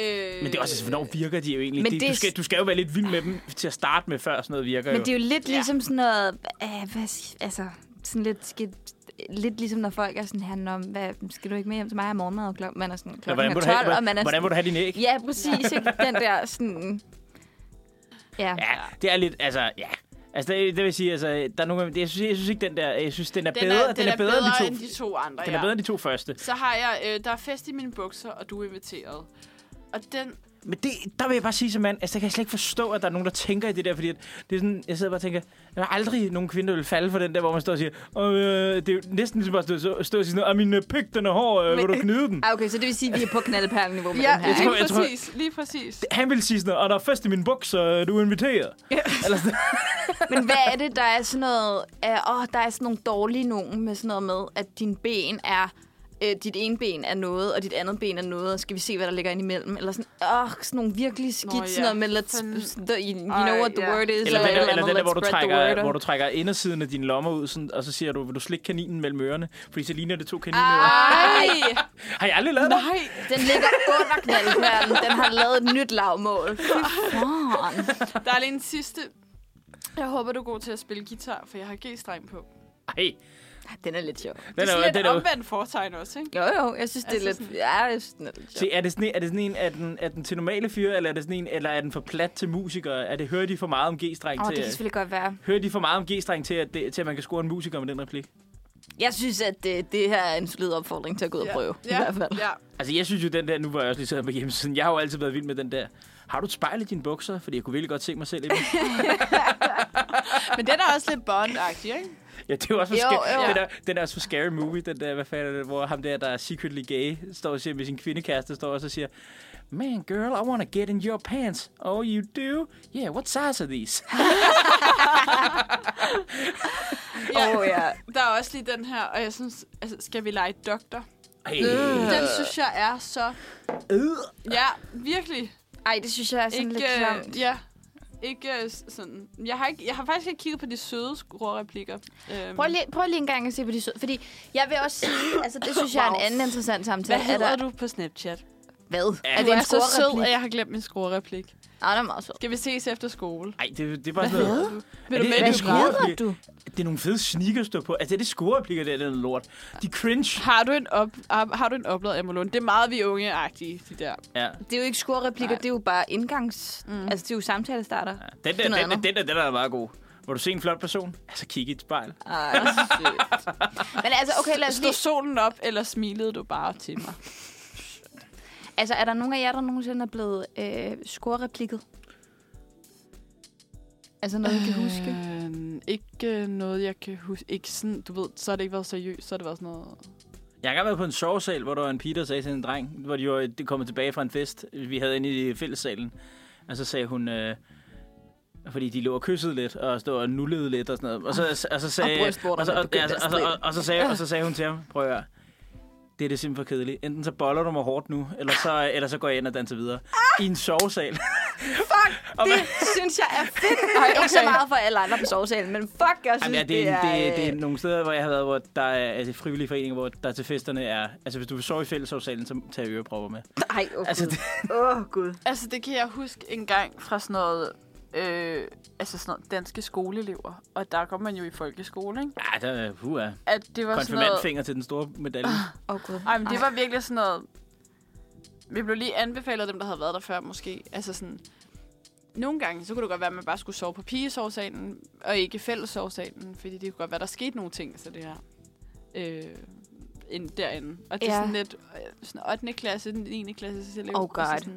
Speaker 3: Øh,
Speaker 2: Men det er også, altså, hvornår virker de jo egentlig?
Speaker 1: Men
Speaker 2: Men det,
Speaker 1: det er
Speaker 2: du, skal,
Speaker 1: s-
Speaker 2: du skal jo være lidt vild med dem til at starte med, før sådan noget virker
Speaker 1: Men
Speaker 2: jo.
Speaker 1: det er jo lidt
Speaker 3: Ja.
Speaker 1: ligesom sådan noget... Øh, hvad, sig- altså, sådan lidt... Skal, lidt ligesom når folk er sådan her, om, hvad, skal du ikke med hjem til mig om morgenmad? Og klokken, man er sådan
Speaker 2: Men
Speaker 1: klokken
Speaker 2: hvordan,
Speaker 1: er
Speaker 2: må
Speaker 1: 12,
Speaker 2: du have,
Speaker 1: og man er
Speaker 2: hvordan, hvordan må
Speaker 1: sådan,
Speaker 2: du have din æg?
Speaker 1: Ja, præcis. Ikke? Den der sådan... Ja.
Speaker 2: Ja, det er lidt, altså, ja. Altså, det, det vil sige, altså, der er nogle gange, det- jeg synes, jeg synes ikke, den der, jeg synes, den er
Speaker 3: den
Speaker 2: bedre,
Speaker 3: er, den, er bedre,
Speaker 2: end de to.
Speaker 3: end de to andre.
Speaker 2: Den
Speaker 3: ja.
Speaker 2: er bedre end de to første.
Speaker 3: Så har jeg, øh, der er fest i mine bukser, og du er inviteret. Og den,
Speaker 2: Men det, der vil jeg bare sige som mand, altså, der kan jeg slet ikke forstå, at der er nogen, der tænker i det der, fordi at, det er sådan, jeg sidder bare og tænker, der er aldrig nogen kvinde, der vil falde for den der, hvor man står og siger, "Åh, øh, det er jo næsten ligesom bare at stå, stå og sige sådan noget, "Ah, min øh, pik, den er hård, øh, vil du knide den?
Speaker 1: Ah, okay, så det vil sige, at vi er på knaldperleniveau med den her.
Speaker 3: ja,
Speaker 2: Jeg
Speaker 1: ikke?
Speaker 2: tror-
Speaker 3: lige
Speaker 2: jeg tror-
Speaker 3: præcis, lige præcis.
Speaker 2: Han vil sige sådan noget, og der er fest i mine bukser, øh, du er inviteret. Eller sådan,
Speaker 1: Men hvad er det, der er sådan noget... Øh, åh, der er sådan nogle dårlige nogen med sådan noget med, at din ben er... Øh, dit ene ben er noget, og dit andet ben er noget, og skal vi se, hvad der ligger ind imellem? Eller sådan, åh, sådan nogle virkelig skidt, Nå,
Speaker 3: ja.
Speaker 1: ja. sådan noget med, let's,
Speaker 3: Fanden.
Speaker 1: the, you, you
Speaker 3: Ej,
Speaker 1: know what the
Speaker 3: ja.
Speaker 1: word is,
Speaker 2: Eller den, der,
Speaker 1: et
Speaker 2: eller den
Speaker 1: andet,
Speaker 2: der, hvor du
Speaker 1: let's spread the word,
Speaker 2: trækker, hvor
Speaker 1: og-
Speaker 2: du trækker indersiden af dine lommer ud, sådan, og så siger du, vil du slikke kaninen mellem ørerne? Fordi så ligner det to kaninører.
Speaker 3: Ej,
Speaker 2: Har jeg aldrig lavet det?
Speaker 3: nej.
Speaker 1: Den ligger under knaldperlen. Den har lavet et nyt lavmål. Fy faen.
Speaker 3: Der er lige en sidste. Jeg håber, du er god til at spille guitar, for jeg har G-streng på.
Speaker 2: Ej,
Speaker 1: Den er lidt sjov.
Speaker 2: den
Speaker 3: Det er
Speaker 2: er,
Speaker 3: sådan
Speaker 2: den
Speaker 3: lidt
Speaker 2: er,
Speaker 3: omvendt foretegn også, ikke?
Speaker 1: Jo, jo, jeg synes, det er
Speaker 3: Altså
Speaker 1: lidt...
Speaker 3: sådan-
Speaker 1: Ja, jeg synes, den er lidt sjov.
Speaker 2: Se, er det sådan en, er det sådan en er den, er den til normale fyre, eller er, det sådan en, eller er den for plat til musikere? Er det, hører de for meget om G-streng
Speaker 1: Åh,
Speaker 2: oh,
Speaker 1: det
Speaker 2: til,
Speaker 1: kan selvfølgelig godt være.
Speaker 2: hører de for meget om G-streng til, at, det, til, at man kan score en musiker med den replik?
Speaker 1: Jeg synes, at det, det her er en solid opfordring til at gå ud og prøve.
Speaker 3: ja,
Speaker 1: I hvert fald.
Speaker 3: Ja.
Speaker 2: Altså, jeg synes jo, den der, nu var jeg også lige siddet på hjemmesiden, jeg har jo altid været vild med den der. Har du et spejl i dine bukser? Fordi jeg kunne virkelig godt se mig selv i dem.
Speaker 3: Men den er også lidt bond-agtig, ikke?
Speaker 2: Ja, det er jo også for
Speaker 1: Jo,
Speaker 2: scary.
Speaker 1: jo.
Speaker 2: Den, er, den er også for scary movie, den der, hvad fanden er det, hvor ham der, der er secretly gay, står og siger med sin kvindekæreste, står også og siger, Man, girl, I want to get in your pants. Oh, you do? Yeah, what size are these?
Speaker 3: Ja.
Speaker 4: Åh, oh, ja.
Speaker 3: Der er også lige den her, og jeg synes, altså, skal vi lege doktor?
Speaker 2: Ej,
Speaker 1: Øh.
Speaker 3: Den synes jeg er så...
Speaker 2: øh.
Speaker 3: Ja, virkelig.
Speaker 4: Ej, det synes jeg er sådan
Speaker 3: Ikke,
Speaker 4: lidt klamt.
Speaker 3: øh, ja, ikke øh, s- sådan... Jeg har, ikke, jeg har faktisk ikke kigget på de søde skruerreplikker. Øhm,
Speaker 4: Prøv lige, prøv lige en gang at se på de søde. Fordi jeg vil også sige, altså det synes jeg er en anden interessant samtale.
Speaker 3: Hvad
Speaker 4: er
Speaker 3: hedder
Speaker 4: der,
Speaker 3: du på Snapchat?
Speaker 4: Hvad?
Speaker 2: Ja.
Speaker 4: Er
Speaker 3: Du
Speaker 4: det
Speaker 3: er
Speaker 4: en
Speaker 3: så sød,
Speaker 4: skoreplik?
Speaker 3: at jeg har glemt min skruerreplik.
Speaker 4: Nej, den er meget sød.
Speaker 3: Skal vi ses efter skole?
Speaker 2: Ej, det, det er bare sådan noget. Er
Speaker 3: Vil du
Speaker 2: det- er
Speaker 3: med i
Speaker 2: det
Speaker 4: Hvad
Speaker 3: biografen?
Speaker 2: skruer?
Speaker 4: hedder du?
Speaker 2: Det er nogle fede sneakers, du har på. Altså, det er det skruerplikker, der, det er noget lort. De er cringe.
Speaker 3: Har du en, op, har, har du en opladet Amalund? Det er meget vi er unge-agtige, de der.
Speaker 2: Ja.
Speaker 4: Det er jo ikke skorreplikker,
Speaker 3: Nej.
Speaker 4: det er jo bare indgangs... Mm. Altså, det er jo samtalestarter.
Speaker 2: Ja, Den der,
Speaker 4: er noget
Speaker 2: den, der,
Speaker 4: andet.
Speaker 2: den der, den der er meget god. Hvor du ser en flot person, altså kig i et spejl.
Speaker 4: Ej, Men altså, okay, lad os
Speaker 3: Stod
Speaker 4: lige...
Speaker 3: solen op, eller smilede du bare til mig?
Speaker 4: Altså, er der nogen af jer, der nogensinde er blevet øh, skorreplikket? Altså noget, I kan huske?
Speaker 3: Øh, ikke øh, noget, jeg kan huske. Ikke sådan, du ved, så har det ikke været seriøst, så har det været sådan noget...
Speaker 2: Jeg har engang været på en sovesal, hvor der var en pige, der sagde til en dreng, hvor de var de kom tilbage fra en fest, vi havde inde i fællessalen. Og så sagde hun, øh, fordi de lå og kyssede lidt, og stod og nullede lidt og sådan noget. Og så, og så sagde,
Speaker 4: brystvorterne
Speaker 2: og så, og, og,
Speaker 4: begyndte at
Speaker 2: så- og,
Speaker 4: stride.
Speaker 2: og, og, så sagde, og så sagde hun til ham, prøv at høre, det er det simpelthen for kedeligt. Enten så boller du mig hårdt nu, eller så, eller så går jeg ind og danser videre. I en sovesal.
Speaker 4: Fuck,
Speaker 2: Og
Speaker 4: det
Speaker 2: man-
Speaker 4: synes jeg er fedt. Ej, ikke så meget for alle andre på sovesalen, men fuck, jeg synes,
Speaker 2: Jamen, ja, det, er, det,
Speaker 4: det er... øh,
Speaker 2: er, det er nogle steder, hvor jeg har været, hvor der er altså, frivillige foreninger, hvor der til festerne er... Altså, hvis du vil sove i fællesårsalen, så tager jeg ørepropper med.
Speaker 4: Ej, åh
Speaker 2: Altså,
Speaker 4: altså,
Speaker 2: det,
Speaker 4: Åh, oh, Gud.
Speaker 3: Altså, det kan jeg huske en gang fra sådan noget... Øh, altså sådan noget danske skoleelever. Og der kom man jo i folkeskole, ikke?
Speaker 2: ah, der er... Uh, uh,
Speaker 3: At det var sådan Ah, noget...
Speaker 2: konfirmandfinger til den store medalje.
Speaker 4: Åh, oh, Gud.
Speaker 3: Ej, men det var virkelig sådan noget... Vi blev lige anbefalet af dem, der havde været der før, måske. Altså sådan... Nogle gange, så kunne det godt være, at man bare skulle sove på pigesovsalen, og ikke i fællessovsalen, fordi det kunne godt være, der skete nogle ting, så det her. Øh, ind, derinde. Og det er
Speaker 4: Ja.
Speaker 3: sådan lidt øh, sådan 8. klasse, 9. klasse, så
Speaker 4: Oh God.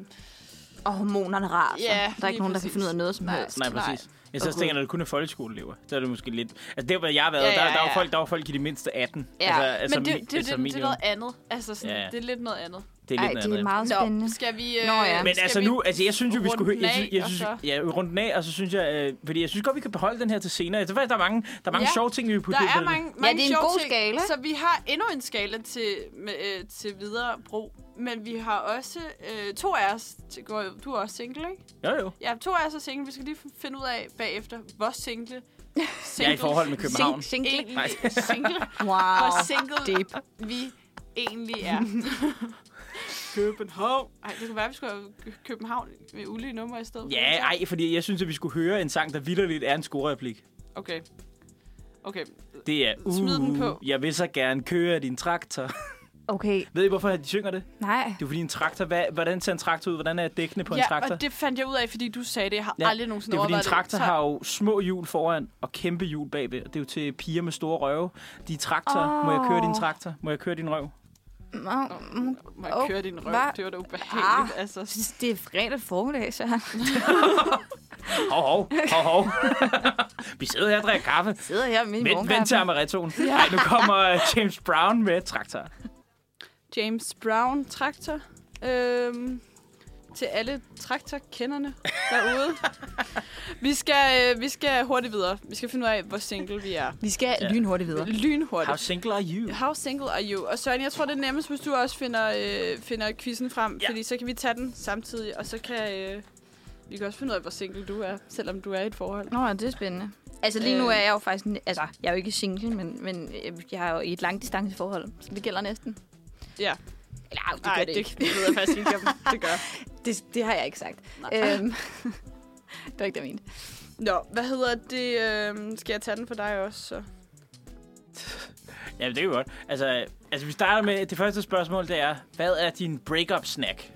Speaker 4: Og hormonerne raser.
Speaker 3: Ja,
Speaker 4: der er
Speaker 3: lige
Speaker 4: ikke nogen, der kan
Speaker 3: præcis.
Speaker 4: finde ud af noget som
Speaker 3: Nej.
Speaker 4: helst.
Speaker 2: Nej, præcis. Jeg så
Speaker 4: Åh,
Speaker 2: tænker, jeg, når det kun er folkeskoleelever, så er det måske lidt... Altså, der, hvor jeg har været,
Speaker 3: Ja,
Speaker 2: ja,
Speaker 3: ja,
Speaker 2: ja, der, der, var
Speaker 3: ja.
Speaker 2: folk, der var folk i de mindste 18.
Speaker 4: Ja.
Speaker 2: Altså,
Speaker 3: Altså,
Speaker 2: altså,
Speaker 3: men det,
Speaker 2: mi-
Speaker 3: det,
Speaker 2: altså,
Speaker 3: det, det, det, er
Speaker 2: minimum.
Speaker 3: noget andet. Altså sådan,
Speaker 2: Ja, ja.
Speaker 3: det er lidt noget andet.
Speaker 2: det er
Speaker 4: Ej,
Speaker 2: lidt noget
Speaker 4: det er
Speaker 2: andet.
Speaker 4: meget spændende.
Speaker 3: Nå, skal vi... Øh,
Speaker 4: Nå, ja.
Speaker 2: Men
Speaker 3: skal
Speaker 2: altså
Speaker 3: vi-
Speaker 2: nu, altså jeg synes jo, vi
Speaker 3: runde
Speaker 2: skulle
Speaker 3: den
Speaker 2: jeg
Speaker 3: af,
Speaker 2: synes, jeg
Speaker 3: og
Speaker 2: synes,
Speaker 3: så-
Speaker 2: ja, runde den af, og så synes jeg, øh, fordi jeg synes godt, vi kan beholde den her til senere. Jeg tror faktisk, der er mange, der er mange
Speaker 3: Ja,
Speaker 2: sjove ting, vi kan putte
Speaker 3: Der
Speaker 2: ned på
Speaker 3: er
Speaker 2: den.
Speaker 3: mange, mange
Speaker 4: det er en
Speaker 3: sjove
Speaker 4: god
Speaker 3: ting.
Speaker 4: skala.
Speaker 3: Så vi har endnu en skala til, med, øh, til videre brug. Men vi har også øh, to af os. til- går- Du er også single, ikke?
Speaker 2: Jo, jo.
Speaker 3: Ja, to af os er single. Vi skal lige f- finde ud af bagefter, hvor single... single
Speaker 2: Jeg er i forhold med København.
Speaker 4: Single. Ah,
Speaker 3: Egentlig single.
Speaker 4: Wow.
Speaker 3: Hvor single Deep. vi egentlig er. København. Ej, det kunne være, at vi skulle have Kø- København med ulige numre i stedet.
Speaker 2: Ja, ej, fordi jeg synes, at vi skulle høre en sang, der vidderligt er en skoreplik.
Speaker 3: Okay. Okay.
Speaker 2: Det er, uh,
Speaker 3: Smid den på.
Speaker 2: jeg vil så gerne køre din traktor.
Speaker 4: Okay,
Speaker 2: Ved I, hvorfor de synger det?
Speaker 4: nej.
Speaker 2: Det er fordi en traktor, hvad, hvordan ser en traktor ud? Hvordan er dækkene på en traktor?
Speaker 3: ja, og det fandt jeg ud af, fordi du sagde det. Jeg har
Speaker 2: Ja,
Speaker 3: aldrig nogensinde
Speaker 2: det er fordi en
Speaker 3: overvejet
Speaker 2: traktor
Speaker 3: Så-
Speaker 2: har jo små hjul foran og kæmpe hjul bagved. Og Det er jo til piger med store røve. De er traktor. Oh. Må jeg køre din
Speaker 4: Åh.
Speaker 2: traktor? Må jeg køre din røv?
Speaker 4: Nå, mm,
Speaker 3: Må jeg
Speaker 4: Åh,
Speaker 3: køre din røv?
Speaker 4: hvad?
Speaker 3: Det var da ubehageligt. Ah. Altså,
Speaker 4: synes, det er fredag formiddag, så han
Speaker 2: Hov, hov, hov, hov. Vi sidder her og drikker kaffe.
Speaker 4: sidder her med i
Speaker 2: Vent, vent til amarettoen. Ja. Ej, nu kommer øh, James Brown med traktor.
Speaker 3: James Brown traktor. Øhm, til alle traktorkenderne derude. vi, skal, øh, vi skal hurtigt videre. Vi skal finde ud af, hvor single vi er.
Speaker 4: Vi skal ja. lynhurtigt videre.
Speaker 2: How
Speaker 3: Lynhurtigt.
Speaker 2: single are you?
Speaker 3: How single are you? Og Søren, jeg tror, det er nemmest, hvis du også finder, øh, finder quizzen frem. Ja.
Speaker 2: Ja.
Speaker 3: Fordi så kan vi tage den samtidig, og så kan... Øh, vi kan også finde ud af, hvor single du er, selvom du er i et forhold.
Speaker 4: Nå, ja, det er spændende. Altså lige
Speaker 3: Øh.
Speaker 4: nu er jeg jo faktisk... en- Altså, jeg er jo ikke single, men, men øh, jeg er jo i et langdistanceforhold, så det gælder næsten.
Speaker 3: Ja.
Speaker 4: Eller, au, det
Speaker 3: Nej,
Speaker 4: gør
Speaker 3: det,
Speaker 4: det ikke.
Speaker 3: det, ved jeg faktisk ikke, om det gør.
Speaker 4: Det, det har jeg ikke sagt. Øhm, det var ikke det, jeg mente.
Speaker 3: Nå, hvad hedder det? Øh, skal jeg tage den for dig også? Så?
Speaker 2: Ja, det er jo godt. Altså, altså, vi starter med det første spørgsmål, det er, hvad er din breakup snack?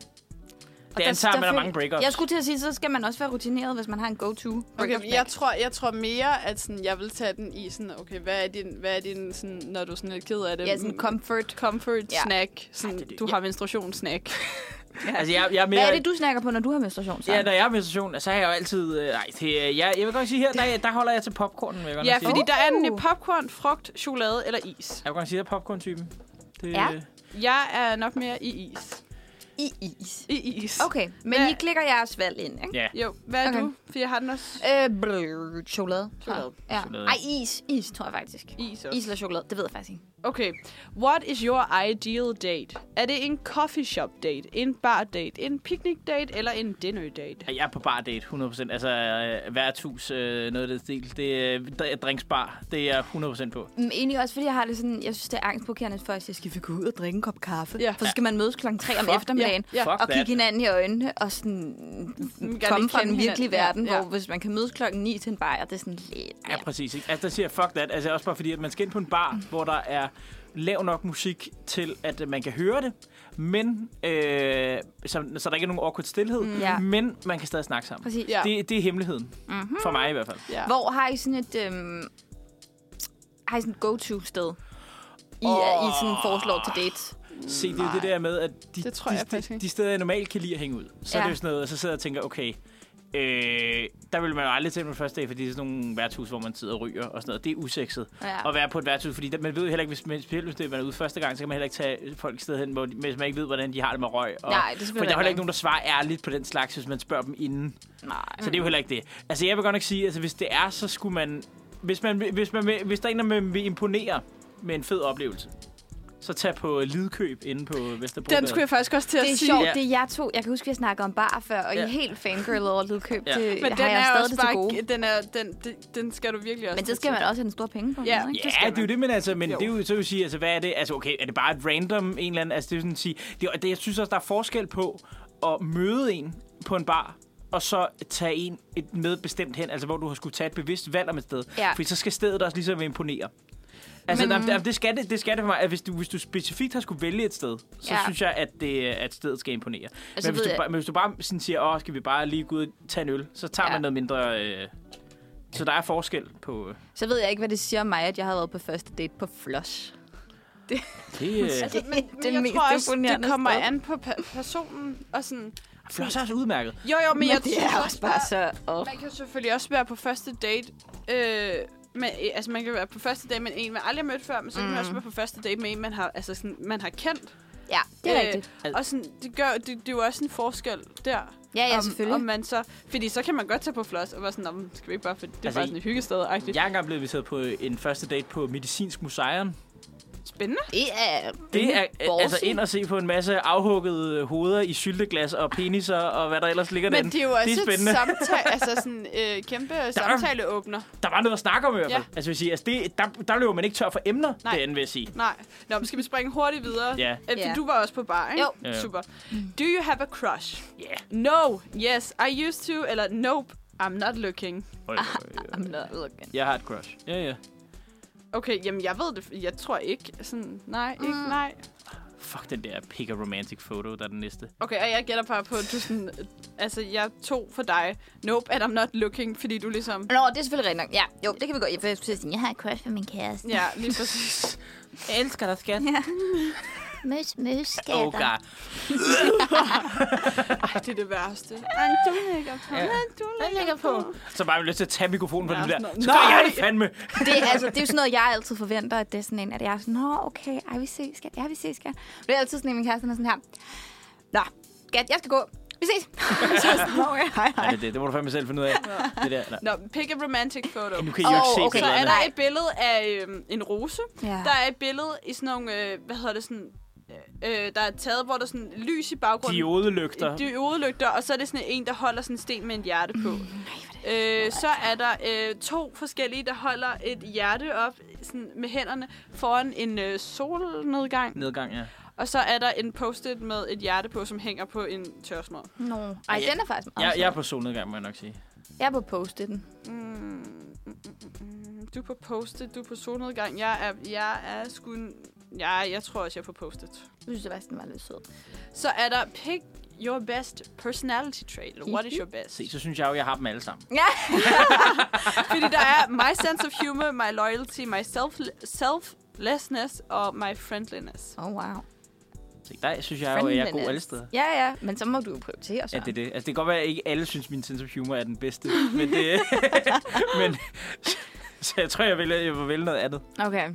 Speaker 2: Det
Speaker 4: der-
Speaker 2: antager,
Speaker 4: der
Speaker 2: man der er
Speaker 4: føler-
Speaker 2: mange breakups.
Speaker 4: Jeg skulle til at sige, så skal man også være rutineret, hvis man har en go-to.
Speaker 3: Okay, jeg tror, jeg tror mere, at sådan, jeg vil tage den i sådan, okay, hvad er din, hvad er din sådan, når du er sådan lidt ked af det?
Speaker 4: Ja, sådan en comfort.
Speaker 3: comfort
Speaker 4: Ja.
Speaker 3: snack. Sådan,
Speaker 2: Ej,
Speaker 3: det,
Speaker 2: det er det.
Speaker 3: Du
Speaker 2: Ja.
Speaker 3: har menstruationssnack.
Speaker 2: Altså, jeg, jeg er mere...
Speaker 4: Hvad er det, du snakker på, når du har menstruation?
Speaker 2: Ja, når jeg er med station, så har jeg jo altid... Øh, nej, det, er- jeg, jeg vil godt sige her, der, der holder jeg til popcornen, vil jeg godt
Speaker 3: ja,
Speaker 2: nok sige.
Speaker 3: fordi der er nemlig
Speaker 4: Uh.
Speaker 3: popcorn, frugt, chokolade eller is.
Speaker 2: øh, Jeg vil godt nok sige, at jeg er popcorn-typen. Det,
Speaker 4: Ja.
Speaker 2: øh,
Speaker 3: Jeg er nok mere i is.
Speaker 1: I is.
Speaker 3: I is.
Speaker 1: Okay, men
Speaker 3: Hvad-
Speaker 1: I klikker jeres valg ind, ikke?
Speaker 2: Ja.
Speaker 3: Jo, hvad er
Speaker 1: Okay.
Speaker 3: okay. du? For jeg har den også.
Speaker 1: Øh, bløh, chokolade. tror jeg.
Speaker 3: Chokolade.
Speaker 1: Ja.
Speaker 2: Chokolade.
Speaker 1: Ej, is. Is, tror jeg faktisk.
Speaker 3: Is også.
Speaker 1: Is eller chokolade, det ved jeg faktisk ikke.
Speaker 3: Okay. What is your ideal date? Er det en coffee shop date, en bar date, en picnic date eller en dinner date?
Speaker 2: Jeg er på bar date, 100%. Altså, øh, værtshus, øh, noget af det stil. Det er øh, dr- drinksbar. Det er jeg 100% på.
Speaker 1: Men Mm, egentlig også, fordi jeg har det sådan, jeg synes, det er angstprovokerende for, at jeg skal gå ud og drikke en kop kaffe.
Speaker 3: Ja.
Speaker 1: For så skal man mødes klokken 3 om
Speaker 3: Fuck,
Speaker 1: eftermiddagen.
Speaker 3: Ja.
Speaker 2: Fuck
Speaker 1: og kigge
Speaker 2: that.
Speaker 1: hinanden i øjnene, og sådan
Speaker 3: gerne
Speaker 1: komme
Speaker 3: ikke
Speaker 1: fra
Speaker 3: kende
Speaker 1: den virkelige
Speaker 3: hinanden.
Speaker 1: verden,
Speaker 3: Ja,
Speaker 1: hvor
Speaker 3: ja.
Speaker 1: hvis man kan mødes klokken 9 til en bajer, det er sådan lidt...
Speaker 2: Ja, præcis. Ikke? Altså, der siger jeg, fuck that. Altså, også bare fordi, at man skal ind på en bar, hvor der er lav nok musik til, at øh, man kan høre det, men øh, så, så der ikke er nogen awkward stillhed, mm.
Speaker 1: Ja.
Speaker 2: men man kan stadig snakke sammen.
Speaker 1: Præcis.
Speaker 3: Ja.
Speaker 2: Det, det er hemmeligheden. Mm-hmm. For mig i hvert fald.
Speaker 3: Ja.
Speaker 1: Hvor har I sådan et... Øhm, har I sådan et go-to-sted? I, øh, I sådan foreslår til dates.
Speaker 2: Se, det er jo det der med, at de,
Speaker 3: Det tror
Speaker 2: de,
Speaker 3: jeg faktisk
Speaker 2: de,
Speaker 3: ikke.
Speaker 2: de steder, jeg normalt kan lide at hænge ud, så ja. er
Speaker 1: Ja.
Speaker 2: det jo sådan noget, og så sidder jeg og tænker, okay, øh, der vil man jo aldrig til på første dag, fordi det er sådan nogle værtshus, hvor man sidder og ryger og sådan noget. Det er usekset
Speaker 1: Ja.
Speaker 2: ja. at være på et værtshus, fordi der, man ved jo heller ikke, hvis man, specielt hvis det er, man er ude første gang, så kan man heller ikke tage folk et sted hen, hvor de, hvis man ikke ved, hvordan de har det med røg. Og,
Speaker 1: Nej, det er
Speaker 2: for der
Speaker 1: selvfølgelig
Speaker 2: er heller
Speaker 1: rigtigt.
Speaker 2: ikke nogen, der svarer ærligt på den slags, hvis man spørger dem inden.
Speaker 1: Nej.
Speaker 2: Så det er jo heller ikke det. Altså, jeg vil godt nok sige, altså, hvis det er, så skulle man... Hvis, man, hvis, man, vil- hvis der er en, der vil- vil imponere med en fed oplevelse, så tag på Lidkøb inde på Vesterbro.
Speaker 3: Den skulle jeg faktisk også til at
Speaker 1: Det er
Speaker 3: sige.
Speaker 1: sjovt,
Speaker 2: Ja.
Speaker 1: det er jeg to. Jeg kan huske, vi har snakket om bar før, og I
Speaker 2: Ja.
Speaker 1: er helt fangirl over Lydkøb.
Speaker 2: Ja.
Speaker 1: Ja. Det
Speaker 3: Men
Speaker 1: har
Speaker 3: den
Speaker 1: jeg
Speaker 3: er
Speaker 1: stadig
Speaker 3: også
Speaker 1: det til gode.
Speaker 3: bare, den, er, den, den, den skal du virkelig også
Speaker 1: Men det skal man også have den store penge på.
Speaker 3: Ja.
Speaker 1: ikke?
Speaker 2: Ja,
Speaker 3: skal
Speaker 2: det er jo
Speaker 3: man.
Speaker 2: det, men altså, men
Speaker 3: Jo.
Speaker 2: det er jo, så vil jeg sige, altså, hvad er det? Altså, okay, er det bare et random en eller anden? Altså, det er sådan at sige, det, og det, jeg synes også, der er forskel på at møde en på en bar, og så tage en et med bestemt hen, altså hvor du har skulle tage et bevidst valg om et sted.
Speaker 1: Ja.
Speaker 2: Fordi så skal stedet også ligesom imponere. Altså, men, der, det, skal det, det skal det for mig, at hvis du, hvis du specifikt har skulle vælge et sted, så ja.
Speaker 1: Ja.
Speaker 2: synes jeg, at, det, at stedet skal imponere. Altså,
Speaker 1: så
Speaker 2: men, hvis
Speaker 1: ved
Speaker 2: du,
Speaker 1: jeg-
Speaker 2: bare- men hvis du bare sådan siger, åh, skal vi bare lige gå ud og tage en øl, så tager ja.
Speaker 1: Ja.
Speaker 2: man noget mindre... Øh, så der er forskel på... Øh,
Speaker 1: Så ved jeg ikke, hvad det siger om mig, at jeg har været på første date på Flush.
Speaker 2: det, øh,
Speaker 3: Altså, men,
Speaker 1: Det er
Speaker 3: men
Speaker 1: den
Speaker 3: jeg
Speaker 1: mest
Speaker 3: tror også, det
Speaker 1: imponerende
Speaker 3: kommer
Speaker 1: sted.
Speaker 3: an på per- personen. Og sådan.
Speaker 2: Floss er også udmærket.
Speaker 3: Jo, jo, men, men jeg
Speaker 1: det
Speaker 3: tror
Speaker 1: er også bare så... Oh.
Speaker 3: Man kan jo selvfølgelig også være på første date. Øh, med, altså, man kan være på første date med en, man aldrig har mødt før, men så kan
Speaker 1: Mm.
Speaker 3: man også være på første date med en, man har, altså sådan, man har kendt.
Speaker 1: Ja, det er
Speaker 3: Øh,
Speaker 1: rigtigt.
Speaker 3: Og sådan, det, gør, det, det er jo også en forskel der.
Speaker 1: Ja, ja,
Speaker 3: om,
Speaker 1: selvfølgelig.
Speaker 3: Om man så, fordi så kan man godt tage på floss og være sådan, "Nå, men skal vi ikke bare, for det er
Speaker 2: Altså,
Speaker 3: altså, bare sådan et hyggested. -agtigt.
Speaker 2: Jeg er engang blevet inviteret på øh, en første date på Medicinsk Museum.
Speaker 3: Spændende.
Speaker 1: Det er...
Speaker 2: Det er
Speaker 1: ballsy.
Speaker 2: altså ind og se på en masse afhuggede øh, hoveder i sylteglas og peniser og hvad der ellers ligger
Speaker 3: Men
Speaker 2: derinde.
Speaker 3: det er jo også
Speaker 2: det er spændende.
Speaker 3: et samtale, altså sådan øh, kæmpe samtaleåbner.
Speaker 2: Der var noget at snakke om i hvert fald.
Speaker 3: Ja.
Speaker 2: Altså, jeg vil sige, altså det, der, der løber man ikke tør for emner,
Speaker 3: Nej.
Speaker 2: det andet vil jeg sige.
Speaker 3: Nej. Nå, men skal vi springe hurtigt videre?
Speaker 2: Ja.
Speaker 3: Øh, for
Speaker 1: Ja.
Speaker 3: Du var også på bar, ikke?
Speaker 1: Jo.
Speaker 2: Ja, ja.
Speaker 3: Super. Do you have a crush?
Speaker 2: Yeah.
Speaker 3: No, yes, I used to, eller nope, I'm not looking.
Speaker 1: I'm not looking.
Speaker 2: Jeg har et crush. Ja, ja.
Speaker 3: Okay, jamen jeg ved det, jeg tror ikke. Sådan, nej, ikke, nej.
Speaker 2: Fuck den der pick a romantic photo, der er den næste.
Speaker 3: Okay, og jeg gætter bare på, at du sådan, altså jeg tog for dig, nope, and I'm not looking, fordi du ligesom,
Speaker 1: Nå, det er selvfølgelig rigtigt nok. Ja, jo, det kan vi gå i. For jeg skulle til at sige, jeg har et crush på min kæreste.
Speaker 3: ja, lige præcis.
Speaker 2: Jeg elsker dig, skat.
Speaker 4: Møs, møs, skatter.
Speaker 2: Oh god.
Speaker 3: Ej, det er det værste. Ej, du lægger på. Ja. Du lægger på.
Speaker 2: Så bare har jeg lyst til at tage mikrofonen fra
Speaker 3: Ja,
Speaker 2: den der.
Speaker 3: sådan noget.
Speaker 2: Så gør jeg
Speaker 3: Nej!
Speaker 2: det fandme.
Speaker 1: Det, er- altså, det er jo sådan noget, jeg altid forventer, at det er sådan en, at jeg er sådan, nå, okay, ej, vi ses, skat, ja, vi ses, skat. Men det er altid sådan en, min kæreste han er sådan her, nå, skat, jeg skal gå, vi ses. Så er jeg sådan, "Nå, okay, hej,
Speaker 2: Ja,
Speaker 1: hej.
Speaker 2: det, det, det må du fandme selv finde ud af. Det der. nej.
Speaker 3: Nå, pick a romantic photo.
Speaker 2: Nu kan I jo ikke
Speaker 1: Åh,
Speaker 2: se
Speaker 1: okay.
Speaker 3: Så
Speaker 2: billederne.
Speaker 3: er
Speaker 1: Glæderne.
Speaker 3: der et billede af øhm, en rose.
Speaker 1: Ja.
Speaker 2: Ah.
Speaker 3: Der er et billede i sådan nogle, øh, hvad hedder det sådan, øh, øh, der er taget, hvor der er sådan lys i baggrunden.
Speaker 2: Diodelygter.
Speaker 3: Diodelygter, Øh, og så er det sådan en, der holder sådan en sten med en hjerte på. øh, så er der øh, to forskellige, der holder et hjerte op sådan med hænderne foran en øh, solnedgang.
Speaker 2: Nedgang, ja.
Speaker 3: Og så er der en post-it med et hjerte på, som hænger på en tørsnor.
Speaker 1: Nå, ej, den er faktisk meget
Speaker 2: Jeg, jeg er
Speaker 1: jeg,
Speaker 2: på solnedgang, må jeg nok sige.
Speaker 1: jeg er på postet den.
Speaker 3: Du er på post-it, du er på solnedgang. Jeg er, jeg er sgu... Ja, jeg tror også, jeg er på post-it.
Speaker 1: Jeg synes, at den var lidt sød.
Speaker 3: Så er der pick your best personality trait. Eller What is your best?
Speaker 2: Se, så synes jeg jo, jeg har dem alle sammen.
Speaker 1: Ja,
Speaker 3: Fordi der er my sense of humor, my loyalty, my self selflessness og my friendliness.
Speaker 1: oh, wow.
Speaker 2: Se, der synes jeg jo, at jeg er god alle steder.
Speaker 1: Ja, ja, men så må du jo prioritere så.
Speaker 2: Ja, det er det. Altså, det kan godt være, at ikke alle synes, min sense of humor er den bedste. men det... men... Så jeg tror, jeg vil, jeg vil vælge noget andet.
Speaker 1: Okay,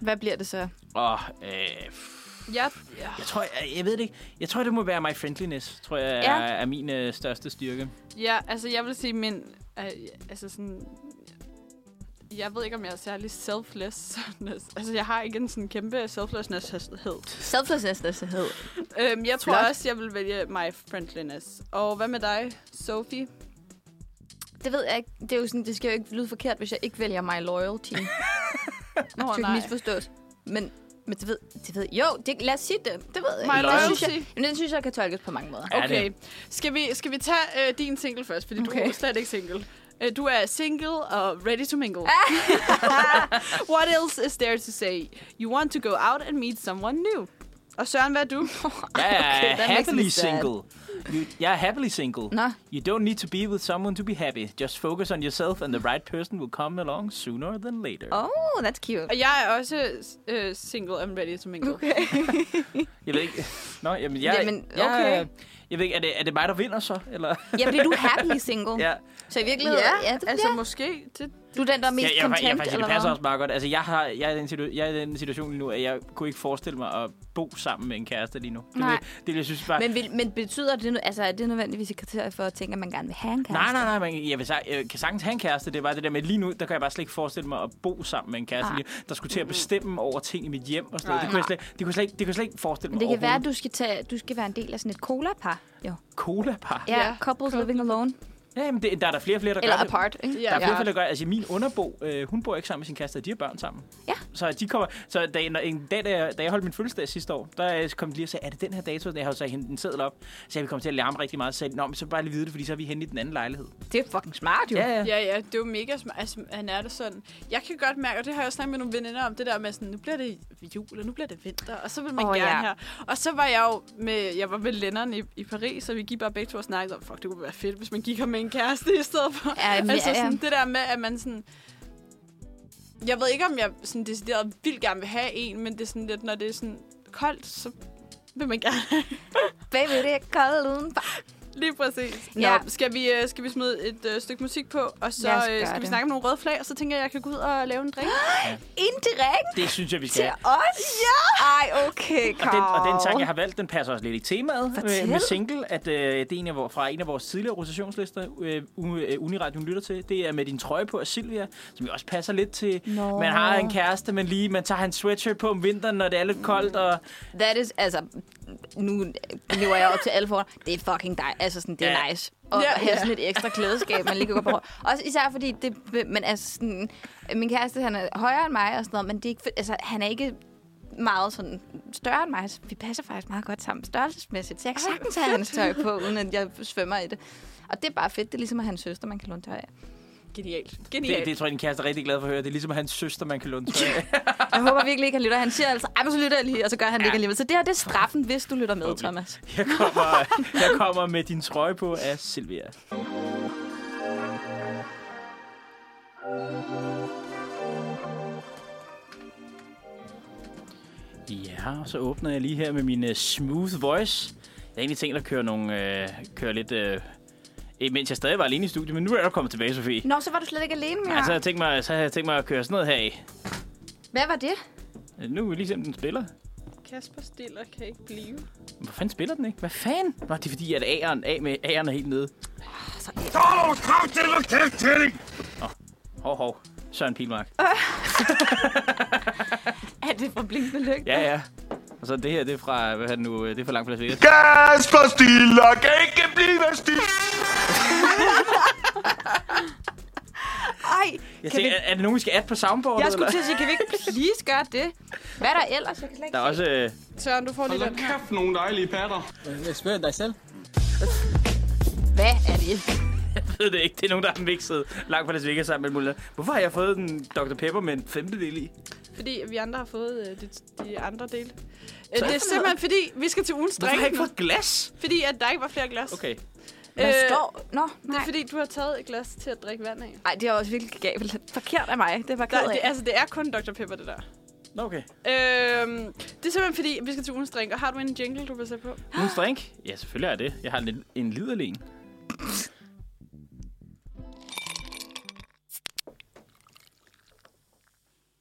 Speaker 1: hvad bliver det så?
Speaker 2: Og... Øh, pff,
Speaker 3: Ja, ja.
Speaker 2: Jeg tror, jeg, jeg ved det ikke. Jeg tror, det må være my friendliness, tror jeg, ja. er, er min øh, største styrke.
Speaker 3: ja, altså jeg vil sige, min... Øh, altså sådan... Jeg ved ikke, om jeg er særlig selflessness. Altså, jeg har ikke en sådan kæmpe selflessness-hed.
Speaker 1: Selflessness-hed.
Speaker 3: Øhm, jeg tror
Speaker 1: Flot.
Speaker 3: også, jeg vil vælge my friendliness. Og hvad med dig, Sophie?
Speaker 1: Det ved jeg ikke. Det, er jo sådan, det skal jo ikke lyde forkert, hvis jeg ikke vælger my loyalty. Nå, det
Speaker 3: nej.
Speaker 1: ikke misforstås. Men, men det ved, det ved Jo, det, lad os sige det. Det ved jeg
Speaker 3: My
Speaker 1: ikke. Det synes jeg,
Speaker 3: loyalty.
Speaker 1: men det synes jeg kan tolkes på mange måder.
Speaker 2: Ja, det er-
Speaker 3: Okay. Skal vi, skal vi tage øh, din single først? Fordi okay. du
Speaker 1: Okay.
Speaker 3: er slet ikke single. Øh, du er single og ready to mingle. What else is there to say? You want to go out and meet someone new. Og Søren, hvad er du?
Speaker 2: Jeg er
Speaker 1: that makes
Speaker 2: okay,
Speaker 1: me
Speaker 2: happily
Speaker 1: sad.
Speaker 2: single. You, jeg er happily single.
Speaker 1: Nå.
Speaker 2: You don't need to be with someone to be happy. Just focus on yourself, and the right person will come along sooner than later.
Speaker 1: Oh, that's cute.
Speaker 3: og jeg er også øh, single and ready to mingle. Okay.
Speaker 2: Jeg ved ikke... Nå, jamen, jeg,
Speaker 1: Jamen,
Speaker 2: jeg,
Speaker 1: okay.
Speaker 2: jeg ved ikke, er det, er det mig, der vinder så? Eller?
Speaker 1: Ja, bliver du happy single?
Speaker 2: ja.
Speaker 1: Så i virkeligheden...
Speaker 3: Ja,
Speaker 1: ja det,
Speaker 3: altså
Speaker 1: altså,
Speaker 3: måske. Det,
Speaker 1: Du er den, der er
Speaker 2: Ja,
Speaker 1: mest
Speaker 2: jeg, jeg,
Speaker 1: content,
Speaker 2: jeg, faktisk,
Speaker 1: eller
Speaker 2: det passer
Speaker 1: hvad?
Speaker 2: også meget godt. Altså, jeg, har, jeg, er i den situ- jeg er i den situation lige nu, at jeg kunne ikke forestille mig at bo sammen med en kæreste lige nu. Det,
Speaker 1: Nej.
Speaker 2: vil- det, vil jeg synes bare...
Speaker 1: Men, vil, men betyder det nu, altså, er det nødvendigvis et kriterie for at tænke, at man gerne vil have en kæreste?
Speaker 2: Nej, nej, nej, man, jeg, vil, sag- jeg kan sagtens have en kæreste. Det er bare det der med, lige nu, der kan jeg bare slet ikke forestille mig at bo sammen med en kæreste,
Speaker 1: Nej.
Speaker 2: lige, der skulle
Speaker 1: Mm.
Speaker 2: til at bestemme over ting i mit hjem og sådan noget.
Speaker 3: Nej.
Speaker 2: Det kunne, jeg slet, det, kunne jeg slet, ikke- det kunne jeg slet ikke forestille mig
Speaker 1: Men det kan være, at
Speaker 2: overhovedet.
Speaker 1: du skal, tage, du skal være en del af sådan et cola-par. Jo.
Speaker 2: Cola-par. Ja.
Speaker 1: Ja,
Speaker 3: Ja,
Speaker 1: yeah, couples living alone.
Speaker 2: Jamen, det, der er der flere og flere, der
Speaker 1: Eller
Speaker 2: gør det.
Speaker 1: apart, ikke?
Speaker 2: Der er
Speaker 3: ja.
Speaker 2: flere, og flere, der gør det. Altså, min underbo, øh, hun bor ikke sammen med sin kæreste, og de har børn sammen.
Speaker 1: Ja.
Speaker 2: Så, de kommer, så da, når, en dag, da jeg, da jeg holdt min fødselsdag sidste år, der øh, kom de lige og sagde, er det den her dato? Jeg har jo så hentet en seddel op, så jeg vil komme til at larme rigtig meget. Så sagde de, "Nå, men så bare lige vide det, fordi så er vi henne i den anden lejlighed.
Speaker 1: Det er fucking smart, jo.
Speaker 2: Ja, ja.
Speaker 3: Ja, ja, det er jo mega smart. Altså, han er det sådan. Jeg kan godt mærke, og det har jeg også snakket med nogle veninder om, det der med sådan, nu bliver det jul, og nu bliver det vinter, og så vil man
Speaker 1: Åh,
Speaker 3: oh, gerne
Speaker 1: ja.
Speaker 3: ja. her. Og så var jeg jo med, jeg var med Lennon i, i Paris, og vi gik bare begge to og snakkede om, fuck, det kunne være fedt, hvis man gik her med en kæreste i stedet for.
Speaker 1: Ja, men-
Speaker 3: altså
Speaker 1: ja, ja.
Speaker 3: sådan, det der med, at man sådan, jeg ved ikke, om jeg sådan decideret vildt gerne vil have en, men det er sådan lidt, når det er sådan koldt, så vil man gerne have.
Speaker 1: Baby, det er koldt udenfor.
Speaker 3: Lige præcis. Nå,
Speaker 1: Ja.
Speaker 3: skal, vi, øh, skal vi smide et øh, stykke musik på, og så
Speaker 1: Lad os
Speaker 3: øh,
Speaker 1: gøre
Speaker 3: skal vi
Speaker 1: det.
Speaker 3: snakke om nogle røde flag, og så tænker jeg, at jeg kan gå ud og lave en drink.
Speaker 1: Indirekt
Speaker 2: Det synes jeg, vi skal
Speaker 1: til
Speaker 2: have.
Speaker 1: os? Ja! Ej, okay,
Speaker 2: Og
Speaker 1: Carl.
Speaker 2: den, og den sang, jeg har valgt, den passer også lidt i temaet med,
Speaker 1: Fortæl.
Speaker 2: med single, at øh, det er en af vores, fra en af vores tidligere rotationslister, øh, Uni- øh, Uniradio lytter til. Det er med din trøje på af Silvia, som jo også passer lidt til,
Speaker 1: Nå.
Speaker 2: man har en kæreste, men lige man tager hans sweatshirt på om vinteren, når det er lidt koldt. Og,
Speaker 1: That is, altså, nu lever jeg op til alle for. Det er fucking dig. Altså, sådan, det er
Speaker 2: Ja.
Speaker 1: nice. Og
Speaker 3: Ja,
Speaker 1: yeah, have
Speaker 3: ja.
Speaker 1: sådan lidt ekstra klædeskab, man lige kan gå på. Også især fordi, det, men altså, sådan, min kæreste, han er højere end mig og sådan noget, men det er ikke, altså, han er ikke meget sådan større end mig, så vi passer faktisk meget godt sammen størrelsesmæssigt, så jeg kan sagtens have hans tøj på, uden at jeg svømmer i det. Og det er bare fedt, det er ligesom at have en søster, man kan låne tøj af.
Speaker 3: Genialt.
Speaker 2: det,
Speaker 3: Genialt.
Speaker 2: det tror jeg, din kæreste er rigtig glad for at høre. Det er ligesom hans søster, man kan låne tøj af.
Speaker 1: Jeg håber virkelig ikke, han lytter. Han siger altså, ej, men så lytter jeg lige, og så gør han det ikke alligevel. Så det her, det er straffen, hvis du lytter med,
Speaker 2: Forhåbentlig.
Speaker 1: Thomas.
Speaker 2: Jeg kommer, jeg kommer med din trøje på af Silvia. Ja, og så åbner jeg lige her med min uh, smooth voice. Jeg havde egentlig tænkt at køre, nogle, uh, køre lidt, uh, mens jeg stadig var alene i studiet, men nu er jeg kommet tilbage, Sofie.
Speaker 1: Nå, så var du slet ikke alene mere.
Speaker 2: Ja. så, havde jeg tænkt mig, så havde jeg tænkt mig at køre sådan noget her i.
Speaker 1: Hvad var det?
Speaker 2: Nu er vi lige se, om den spiller.
Speaker 3: Kasper Stiller kan ikke blive.
Speaker 2: Hvor fanden spiller den ikke? Hvad fanden? Nå, det er fordi, at A'eren, A med A'eren er helt nede.
Speaker 1: Så,
Speaker 2: Hov, hov. Søren Pilmark.
Speaker 1: er det fra blinkende lygter?
Speaker 2: Ja, ja. Og så det her, det er fra, hvad er det nu, øh, det er fra langt fra Las Vegas.
Speaker 5: Kasper Stiller kan ikke blive stil.
Speaker 1: Ej,
Speaker 2: Jeg
Speaker 1: kan vi...
Speaker 2: tænker, er, er det nogen, vi skal add på soundboardet?
Speaker 1: Jeg skulle til
Speaker 2: eller?
Speaker 1: at sige, kan vi ikke please gøre det? Hvad er der ellers? Jeg kan slet ikke
Speaker 2: Der er også... Øh,
Speaker 3: Søren, du får lige den her.
Speaker 5: Kæft, nogle dejlige patter.
Speaker 6: Spørg dig selv.
Speaker 1: se. Hvad er det?
Speaker 2: ved det ikke, det er nogen, der har mixet langt fra Las Vegas sammen med Mulla. Hvorfor har jeg fået den Dr. Pepper med en femtedel i?
Speaker 3: Fordi vi andre har fået øh, de, de andre dele. Øh, det er simpelthen fordi, vi skal til ugens
Speaker 2: Hvorfor har jeg
Speaker 3: drink
Speaker 2: ikke
Speaker 3: nu,
Speaker 2: fået glas?
Speaker 3: Fordi at der ikke var flere glas.
Speaker 2: Okay.
Speaker 1: Man
Speaker 3: Øh,
Speaker 1: står... Nå,
Speaker 3: Det
Speaker 1: nej.
Speaker 3: er fordi, du har taget et glas til at drikke vand af.
Speaker 1: Ej, det er også virkelig gabelt. Forkert af mig. Det var ked
Speaker 3: Der, det,
Speaker 1: af.
Speaker 3: altså, det er kun Dr. Pepper, det der.
Speaker 2: Nå, okay.
Speaker 3: Øhm, det er simpelthen fordi, vi skal til ugens drink. Og har du en jingle, du vil sætte på?
Speaker 2: Ugens drink? Ja, selvfølgelig er det. Jeg har en, en liderlig en.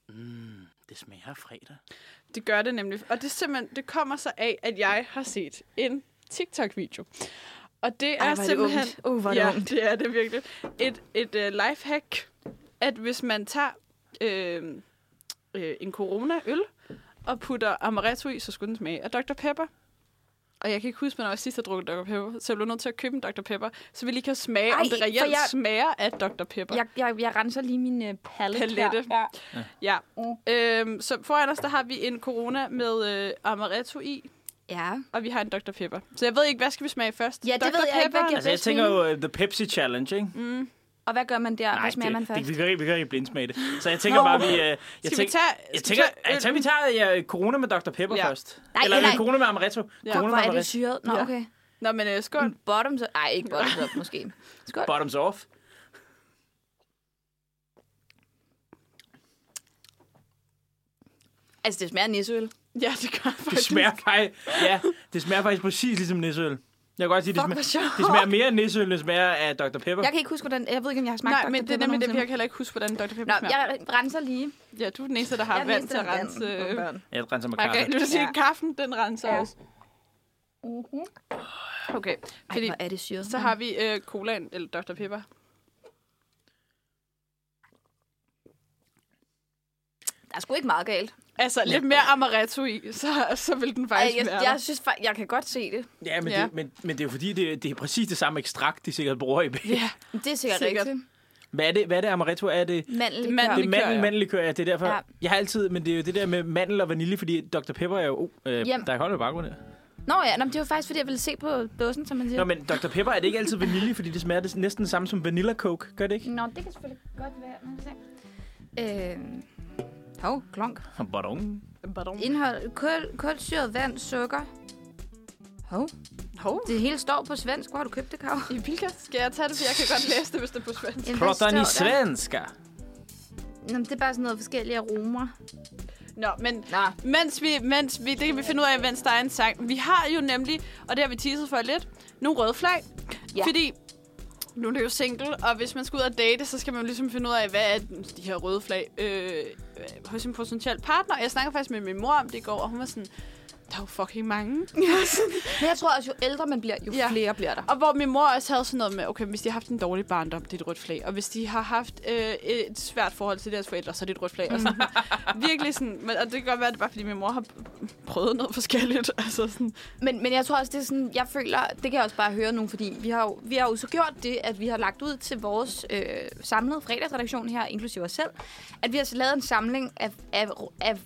Speaker 2: Mm, det smager af fredag.
Speaker 3: Det gør det nemlig. Og det, er simpelthen, det kommer så af, at jeg har set en TikTok-video. Og det er
Speaker 4: Ej, hvor er det
Speaker 3: simpelthen...
Speaker 4: ungt. Uh, hvor er det
Speaker 3: ja,
Speaker 4: ungt.
Speaker 3: det er det virkelig. Et, et uh, lifehack, at hvis man tager øh, øh, en corona-øl og putter amaretto i, så skulle den smage af Dr. Pepper. Og jeg kan ikke huske, hvornår jeg sidst har drukket Dr. Pepper, så jeg blev nødt til at købe en Dr. Pepper, så vi lige kan smage, Ej,
Speaker 4: Ej,
Speaker 3: om det
Speaker 4: for
Speaker 3: reelt jeg...
Speaker 4: jeg-
Speaker 3: smager af Dr. Pepper.
Speaker 4: Jeg, jeg, jeg renser lige min øh, palette,
Speaker 3: Palette.
Speaker 4: her. Ja.
Speaker 3: Ja.
Speaker 4: Mm.
Speaker 3: Øhm, så foran os, der har vi en corona med øh, amaretto i,
Speaker 4: ja.
Speaker 3: og vi har en Dr. Pepper. Så jeg ved ikke, hvad skal vi smage først?
Speaker 4: Ja, det
Speaker 3: Dr.
Speaker 4: ved jeg ikke, hvad
Speaker 3: Pepper?
Speaker 4: giver-
Speaker 2: Altså, jeg
Speaker 4: bedst
Speaker 2: tænker jo uh, The Pepsi Challenge, ikke? Mm,
Speaker 4: Og hvad gør man der? Nej, Hvad smager
Speaker 2: det,
Speaker 4: man
Speaker 2: Det,
Speaker 4: først?
Speaker 2: vi, kan, ikke- vi kan ikke blindsmage det. Så jeg tænker
Speaker 4: Nå.
Speaker 2: bare, vi... Uh, jeg
Speaker 3: Skal vi
Speaker 2: tænker,
Speaker 3: tage...
Speaker 2: jeg
Speaker 3: skal vi
Speaker 2: tænker,
Speaker 3: tage
Speaker 2: jeg tænker, vi tager uh, corona med Dr. Pepper
Speaker 3: Ja.
Speaker 2: ja. først.
Speaker 4: øh, Nej,
Speaker 2: eller,
Speaker 4: nej.
Speaker 2: eller corona med amaretto. Ja. Corona
Speaker 4: Hvor
Speaker 2: med
Speaker 4: er det
Speaker 2: amaretto.
Speaker 4: syret? Nå,
Speaker 3: Ja.
Speaker 4: okay.
Speaker 3: Nå, men øh, skål.
Speaker 4: Bottoms up. Ej, ikke bottoms up, måske. Skål.
Speaker 2: Bottoms off.
Speaker 4: Altså, det smager af nisseøl.
Speaker 3: Ja, det gør jeg
Speaker 2: Det
Speaker 3: faktisk.
Speaker 2: smager faktisk... Ja, det smager faktisk præcis ligesom nisseøl. Jeg kan godt sige, det
Speaker 4: Fuck, hvor
Speaker 2: smager,
Speaker 4: sjovt.
Speaker 2: det smager mere end nisseøl, end det smager af Dr. Pepper.
Speaker 4: Jeg kan ikke huske, hvordan... Jeg ved ikke, om jeg har smagt
Speaker 3: Nej,
Speaker 4: Dr.
Speaker 3: men det er
Speaker 4: Pepper
Speaker 3: nemlig det, jeg
Speaker 4: nogensinde.
Speaker 3: kan heller ikke huske, hvordan Dr. Pepper
Speaker 4: Nå,
Speaker 3: smager.
Speaker 4: jeg renser lige.
Speaker 3: Ja, du er den eneste, der har
Speaker 4: Jeg
Speaker 3: vand til at
Speaker 4: renser
Speaker 3: rense...
Speaker 4: vand på
Speaker 3: øh,
Speaker 4: børn.
Speaker 2: Jeg renser med
Speaker 3: Okay,
Speaker 2: kaffe.
Speaker 3: nu vil sige,
Speaker 4: Ja.
Speaker 3: at kaffen, den renser
Speaker 4: Ja. Mm-hmm.
Speaker 3: også. Okay,
Speaker 4: Ej,
Speaker 3: fordi
Speaker 4: hvor er det syret.
Speaker 3: så har vi øh, colaen, eller Dr. Pepper.
Speaker 4: Der er sgu ikke meget galt.
Speaker 3: Altså, lidt mere amaretto i, så, så vil den
Speaker 4: Ej,
Speaker 3: faktisk
Speaker 4: jeg,
Speaker 3: være
Speaker 4: jeg,
Speaker 3: der.
Speaker 4: jeg, synes, fa- jeg kan godt se det.
Speaker 2: Ja, men,
Speaker 3: Ja.
Speaker 2: ja. Det, men, men det er jo fordi, det, det er præcis det samme ekstrakt, de sikkert bruger i begge.
Speaker 3: Ja,
Speaker 4: Det er sikkert,
Speaker 3: Sikkert.
Speaker 4: sikkert. rigtigt.
Speaker 2: Hvad er det, hvad er det amaretto? Er det,
Speaker 4: Mandel,
Speaker 2: det
Speaker 3: Mandel-
Speaker 2: er
Speaker 4: mandel.
Speaker 3: Mandellikør,
Speaker 2: mandel,
Speaker 3: ja.
Speaker 2: ja. mandellikør, ja, det er derfor.
Speaker 4: Ja.
Speaker 2: Ja. Jeg har altid, men det er jo det der med mandel og vanilje, fordi Dr. Pepper er jo... Oh, øh,
Speaker 4: Jamen.
Speaker 2: der er koldt i baggrunden her.
Speaker 4: Nå ja, nå, men det var faktisk, fordi jeg ville se på dåsen, som man siger.
Speaker 2: Nå, men Dr. Pepper er det ikke altid vanilje, fordi det smager det næsten det samme som vanilla coke, gør det ikke?
Speaker 4: Nå, det kan selvfølgelig godt være. Man kan se. Øh, hov, klonk.
Speaker 2: Badong.
Speaker 3: badum.
Speaker 4: Indhold, kul, kulsyret vand, sukker. Hov,
Speaker 3: Hov.
Speaker 4: det hele står på svensk. Hvor har du købt det, Kav?
Speaker 3: I Bilka? Skal jeg tage det, for jeg kan godt læse det, hvis det er på svensk.
Speaker 4: Jamen, hvad
Speaker 2: Pratan i
Speaker 4: står der?
Speaker 2: svenska.
Speaker 4: Nå, men det er bare sådan noget forskellige aromer.
Speaker 3: Nå, men
Speaker 4: Nå,
Speaker 3: mens vi, mens vi, det kan vi finde ud af, mens der er en sang. Vi har jo nemlig, og det har vi teaset for lidt, nogle røde flag. Ja.
Speaker 4: Ja.
Speaker 3: Fordi nu er det jo single, og hvis man skal ud og date, så skal man jo ligesom finde ud af, hvad er de her røde flag øh, hos en potentiel partner. Jeg snakker faktisk med min mor om det i går, og hun var sådan, der er jo fucking mange.
Speaker 4: men jeg tror også, jo ældre man bliver, jo
Speaker 3: Ja.
Speaker 4: ja. flere bliver der.
Speaker 3: Og hvor min mor også havde sådan noget med, okay, hvis de har haft en dårlig barndom, det er et rødt flag. Og hvis de har haft øh, et svært forhold til deres forældre, så er det et rødt flag. Og sådan, virkelig sådan, men, og det kan godt være, at det er bare fordi min mor har prøvet noget forskelligt. Altså sådan,
Speaker 4: Men, men jeg tror også, det er sådan, jeg føler, det kan jeg også bare høre nu, fordi vi har jo, vi har jo så gjort det, at vi har lagt ud til vores øh, samlede fredagsredaktion her, inklusive os selv, at vi har så lavet en samling af, af, af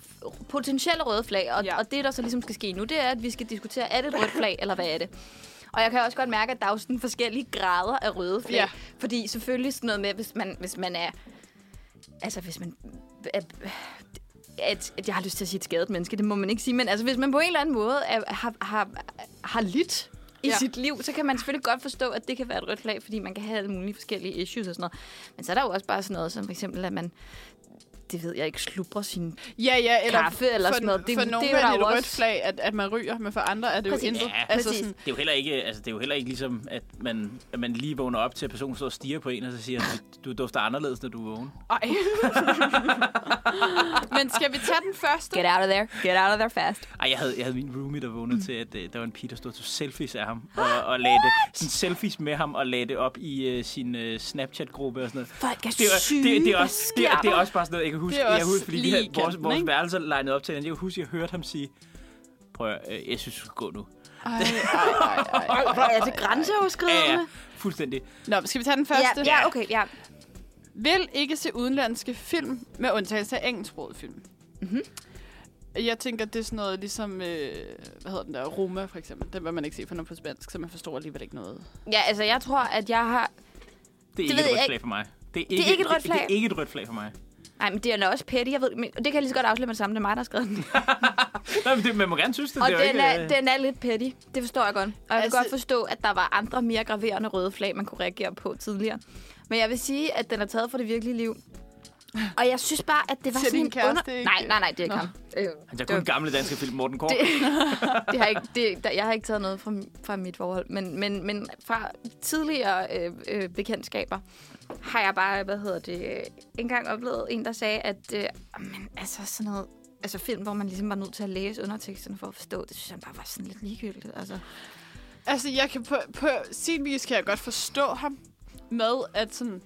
Speaker 4: potentielle røde flag, og,
Speaker 3: Ja.
Speaker 4: ja. og det, der så ligesom skal ske nu, det er, at vi skal diskutere, er det et rødt flag, eller hvad er det? Og jeg kan også godt mærke, at der er jo sådan forskellige grader af røde flag.
Speaker 3: Ja.
Speaker 4: Ja. Fordi selvfølgelig sådan noget med, hvis man, hvis man er... Altså, hvis man... Er, at, at jeg har lyst til at sige et skadet menneske, det må man ikke sige, men altså, hvis man på en eller anden måde er, har, har, har lidt i
Speaker 3: Ja.
Speaker 4: ja. sit liv, så kan man selvfølgelig godt forstå, at det kan være et rødt flag, fordi man kan have alle mulige forskellige issues og sådan noget. Men så er der jo også bare sådan noget som for eksempel, at man, det ved jeg ikke, slubrer sin...
Speaker 3: ja, ja, eller
Speaker 4: Kaffe eller sådan noget.
Speaker 3: Det,
Speaker 4: Det-
Speaker 3: for
Speaker 4: det
Speaker 3: nogle
Speaker 4: er jo
Speaker 3: er
Speaker 4: der
Speaker 3: det et
Speaker 4: jo
Speaker 3: rødt
Speaker 4: også-
Speaker 3: flag, at, at man ryger, men for andre er det jo
Speaker 4: Præcis.
Speaker 3: intet.
Speaker 2: Ja,
Speaker 3: altså
Speaker 4: præcis.
Speaker 3: sådan,
Speaker 2: Det er jo heller ikke, altså, det er jo heller ikke ligesom, at man, at man lige vågner op til, at personen står og stiger på en, og så siger, du, du dufter anderledes, når du er vågen.
Speaker 3: ej. men skal vi tage den første?
Speaker 4: Get out of there. Get out of there fast.
Speaker 2: Ej, jeg havde, jeg havde min roomie, der vågnede til, at øh, der var en pige, der stod og tog selfies af ham, og, og lagde det, sådan selfies med ham, og lagde det op i uh, sin uh, Snapchat-gruppe og sådan noget.
Speaker 4: Folk er
Speaker 2: Det er,
Speaker 4: syge.
Speaker 2: det, det, er
Speaker 4: Hvad
Speaker 2: også, det,
Speaker 4: sker
Speaker 2: er- det er
Speaker 4: der?
Speaker 2: også bare sådan noget, jeg kan huske.
Speaker 3: Det er
Speaker 2: Jeg
Speaker 3: også
Speaker 2: kan huske, fordi vi
Speaker 3: lige
Speaker 2: havde, vores,
Speaker 3: kanten,
Speaker 2: vores
Speaker 3: ikke?
Speaker 2: værelser legnet op til hinanden. Jeg kan huske, jeg hørte ham sige, prøv at, øh, jeg synes, du skal gå nu.
Speaker 3: Ej, ej, ej, ej.
Speaker 4: Er det grænseoverskridende?
Speaker 2: Ja, ja, fuldstændig.
Speaker 3: Nå, skal vi tage den første?
Speaker 4: Ja, ja, okay, ja.
Speaker 3: Vil ikke se udenlandske film, med undtagelse af engelsksproget film. Mm-hmm.
Speaker 4: Mhm.
Speaker 3: Jeg tænker, det er sådan noget ligesom, øh, hvad hedder den der, Roma for eksempel. Den vil man ikke se, for den er på spansk, så man forstår alligevel ikke noget.
Speaker 4: Ja, altså, jeg tror, at jeg har...
Speaker 2: Det er ikke
Speaker 4: ved
Speaker 2: et
Speaker 4: jeg
Speaker 2: rødt
Speaker 4: ikke.
Speaker 2: flag for mig. er
Speaker 4: er ikke et rødt
Speaker 2: Det,
Speaker 4: flag.
Speaker 2: det er ikke et rødt flag for mig.
Speaker 4: Nej, men det er da også petty, jeg ved, men det kan jeg lige så godt afsløre med det samme, det er mig, der har skrevet den.
Speaker 2: Nej, men det, man må gerne synes det.
Speaker 4: Og
Speaker 2: det
Speaker 4: den
Speaker 2: jo
Speaker 4: er,
Speaker 2: ikke, øh,
Speaker 4: den er lidt petty, det forstår jeg godt. Og jeg
Speaker 3: Altså-
Speaker 4: altså, kan godt forstå, at der var andre mere graverende røde flag, man kunne reagere på tidligere. Men jeg vil sige, at den er taget fra det virkelige liv. Og jeg synes bare, at det var
Speaker 3: Til
Speaker 4: sådan
Speaker 3: din
Speaker 4: en
Speaker 3: kæreste, ikke?
Speaker 4: Nej, nej, nej, det er ikke ham. Øh,
Speaker 2: Han tager kun den gamle danske film, Morten Kåre.
Speaker 4: det har ikke, det, der, jeg har ikke taget noget fra, fra mit forhold, men, men, men fra tidligere øh, øh, bekendtskaber har jeg bare, hvad hedder det, øh, engang oplevet en, der sagde, at øh, men, altså sådan noget, altså film, hvor man ligesom var nødt til at læse underteksterne for at forstå. Det synes jeg bare var sådan lidt ligegyldigt. Altså.
Speaker 3: Altså, jeg kan på, på sin vis kan jeg godt forstå ham med, at sådan...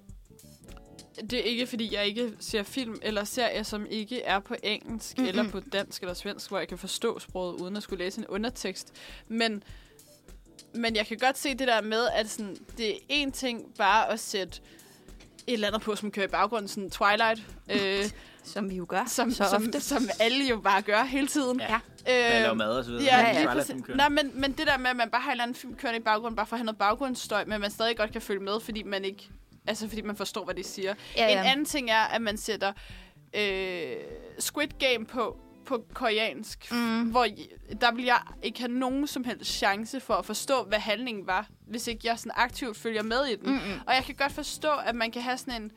Speaker 3: Det er ikke, fordi jeg ikke ser film eller serier, som ikke er på engelsk mm-hmm. eller på dansk eller svensk, hvor jeg kan forstå sproget uden at skulle læse en undertekst. Men, men jeg kan godt se det der med, at sådan, det er en ting bare at sætte et eller andet på, som kører i baggrunden, sådan Twilight, øh,
Speaker 4: Som vi jo gør
Speaker 3: som,
Speaker 4: så
Speaker 3: som,
Speaker 4: ofte.
Speaker 3: som alle jo bare gør hele tiden.
Speaker 2: Ja.
Speaker 3: Øh,
Speaker 2: Man laver mad og så videre.
Speaker 3: Ja,
Speaker 4: ja,
Speaker 3: ja, lige
Speaker 2: Twilight
Speaker 3: præcis.
Speaker 2: film kører.
Speaker 3: Nej, men, men det der med, at man bare har en eller anden film kørende i baggrunden, bare for at have noget baggrundsstøj, men man stadig godt kan følge med, fordi man ikke... Altså, fordi man forstår, hvad de siger.
Speaker 4: Ja,
Speaker 3: En
Speaker 4: ja.
Speaker 3: anden ting er, at man sætter øh, Squid Game på på koreansk, mm. hvor j- der ville jeg ikke have nogen som helst chance for at forstå, hvad handlingen var, hvis ikke jeg sådan aktivt følger med i den. Mm-hmm. Og jeg kan godt forstå, at man kan have sådan en...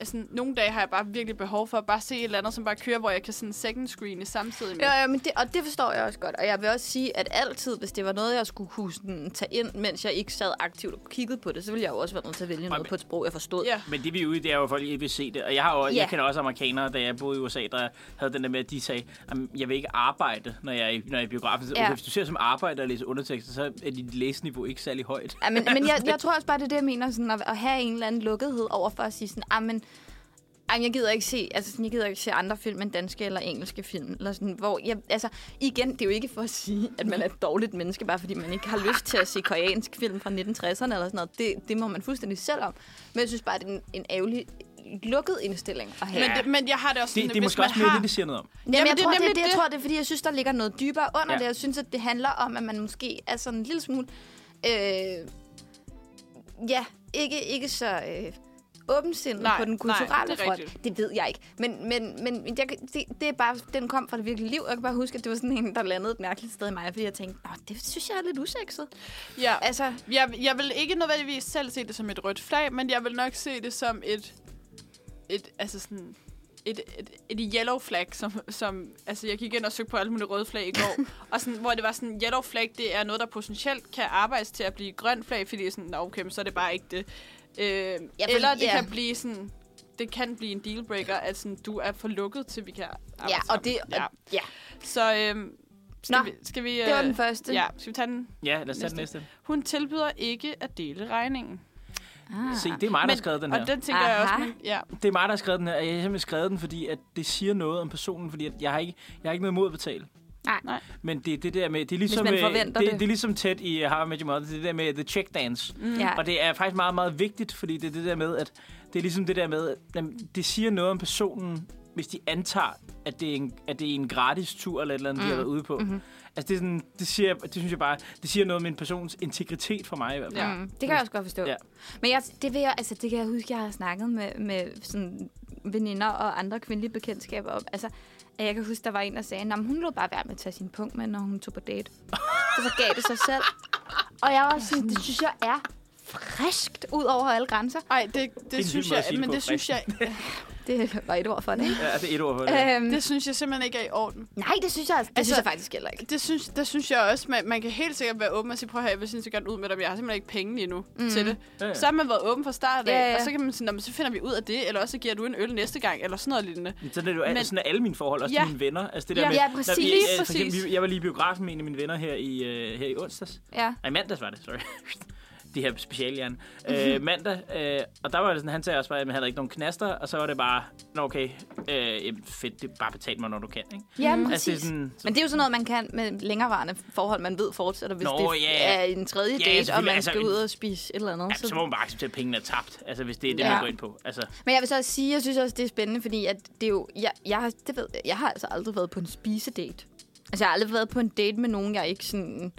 Speaker 3: Altså, nogle dage har jeg bare virkelig behov for at bare se et eller andet, som bare kører, hvor jeg kan sådan second screene samtidig med.
Speaker 4: Ja, ja, men det, og det forstår jeg også godt. Og jeg vil også sige, at altid, hvis det var noget, jeg skulle kunne sådan, tage ind, mens jeg ikke sad aktivt og kiggede på det, så ville jeg jo også være nødt til at vælge noget
Speaker 2: men-
Speaker 4: på et sprog, jeg forstod.
Speaker 3: Ja.
Speaker 2: Men det vi er ude i, det er jo, at folk ikke vil se det. Og jeg, har jo, yeah.
Speaker 4: Ja.
Speaker 2: jeg kender også amerikanere, da jeg boede i USA, der havde den der med, at de sagde, at jeg vil ikke arbejde, når jeg er i, når jeg er i biografen. Så,
Speaker 4: Ja.
Speaker 2: okay, hvis du ser som arbejder og læser undertekster, så er dit læseniveau ikke særlig højt.
Speaker 4: Ja, men, men jeg, jeg tror også bare, det er det, jeg mener, sådan at, at have en eller anden lukkethed over for at sige sådan, ah, men, ej, men jeg gider ikke se, altså sådan, jeg gider ikke se andre film end danske eller engelske film, eller sådan, hvor jeg, altså, igen, det er jo ikke for at sige, at man er et dårligt menneske, bare fordi man ikke har lyst til at se koreansk film fra 1960'erne eller sådan noget. Det, det må man fuldstændig selv om. Men jeg synes bare, det er en, en ærgerlig lukket indstilling at have.
Speaker 3: Men, det, men jeg har det også sådan,
Speaker 2: Det, det er
Speaker 3: hvis
Speaker 2: måske
Speaker 3: man
Speaker 2: også mere
Speaker 3: har...
Speaker 2: det, det siger noget om.
Speaker 4: Jamen,
Speaker 3: Jamen,
Speaker 4: jeg,
Speaker 3: det er
Speaker 4: tror, det,
Speaker 3: nemlig
Speaker 4: det, jeg
Speaker 3: det.
Speaker 4: tror, det er, fordi jeg synes, der ligger noget dybere under
Speaker 2: Ja.
Speaker 4: ja. det. Jeg synes, at det handler om, at man måske er sådan en lille smule... Øh, ja, ikke, ikke så øh, åbensindet
Speaker 3: Nej,
Speaker 4: på den
Speaker 3: nej,
Speaker 4: kulturelle
Speaker 3: det er
Speaker 4: front.
Speaker 3: rigtigt.
Speaker 4: Det ved jeg ikke. Men, men, men jeg, kan- det, det er bare, den kom fra det virkelige liv. Jeg kan bare huske, at det var sådan en, der landede et mærkeligt sted i mig, fordi jeg tænkte, Nå, det synes jeg er lidt usekset.
Speaker 3: Ja, altså,
Speaker 4: Altså,
Speaker 3: jeg, jeg vil ikke nødvendigvis selv se det som et rødt flag, men jeg vil nok se det som et... et altså sådan... Et, et, et yellow flag, som, som... Altså, jeg gik ind og søgte på alle mulige røde flag i går, og sådan, hvor det var sådan, yellow flag, det er noget, der potentielt kan arbejdes til at blive grøn flag, fordi sådan, nå, okay, men så er det bare ikke det. Øh, ja,
Speaker 4: fordi-
Speaker 3: eller det
Speaker 4: ja.
Speaker 3: kan blive sådan... Det kan blive en dealbreaker, at sådan, du er for lukket til, vi kan arbejde
Speaker 4: ja, og
Speaker 3: sammen.
Speaker 4: det...
Speaker 3: Ja.
Speaker 4: Ja. ja.
Speaker 3: Så øhm, skal,
Speaker 4: Nå,
Speaker 3: vi, skal vi...
Speaker 4: det var
Speaker 3: øh,
Speaker 4: den første.
Speaker 3: Ja, skal vi tage den
Speaker 2: Ja, lad os tage den næste.
Speaker 3: Hun tilbyder ikke at dele regningen.
Speaker 4: Ah.
Speaker 2: Se, det er mig, der har skrevet den her.
Speaker 3: Og den tænker Aha. jeg
Speaker 4: Aha.
Speaker 3: også... Ja.
Speaker 2: Det er mig, der har skrevet den her, og jeg har simpelthen skrevet den, fordi at det siger noget om personen, fordi at jeg, har ikke, jeg har ikke noget mod at betale.
Speaker 4: Nej.
Speaker 3: Nej.
Speaker 2: Men det er det der med, det er ligesom,
Speaker 4: man
Speaker 2: øh,
Speaker 4: forventer
Speaker 2: det,
Speaker 4: det.
Speaker 2: det er ligesom tæt i How I Met Your Mother, det er det der med the check dance. Mm.
Speaker 4: Ja.
Speaker 2: Og det er faktisk meget, meget vigtigt, fordi det er det der med, at det er ligesom det der med, at jamen, det siger noget om personen, hvis de antager, at det er en, at det er en gratis tur eller et eller andet, mm. de har været ude på. Mm-hmm. Altså det, er sådan, det, siger, det synes jeg bare, det siger noget om en persons integritet for mig i hvert fald.
Speaker 3: Ja.
Speaker 2: Ja.
Speaker 4: Mm, det kan jeg også godt forstå.
Speaker 2: Ja.
Speaker 4: Ja. Men jeg, det, vil jeg, altså, det kan jeg huske, jeg har snakket med, med sådan veninder og andre kvindelige bekendtskaber om. Altså, at jeg kan huske, der var en, der sagde, at hun lå bare være med at tage sin punkt med, når hun tog på date. Og så gav det sig selv. Og jeg var sådan, det synes jeg er friskt ud over alle grænser.
Speaker 3: Ej, det,
Speaker 2: en
Speaker 3: det
Speaker 2: vild
Speaker 3: synes
Speaker 2: måde
Speaker 3: jeg...
Speaker 2: at sige det
Speaker 3: Men
Speaker 2: på,
Speaker 3: det synes jeg,
Speaker 4: Det var et ord for det, ikke?
Speaker 2: ja, det er et ord for det.
Speaker 1: Øh,
Speaker 4: Øhm,
Speaker 3: det synes jeg simpelthen ikke er i orden.
Speaker 4: nej, det synes jeg, det altså,
Speaker 3: Altså-
Speaker 4: synes jeg faktisk heller ikke.
Speaker 3: Det synes, det synes jeg også, man, man kan helt sikkert være åben og sige, prøv at høre, jeg vil sindssygt gerne ud med dig, men jeg har simpelthen ikke penge lige nu mm. til det.
Speaker 2: Ja, ja.
Speaker 3: Så har man været åben fra start af,
Speaker 4: Ja, ja.
Speaker 3: og så kan man sige, "Nå, men så finder vi ud af det, eller også så giver du en øl næste gang, eller sådan noget lignende.
Speaker 2: Men Sådan er det jo men,
Speaker 3: Men-
Speaker 2: sådan er alle mine forhold, også ja.
Speaker 3: Ja.
Speaker 2: til mine venner. Altså det der
Speaker 3: Ja,
Speaker 2: med,
Speaker 4: ja,
Speaker 2: når vi-
Speaker 4: præcis.
Speaker 2: øh,
Speaker 4: Lige
Speaker 2: for eksempel,
Speaker 3: præcis.
Speaker 2: vi- jeg var lige i biografen med en af mine venner her i, øh, her i onsdags.
Speaker 4: Ja.
Speaker 2: Nej, mandags var det, sorry. det her specialhjerne. Øh, mandag, øh, og der var det sådan, han sagde også bare, at han havde ikke nogen knaster, og så var det bare, nå okay, øh, jamen, fedt, det er bare betal mig, når du kan, ikke?
Speaker 4: Ja,
Speaker 2: Altså, det er
Speaker 4: præcis.
Speaker 2: sådan,
Speaker 4: Men det er jo sådan noget, man kan med længerevarende forhold, man ved fortsætter, hvis
Speaker 2: Nå,
Speaker 4: det
Speaker 2: ja.
Speaker 4: er en tredje
Speaker 2: Ja,
Speaker 4: date, og
Speaker 2: selvfølgelig.
Speaker 4: man
Speaker 2: Altså,
Speaker 4: skal
Speaker 2: en-
Speaker 4: ud og spise et eller andet.
Speaker 2: ja, så må man bare acceptere, at pengene er tabt, altså hvis det er det, ja.
Speaker 4: Ja.
Speaker 2: man går ind på. Altså,
Speaker 4: Men jeg vil så også sige, at jeg synes også, det er spændende, fordi at det er jo, jeg, jeg, har, det ved, jeg, jeg har altså aldrig været på en spisedate. Altså, jeg har aldrig været på en date med nogen, jeg ikke sådan...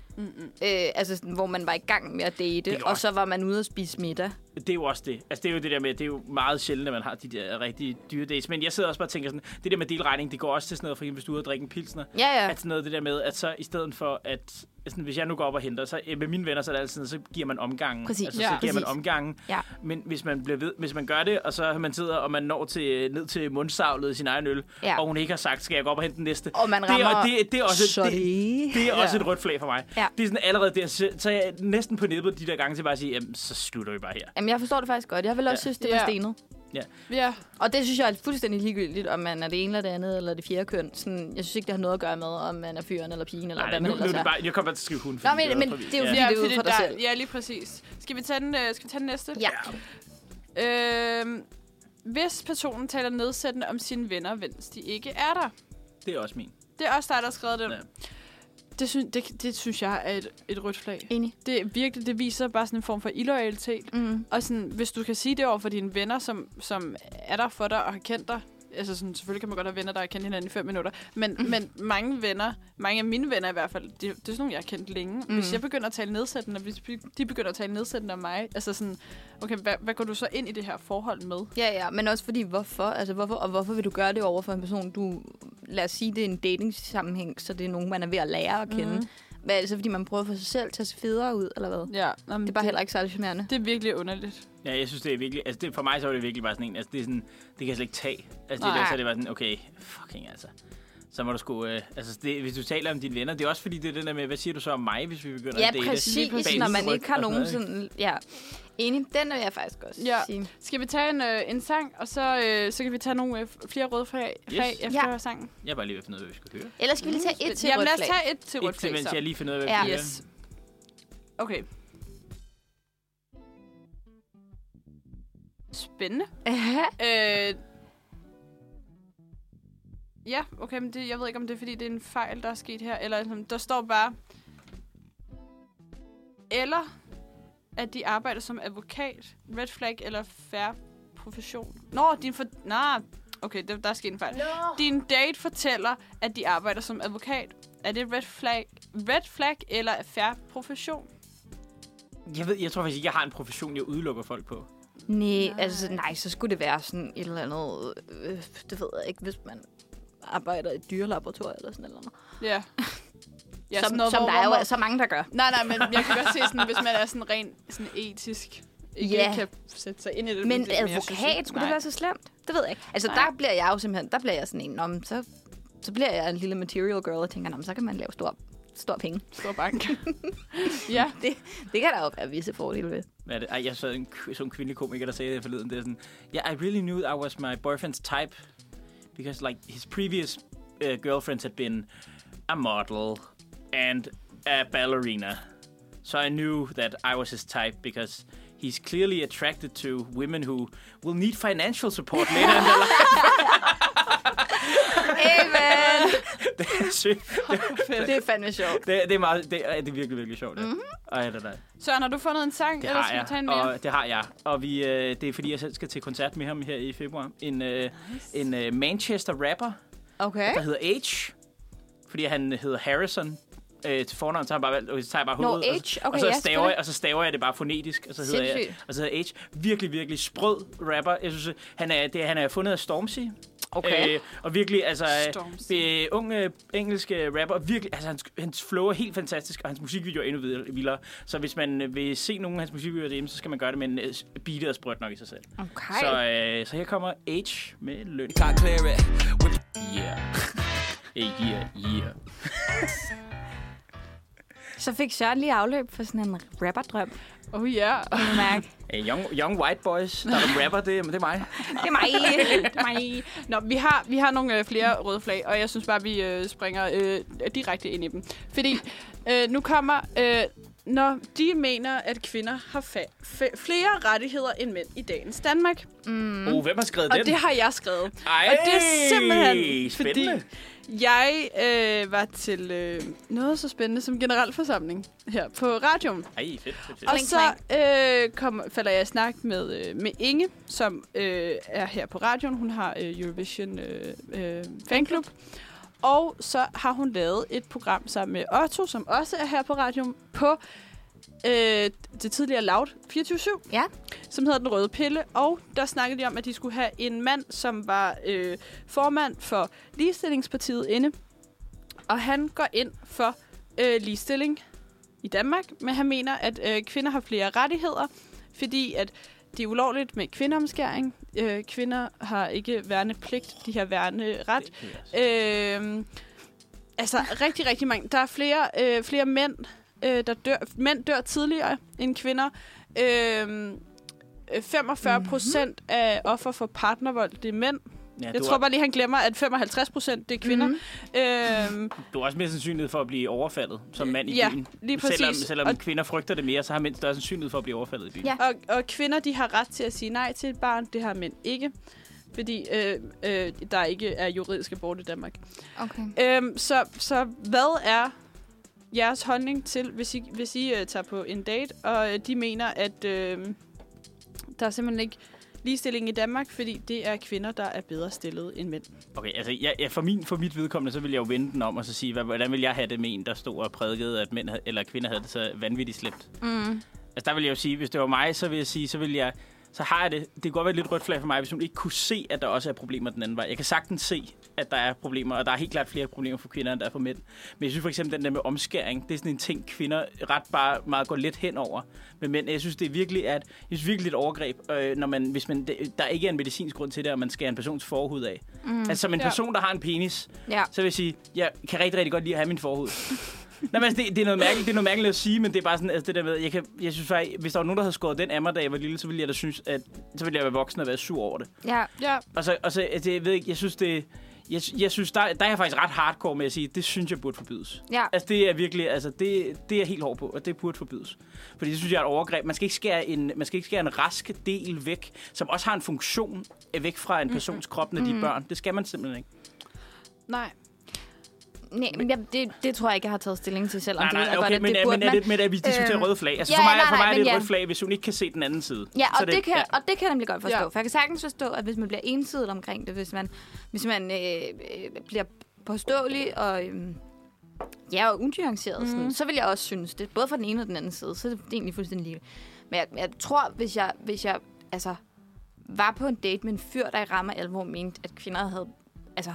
Speaker 4: Øh, altså, sådan, hvor man var i gang med at
Speaker 2: kan
Speaker 4: date, og
Speaker 2: også-
Speaker 4: så var man ude og spise middag.
Speaker 2: det er jo også det. Altså, det er jo det der med, det er jo meget sjældent, at man har de der rigtig dyre dates. Men jeg sidder også bare og tænker sådan, det der med delregning, det går også til sådan noget, for eksempel, hvis du er ude og drikke en pilsner.
Speaker 4: Ja, ja.
Speaker 2: at sådan Altså noget det der med, at så i stedet for, at sådan, hvis jeg nu går op og henter, så øh, med mine venner, så er det altid, sådan, så giver man omgangen.
Speaker 4: Præcis.
Speaker 2: Altså,
Speaker 3: Ja.
Speaker 2: så giver man
Speaker 4: Præcis.
Speaker 2: omgangen.
Speaker 4: Ja.
Speaker 2: Men hvis man, bliver ved, hvis man gør det, og så man sidder, og man når til, ned til mundsavlet i sin egen øl,
Speaker 4: Ja.
Speaker 2: og hun ikke har sagt, skal jeg gå op og hente den næste.
Speaker 4: Og man
Speaker 2: det, er,
Speaker 4: rammer-
Speaker 2: det, det er også,
Speaker 4: Sorry.
Speaker 2: det, det er også
Speaker 3: Ja.
Speaker 2: et rødt flag for mig.
Speaker 4: Ja.
Speaker 2: Det er sådan allerede der, så, så er jeg næsten på nippet de der gange til bare at sige, jamen, så slutter vi bare her.
Speaker 4: Jamen, jeg forstår det faktisk godt. Jeg vil også
Speaker 2: Ja.
Speaker 4: synes, det var
Speaker 3: Ja.
Speaker 4: stenet.
Speaker 3: Ja.
Speaker 1: Og det synes jeg er fuldstændig ligegyldigt, om man er det ene eller det andet, eller det fjerde køn. Sådan, jeg synes ikke, det har noget at gøre med, om man er fyren eller pigen, eller Nej,
Speaker 2: Nej,
Speaker 1: hvad
Speaker 2: nu,
Speaker 1: man
Speaker 2: nu, er
Speaker 1: ellers
Speaker 2: det
Speaker 1: er.
Speaker 2: bare, jeg kommer bare til at skrive hun.
Speaker 1: Nå, men- men det er jo
Speaker 2: ja.
Speaker 1: fordi-
Speaker 3: Ja,
Speaker 1: det er ude
Speaker 3: fordi
Speaker 1: for dig
Speaker 3: der-
Speaker 1: selv.
Speaker 3: Ja, lige præcis. Skal vi tage den, øh, skal vi tage den næste?
Speaker 1: Ja.
Speaker 3: Øhm, hvis personen taler nedsættende om sine venner, mens de ikke er der.
Speaker 2: Det er også min.
Speaker 3: Det er også dig, der har skrevet det.
Speaker 2: Ja.
Speaker 3: Ja. Det, synes, det, det synes jeg er et, et rødt flag.
Speaker 1: Enig.
Speaker 3: Det, er virkelig, det viser bare sådan en form for illoyalitet.
Speaker 1: Mm.
Speaker 3: Og sådan, hvis du kan sige det over for dine venner, som, som er der for dig og har kendt dig, altså sådan, selvfølgelig kan man godt have venner, der har kendt hinanden i fem minutter, men, mm. men mange venner, mange af mine venner i hvert fald, det, det er sådan nogle, jeg har kendt længe. Mm. Hvis jeg begynder at tale nedsættende, og hvis de begynder at tale nedsættende om mig, altså sådan, okay, hvad, hvad går du så ind i det her forhold med?
Speaker 1: Ja, ja, men også fordi, hvorfor? Altså, hvorfor? Og hvorfor vil du gøre det over for en person, du... Lad os sige, det er en datingsammenhæng, så det er nogen, man er ved at lære at kende. Mm. Men altså, fordi man prøver at få sig selv til at se federe ud, eller hvad?
Speaker 3: Ja, jamen,
Speaker 1: Det er bare heller ikke særlig charmerende.
Speaker 3: Det er virkelig underligt.
Speaker 2: Ja, jeg synes, det er virkelig... Altså, det, for mig så er det virkelig bare sådan en... Altså, det, er sådan, det kan jeg slet ikke tage. Altså, det
Speaker 3: Nej.
Speaker 2: der, så er det bare sådan, okay, fucking altså. Så må du sgu... Øh, altså, det, hvis du taler om dine venner, det er også fordi, det er det der med, hvad siger du så om mig, hvis vi begynder
Speaker 1: Ja,
Speaker 2: at date?
Speaker 1: præcis,
Speaker 2: Bag
Speaker 1: når
Speaker 2: mit
Speaker 1: man
Speaker 2: ryg
Speaker 1: ikke har
Speaker 2: og sådan
Speaker 1: nogen
Speaker 2: noget, ikke?
Speaker 1: sådan... Ja, enig. Den vil jeg faktisk også
Speaker 3: Ja.
Speaker 1: sige.
Speaker 3: Skal vi tage en, øh, en sang, og så, øh, så kan vi tage nogle øh, flere røde flag,
Speaker 2: Yes.
Speaker 3: flag efter
Speaker 1: Ja.
Speaker 3: sangen?
Speaker 2: Jeg er bare lige ved at finde ud af, hvad vi skal høre.
Speaker 1: Ellers skal vi lige tage et til
Speaker 3: Jamen
Speaker 1: rødt
Speaker 3: lad os
Speaker 1: flag. Ah,
Speaker 3: tage et til rødt
Speaker 2: Ikke til,
Speaker 3: flag,
Speaker 2: mens jeg
Speaker 3: så.
Speaker 2: lige finder ud af, hvad
Speaker 1: Ja.
Speaker 2: vi skal
Speaker 3: Yes. Okay. Spændende.
Speaker 1: Aha.
Speaker 3: Øh... Ja, okay, men det, jeg ved ikke, om det er, fordi det er en fejl, der er sket her. Eller sådan, der står bare... Eller at de arbejder som advokat, red flag eller fair profession. Nå, din for... Nå, okay, der, der er sket en fejl. Din date fortæller, at de arbejder som advokat. Er det red flag, red flag eller fair profession?
Speaker 2: høre. Jeg, ved, jeg tror faktisk ikke, jeg har en profession, jeg udelukker folk på.
Speaker 1: Nej, altså nej, så skulle det være sådan et eller andet, øh, det ved jeg ikke, hvis man arbejder i et dyrelaboratorium eller sådan et eller andet.
Speaker 3: Ja.
Speaker 1: Ja, som, noget, som der er jo altså- er så mange, der gør.
Speaker 3: Nej, nej, men jeg kan godt se, sådan, hvis man er sådan rent sådan etisk, ikke
Speaker 1: Ja.
Speaker 3: yeah. kan sætte sig ind i det.
Speaker 1: Men
Speaker 3: det, jeg synes
Speaker 1: advokat,
Speaker 3: ikke-
Speaker 1: skulle det
Speaker 3: nej.
Speaker 1: være så slemt? Det ved jeg ikke. Altså,
Speaker 3: Nej.
Speaker 1: der bliver jeg jo simpelthen, der bliver jeg sådan en, om så, så bliver jeg en lille material girl og tænker, "Nå, men så kan man lave stor, stor penge.
Speaker 3: Stor bank. ja.
Speaker 1: Det kan der jo være visse fordele ved.
Speaker 2: Hvad er det? Ej, jeg så en, kv- så en kvindelig komiker, der sagde det forleden. Det er sådan, yeah, I really knew I was my boyfriend's type, because like his previous uh, girlfriends had been a model and a ballerina. So I knew that I was his type, because he's clearly attracted to women who will need financial support later in their life.
Speaker 1: Amen!
Speaker 2: Det er sygt.
Speaker 1: det er fandme sjovt.
Speaker 2: Det, det, er meget, det, er, det er virkelig, virkelig sjovt. Mm-hmm. Ej, det er det.
Speaker 3: Søren, har du fundet en sang?
Speaker 2: Det
Speaker 3: eller
Speaker 2: har
Speaker 3: skal vi tage en
Speaker 2: jeg,
Speaker 3: mere?
Speaker 2: og det har jeg. Og vi, øh, det er fordi, jeg selv skal til koncert med ham her i februar. En, øh, nice. en øh, Manchester-rapper,
Speaker 1: Okay.
Speaker 2: der hedder H. Fordi han hedder Harrison. Øh, til fornavn, så har han bare valgt, okay, så tager jeg bare
Speaker 1: Nå,
Speaker 2: hovedet. og,
Speaker 1: H.
Speaker 2: så-
Speaker 1: Okay,
Speaker 2: og, så
Speaker 1: ja,
Speaker 2: staver,
Speaker 1: selvfølgelig.
Speaker 2: jeg, og så staver jeg det bare fonetisk, og så hedder jeg,
Speaker 1: Sindssygt.
Speaker 2: og så hedder H. Virkelig, virkelig sprød rapper. Jeg synes, han er, det, han er fundet af Stormzy.
Speaker 1: Okay.
Speaker 2: Øh, og virkelig, altså,
Speaker 3: Stormzy.
Speaker 2: øh, unge engelske rapper, virkelig, altså, hans, hans flow er helt fantastisk, og hans musikvideo er endnu vild- vildere. Så hvis man øh, vil se nogle af hans musikvideoer derhjemme, så skal man gøre det med en øh, beat og sprødt nok i sig selv.
Speaker 1: Okay.
Speaker 2: Så, øh, så her kommer H med løn.
Speaker 6: I clear it. With
Speaker 2: Yeah. Hey, yeah, yeah.
Speaker 1: Så fik Søren lige afløb for sådan en rapperdrøm.
Speaker 3: Oh ja.
Speaker 1: Kan du mærke?
Speaker 2: Hey, young, young white boys, der er der rapper, det, det er mig.
Speaker 1: Det er mig.
Speaker 3: Nej. Nå, vi har, vi har nogle øh, flere røde flag, og jeg synes bare, vi øh, springer øh, direkte ind i dem. Fordi øh, nu kommer, øh, når de mener, at kvinder har fa- fa- flere rettigheder end mænd i dagens Danmark.
Speaker 2: Mm. Oh, hvem har skrevet
Speaker 3: Og
Speaker 2: den?
Speaker 3: det har jeg skrevet.
Speaker 2: Ej,
Speaker 3: og det er simpelthen,
Speaker 2: spændende.
Speaker 3: fordi jeg øh, var til øh, noget så spændende som generalforsamling her på radioen.
Speaker 2: Ej, fedt, fedt, fedt.
Speaker 3: Og
Speaker 1: Klink,
Speaker 3: så øh, kom, falder jeg i snak med, øh, med Inge, som øh, er her på radioen. Hun har øh, Eurovision øh, øh, fanklub. Og så har hun lavet et program sammen med Otto, som også er her på radioen, på øh, det tidligere Loud 24
Speaker 1: Ja.
Speaker 3: som hedder Den Røde Pille, og der snakkede de om, at de skulle have en mand, som var øh, formand for Ligestillingspartiet inde, og han går ind for øh, ligestilling i Danmark, men han mener, at øh, kvinder har flere rettigheder, fordi at det er ulovligt med kvindeomskæring. Øh, kvinder har ikke værnepligt, de har værneret. Øh, altså rigtig, rigtig mange. Der er flere, øh, flere mænd, øh, der dør. Mænd dør tidligere end kvinder. Øh, øh, 45 procent mm-hmm. af offer for partnervold, det er mænd.
Speaker 2: Mhm. Ja,
Speaker 3: Jeg
Speaker 2: du,
Speaker 3: tror
Speaker 2: har,
Speaker 3: bare lige, han glemmer, at 55 procent, det er kvinder. Mm-hmm. Øhm,
Speaker 2: du har også mere sandsynlighed for at blive overfaldet som mand i
Speaker 3: Ja,
Speaker 2: byen.
Speaker 3: lige
Speaker 2: Selvom,
Speaker 3: præcis.
Speaker 2: selvom
Speaker 3: Og-
Speaker 2: kvinder frygter det mere, så har mænd større sandsynlighed for at blive overfaldet i byen.
Speaker 1: Ja.
Speaker 3: Og, og kvinder, de har ret til at sige nej til et barn. Det har mænd ikke. Fordi øh, øh, der ikke er juridisk abort i Danmark.
Speaker 1: Okay.
Speaker 3: Øhm, så, så hvad er jeres holdning til, hvis I, hvis I øh, tager på en date, og øh, de mener, at øh, der er simpelthen ikke ligestilling i Danmark, fordi det er kvinder, der er bedre stillet end mænd?
Speaker 2: Okay, altså jeg, jeg, for, min, for mit vedkommende, så vil jeg jo vende den om og så sige, hvad, hvordan vil jeg have det med en, der stod og prædikede, at mænd havde, eller kvinder havde det så vanvittigt slemt? Mm. Altså der vil jeg jo sige, hvis det var mig, så vil jeg sige, så vil jeg, så har jeg det, det kan godt være et lidt rødt flag for mig, hvis hun ikke kunne se, at der også er problemer den anden vej. Jeg kan sagtens se, at der er problemer, og der er helt klart flere problemer for kvinder, end der er for mænd. Men jeg synes for eksempel, den der med omskæring, det er sådan en ting, kvinder ret bare meget går let hen over med mænd. Jeg synes, det er virkelig, at, jeg synes virkelig det er et overgreb, øh, når man, hvis man, det, der ikke er en medicinsk grund til det, og man skærer en persons forhud af. Mm. Altså som en
Speaker 3: Ja.
Speaker 2: ja. person, der har en penis,
Speaker 1: Ja.
Speaker 2: så vil jeg sige, jeg kan rigtig, rigtig godt lide at have min forhud. Nej, men altså, det, det, er noget mærkeligt, det er noget mærkeligt at sige, men det er bare sådan, altså det der med, jeg, kan, jeg synes faktisk, hvis der var nogen, der havde skåret den af mig, da jeg var lille, så ville jeg da synes, at så ville jeg være voksen og være sur over det.
Speaker 1: Ja.
Speaker 3: Ja,
Speaker 2: Og så, og så altså, jeg ved ikke, jeg synes det, jeg, jeg synes, der, der er jeg faktisk ret hardcore med at sige, det synes jeg burde forbydes.
Speaker 1: Ja.
Speaker 2: Altså det er virkelig, altså det, det er jeg helt hård på, og det burde forbydes. Fordi det synes jeg er et overgreb. Man skal ikke skære en, man skal ikke skære en rask del væk, som også har en funktion øh, væk fra en persons krop, når de er børn. Det skal man simpelthen ikke.
Speaker 3: nej.
Speaker 1: Nej, men jeg, det, det tror jeg ikke, jeg har taget stilling til selv. om
Speaker 2: Nej,
Speaker 1: det ved
Speaker 2: nej,
Speaker 1: jeg
Speaker 2: okay,
Speaker 1: godt, at
Speaker 2: men,
Speaker 1: det
Speaker 2: er,
Speaker 1: burde
Speaker 2: men, er
Speaker 1: man.
Speaker 2: det, men er vi diskuterer
Speaker 1: Øhm,
Speaker 2: røde flag? Altså
Speaker 1: ja,
Speaker 2: for mig,
Speaker 1: nej,
Speaker 2: for mig
Speaker 1: nej,
Speaker 2: er det et
Speaker 1: men
Speaker 2: rødt
Speaker 1: ja.
Speaker 2: flag, hvis hun ikke kan se den anden side.
Speaker 1: Ja,
Speaker 2: Så
Speaker 1: og det, det kan,
Speaker 2: ja.
Speaker 1: og det kan jeg nemlig godt forstå.
Speaker 3: Ja.
Speaker 1: Ja. For jeg kan sagtens forstå, at hvis man bliver ensidig omkring det, hvis man, hvis man øh, øh, bliver påståelig og... Øh, ja, og unuanceret, mm. sådan, så vil jeg også synes det. Både fra den ene og den anden side, så er det egentlig fuldstændig lige. Men jeg, jeg tror, hvis jeg, hvis jeg altså, var på en date med en fyr, der i rammer alvor mente, at kvinder havde altså,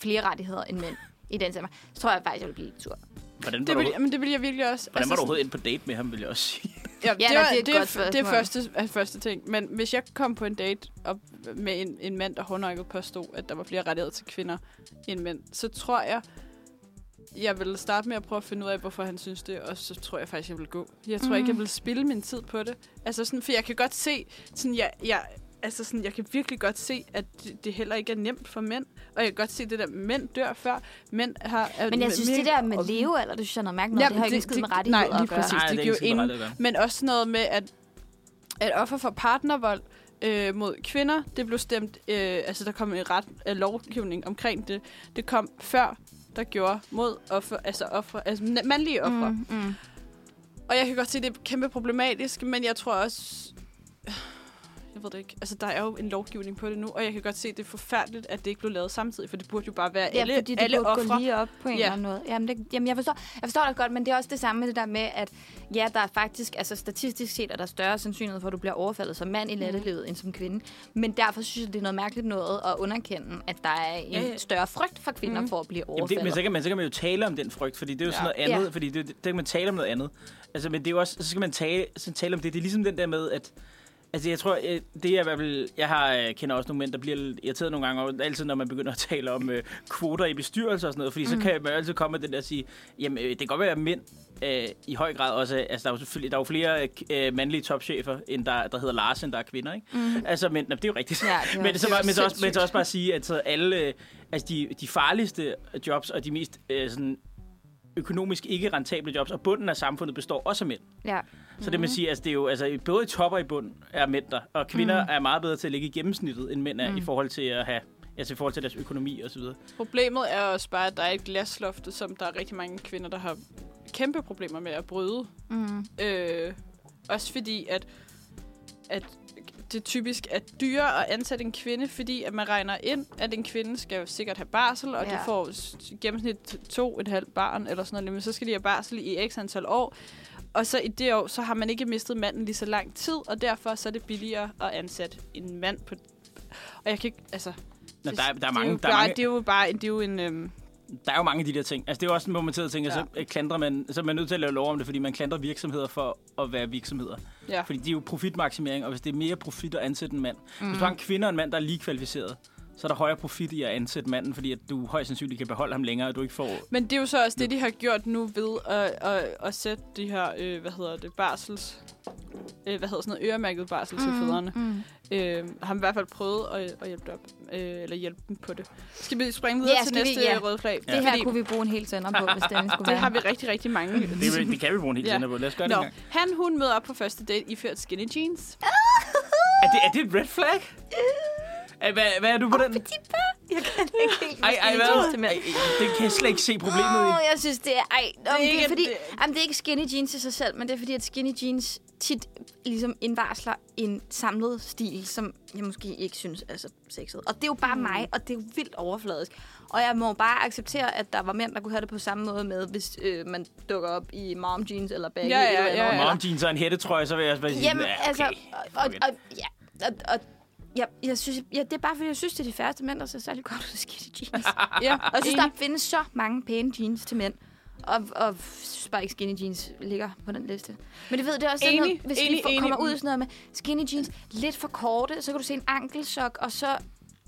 Speaker 1: flere rettigheder end mænd i den sammenhæng, så tror jeg faktisk, jeg ville blive lidt sur.
Speaker 2: Hvordan var
Speaker 3: Det
Speaker 2: du,
Speaker 3: vil,
Speaker 2: hvordan
Speaker 3: men det vil jeg virkelig også. Altså,
Speaker 2: var du
Speaker 3: sådan-
Speaker 2: overhovedet ind på date med ham, vil jeg også sige?
Speaker 3: Ja, det,
Speaker 1: nej,
Speaker 3: var,
Speaker 1: det er et
Speaker 3: det, er,
Speaker 1: godt
Speaker 3: f- det er
Speaker 1: spørgsmål.
Speaker 3: første, er første ting. Men hvis jeg kom på en date op med en, en mand, der håndøjket påstod, at der var flere rettigheder til kvinder end mænd, så tror jeg, jeg vil starte med at prøve at finde ud af, hvorfor han synes det, og så tror jeg faktisk, jeg vil gå. Jeg tror mm.
Speaker 1: Mhm.
Speaker 3: ikke, jeg vil spille min tid på det. Altså sådan, for jeg kan godt se, sådan, jeg, jeg, altså sådan, jeg kan virkelig godt se, at det, det heller ikke er nemt for mænd. Og jeg kan godt se det der, mænd dør før. Mænd har, er
Speaker 1: Men jeg synes, det der med levealder, det synes jeg er noget mærkeligt. Ja, det har ikke en skid med rettigheder
Speaker 3: Nej, lige
Speaker 1: at gøre.
Speaker 3: præcis.
Speaker 2: Nej,
Speaker 3: det,
Speaker 2: det er ikke
Speaker 3: det giver
Speaker 2: skid med
Speaker 3: jo ingen
Speaker 2: rettigheder at gøre.
Speaker 3: Men også noget med, at, at offer for partnervold øh, mod kvinder, det blev stemt, øh, altså der kom en ret øh, lovgivning omkring det. Det kom før, der gjorde mod offer, altså, offer, altså na- mandlige offer. Mm.
Speaker 1: Mm, mm.
Speaker 3: Og jeg kan godt se, det er kæmpe problematisk, men jeg tror også... Jeg ved det ikke. Altså, der er jo en lovgivning på det nu, og jeg kan godt se, det er forfærdeligt, at det ikke blev lavet samtidig, for det burde jo bare være
Speaker 1: Ja,
Speaker 3: alle,
Speaker 1: fordi det
Speaker 3: alle
Speaker 1: burde
Speaker 3: ofre.
Speaker 1: gå lige op på en
Speaker 3: Ja.
Speaker 1: ja. eller anden måde. Jamen, det, jamen jeg, forstår, jeg forstår dig godt, men det er også det samme med det der med, at ja, der er faktisk, altså statistisk set, er der større sandsynlighed for, at du bliver overfaldet som mand i nattelivet end som kvinde. Men derfor synes jeg, det er noget mærkeligt noget at underkende, at der er en
Speaker 2: Ja, ja.
Speaker 1: større frygt for kvinder mm. for at blive
Speaker 2: Jamen det,
Speaker 1: overfaldet.
Speaker 2: men så kan, man, så kan man jo tale om den frygt, fordi det er jo ja. sådan noget andet,
Speaker 1: Ja.
Speaker 2: ja. fordi det, det, der kan man tale om noget andet. Altså, men det er jo også, så skal man tale, så tale om det. Det er ligesom den der med, at Altså, jeg tror, øh, det er i hvert fald... Jeg har, øh, kender også nogle mænd, der bliver lidt irriteret nogle gange, over, altid når man begynder at tale om øh, kvoter i bestyrelser og sådan noget, fordi mm. så kan man jo altid komme med den der og sige, jamen, øh, det kan godt være, at mænd øh, i høj grad også... er- Altså, der er jo selvfølgelig der er jo flere øh, k- øh, mandlige topchefer, end der, der hedder Lars, end der er kvinder, ikke? Mm. Altså, men... Nå, det er jo rigtigt.
Speaker 1: Ja, det er
Speaker 2: men,
Speaker 1: også-
Speaker 2: så,
Speaker 1: det er
Speaker 2: bare- men, så også, men
Speaker 1: sindssygt.
Speaker 2: så også bare sige, at så alle... Øh, altså, de, de farligste jobs og de mest øh, sådan økonomisk ikke rentable jobs, og bunden af samfundet består også af mænd.
Speaker 1: ja.
Speaker 2: Så
Speaker 3: Mhm.
Speaker 2: det man siger, altså det er jo, altså både i top og i bund er mænd der, og kvinder
Speaker 3: Mhm.
Speaker 2: mm. er meget bedre til at ligge i gennemsnittet, end mænd er mm. i forhold til at have, altså i forhold til deres økonomi og så videre.
Speaker 3: Problemet er også bare, at der er et glasloft, som der er rigtig mange kvinder, der har kæmpe problemer med at bryde.
Speaker 1: Mm.
Speaker 3: Øh, også fordi, at, at det typisk er dyrere at ansætte en kvinde, fordi at man regner ind, at en kvinde skal jo sikkert have barsel, og ja. de
Speaker 1: Ja.
Speaker 3: får s- i gennemsnit to og et halvt barn eller sådan noget, men så skal de have barsel i x antal år. Og så i det år, så har man ikke mistet manden lige så lang tid, og derfor så er det billigere at ansætte en mand på... Og jeg kan ikke... Altså,
Speaker 2: Nå, der, er- der, er
Speaker 3: det, er
Speaker 2: mange,
Speaker 3: jo
Speaker 2: der, er
Speaker 3: bare, det er
Speaker 2: mange,
Speaker 3: jo bare det er jo en... Øhm,
Speaker 2: der er jo mange af de der ting. Altså det er jo også, hvor man sidder og tænker,
Speaker 3: Ja.
Speaker 2: ja. så øh, klandrer man, så er man nødt til at lave lov om det, fordi man klandrer virksomheder for at være virksomheder.
Speaker 3: ja.
Speaker 2: Fordi det er jo profitmaksimering, og hvis det er mere profit at ansætte en mand. Mm.
Speaker 3: Mhm.
Speaker 2: Hvis du har en kvinde og en mand, der er lige kvalificeret, så er der højere profit i at ansætte manden, fordi at du højst sandsynligt kan beholde ham længere, og du ikke får...
Speaker 3: Men det er jo så også det, de har gjort nu ved at, at, at sætte de her, øh, hvad hedder det, barsels... øh, hvad hedder sådan noget, øremærket barsel mm. til fædrene.
Speaker 7: Mm.
Speaker 3: Øh, har i hvert fald prøvet at, at hjælpe, op, øh, eller hjælpe dem på det. Skal vi springe videre
Speaker 4: Ja,
Speaker 3: til
Speaker 4: skal vi?
Speaker 3: næste
Speaker 4: Ja.
Speaker 3: ja. røde flag?
Speaker 4: Det her
Speaker 3: Fordi
Speaker 4: kunne vi bruge en hel sønder på, hvis den skulle
Speaker 3: det
Speaker 4: være.
Speaker 3: har vi rigtig, rigtig mange.
Speaker 2: Det, det kan vi bruge en hel
Speaker 3: Ja.
Speaker 2: ja. på. Lad os gøre det
Speaker 3: Nå,
Speaker 2: en gang.
Speaker 3: han hun møder op på første date iført skinny jeans.
Speaker 2: Er det, er det et red flag? Ej, hvad, hvad er du på den?
Speaker 4: Øh. Jeg kan ikke helt
Speaker 2: Ej, ej, hvad?
Speaker 4: huske det, men-
Speaker 2: Ej, det kan jeg slet ikke se problemet i.
Speaker 4: Åh, jeg synes, det er... Ej, det er, det
Speaker 3: ikke-
Speaker 4: er, fordi,
Speaker 3: det-
Speaker 4: jamen, det er ikke skinny jeans i sig selv, men det er fordi, at skinny jeans tit ligesom indvarsler en samlet stil, som jeg måske ikke synes er så sexet. Og det er jo bare mm. mig, og det er jo vildt overfladisk. Og jeg må bare acceptere, at der var mænd, der kunne have det på samme måde med, hvis øh, man dukker op i mom jeans eller baggy.
Speaker 3: Ja, ja,
Speaker 4: eller
Speaker 3: ja, ja.
Speaker 2: Mom jeans og en hættetrøje, så vil jeg også bare sige,
Speaker 4: Jamen,
Speaker 2: ja,
Speaker 4: altså... Og, og,
Speaker 2: Fuck it.
Speaker 4: og, ja, og, og, ja, jeg synes, ja, det er bare, fordi jeg synes, det er de færreste mænd, der ser særlig godt ud i skinny jeans.
Speaker 3: Ja,
Speaker 4: Og jeg synes,
Speaker 3: enig.
Speaker 4: der findes så mange pæne jeans til mænd. Og, og synes bare ikke skinny jeans ligger på den liste. Men det ved det er også sådan
Speaker 3: Enig,
Speaker 4: noget, hvis
Speaker 3: enig,
Speaker 4: vi får,
Speaker 3: enig.
Speaker 4: kommer ud i sådan noget med skinny jeans, lidt for korte, så kan du se en ankelsok, og så...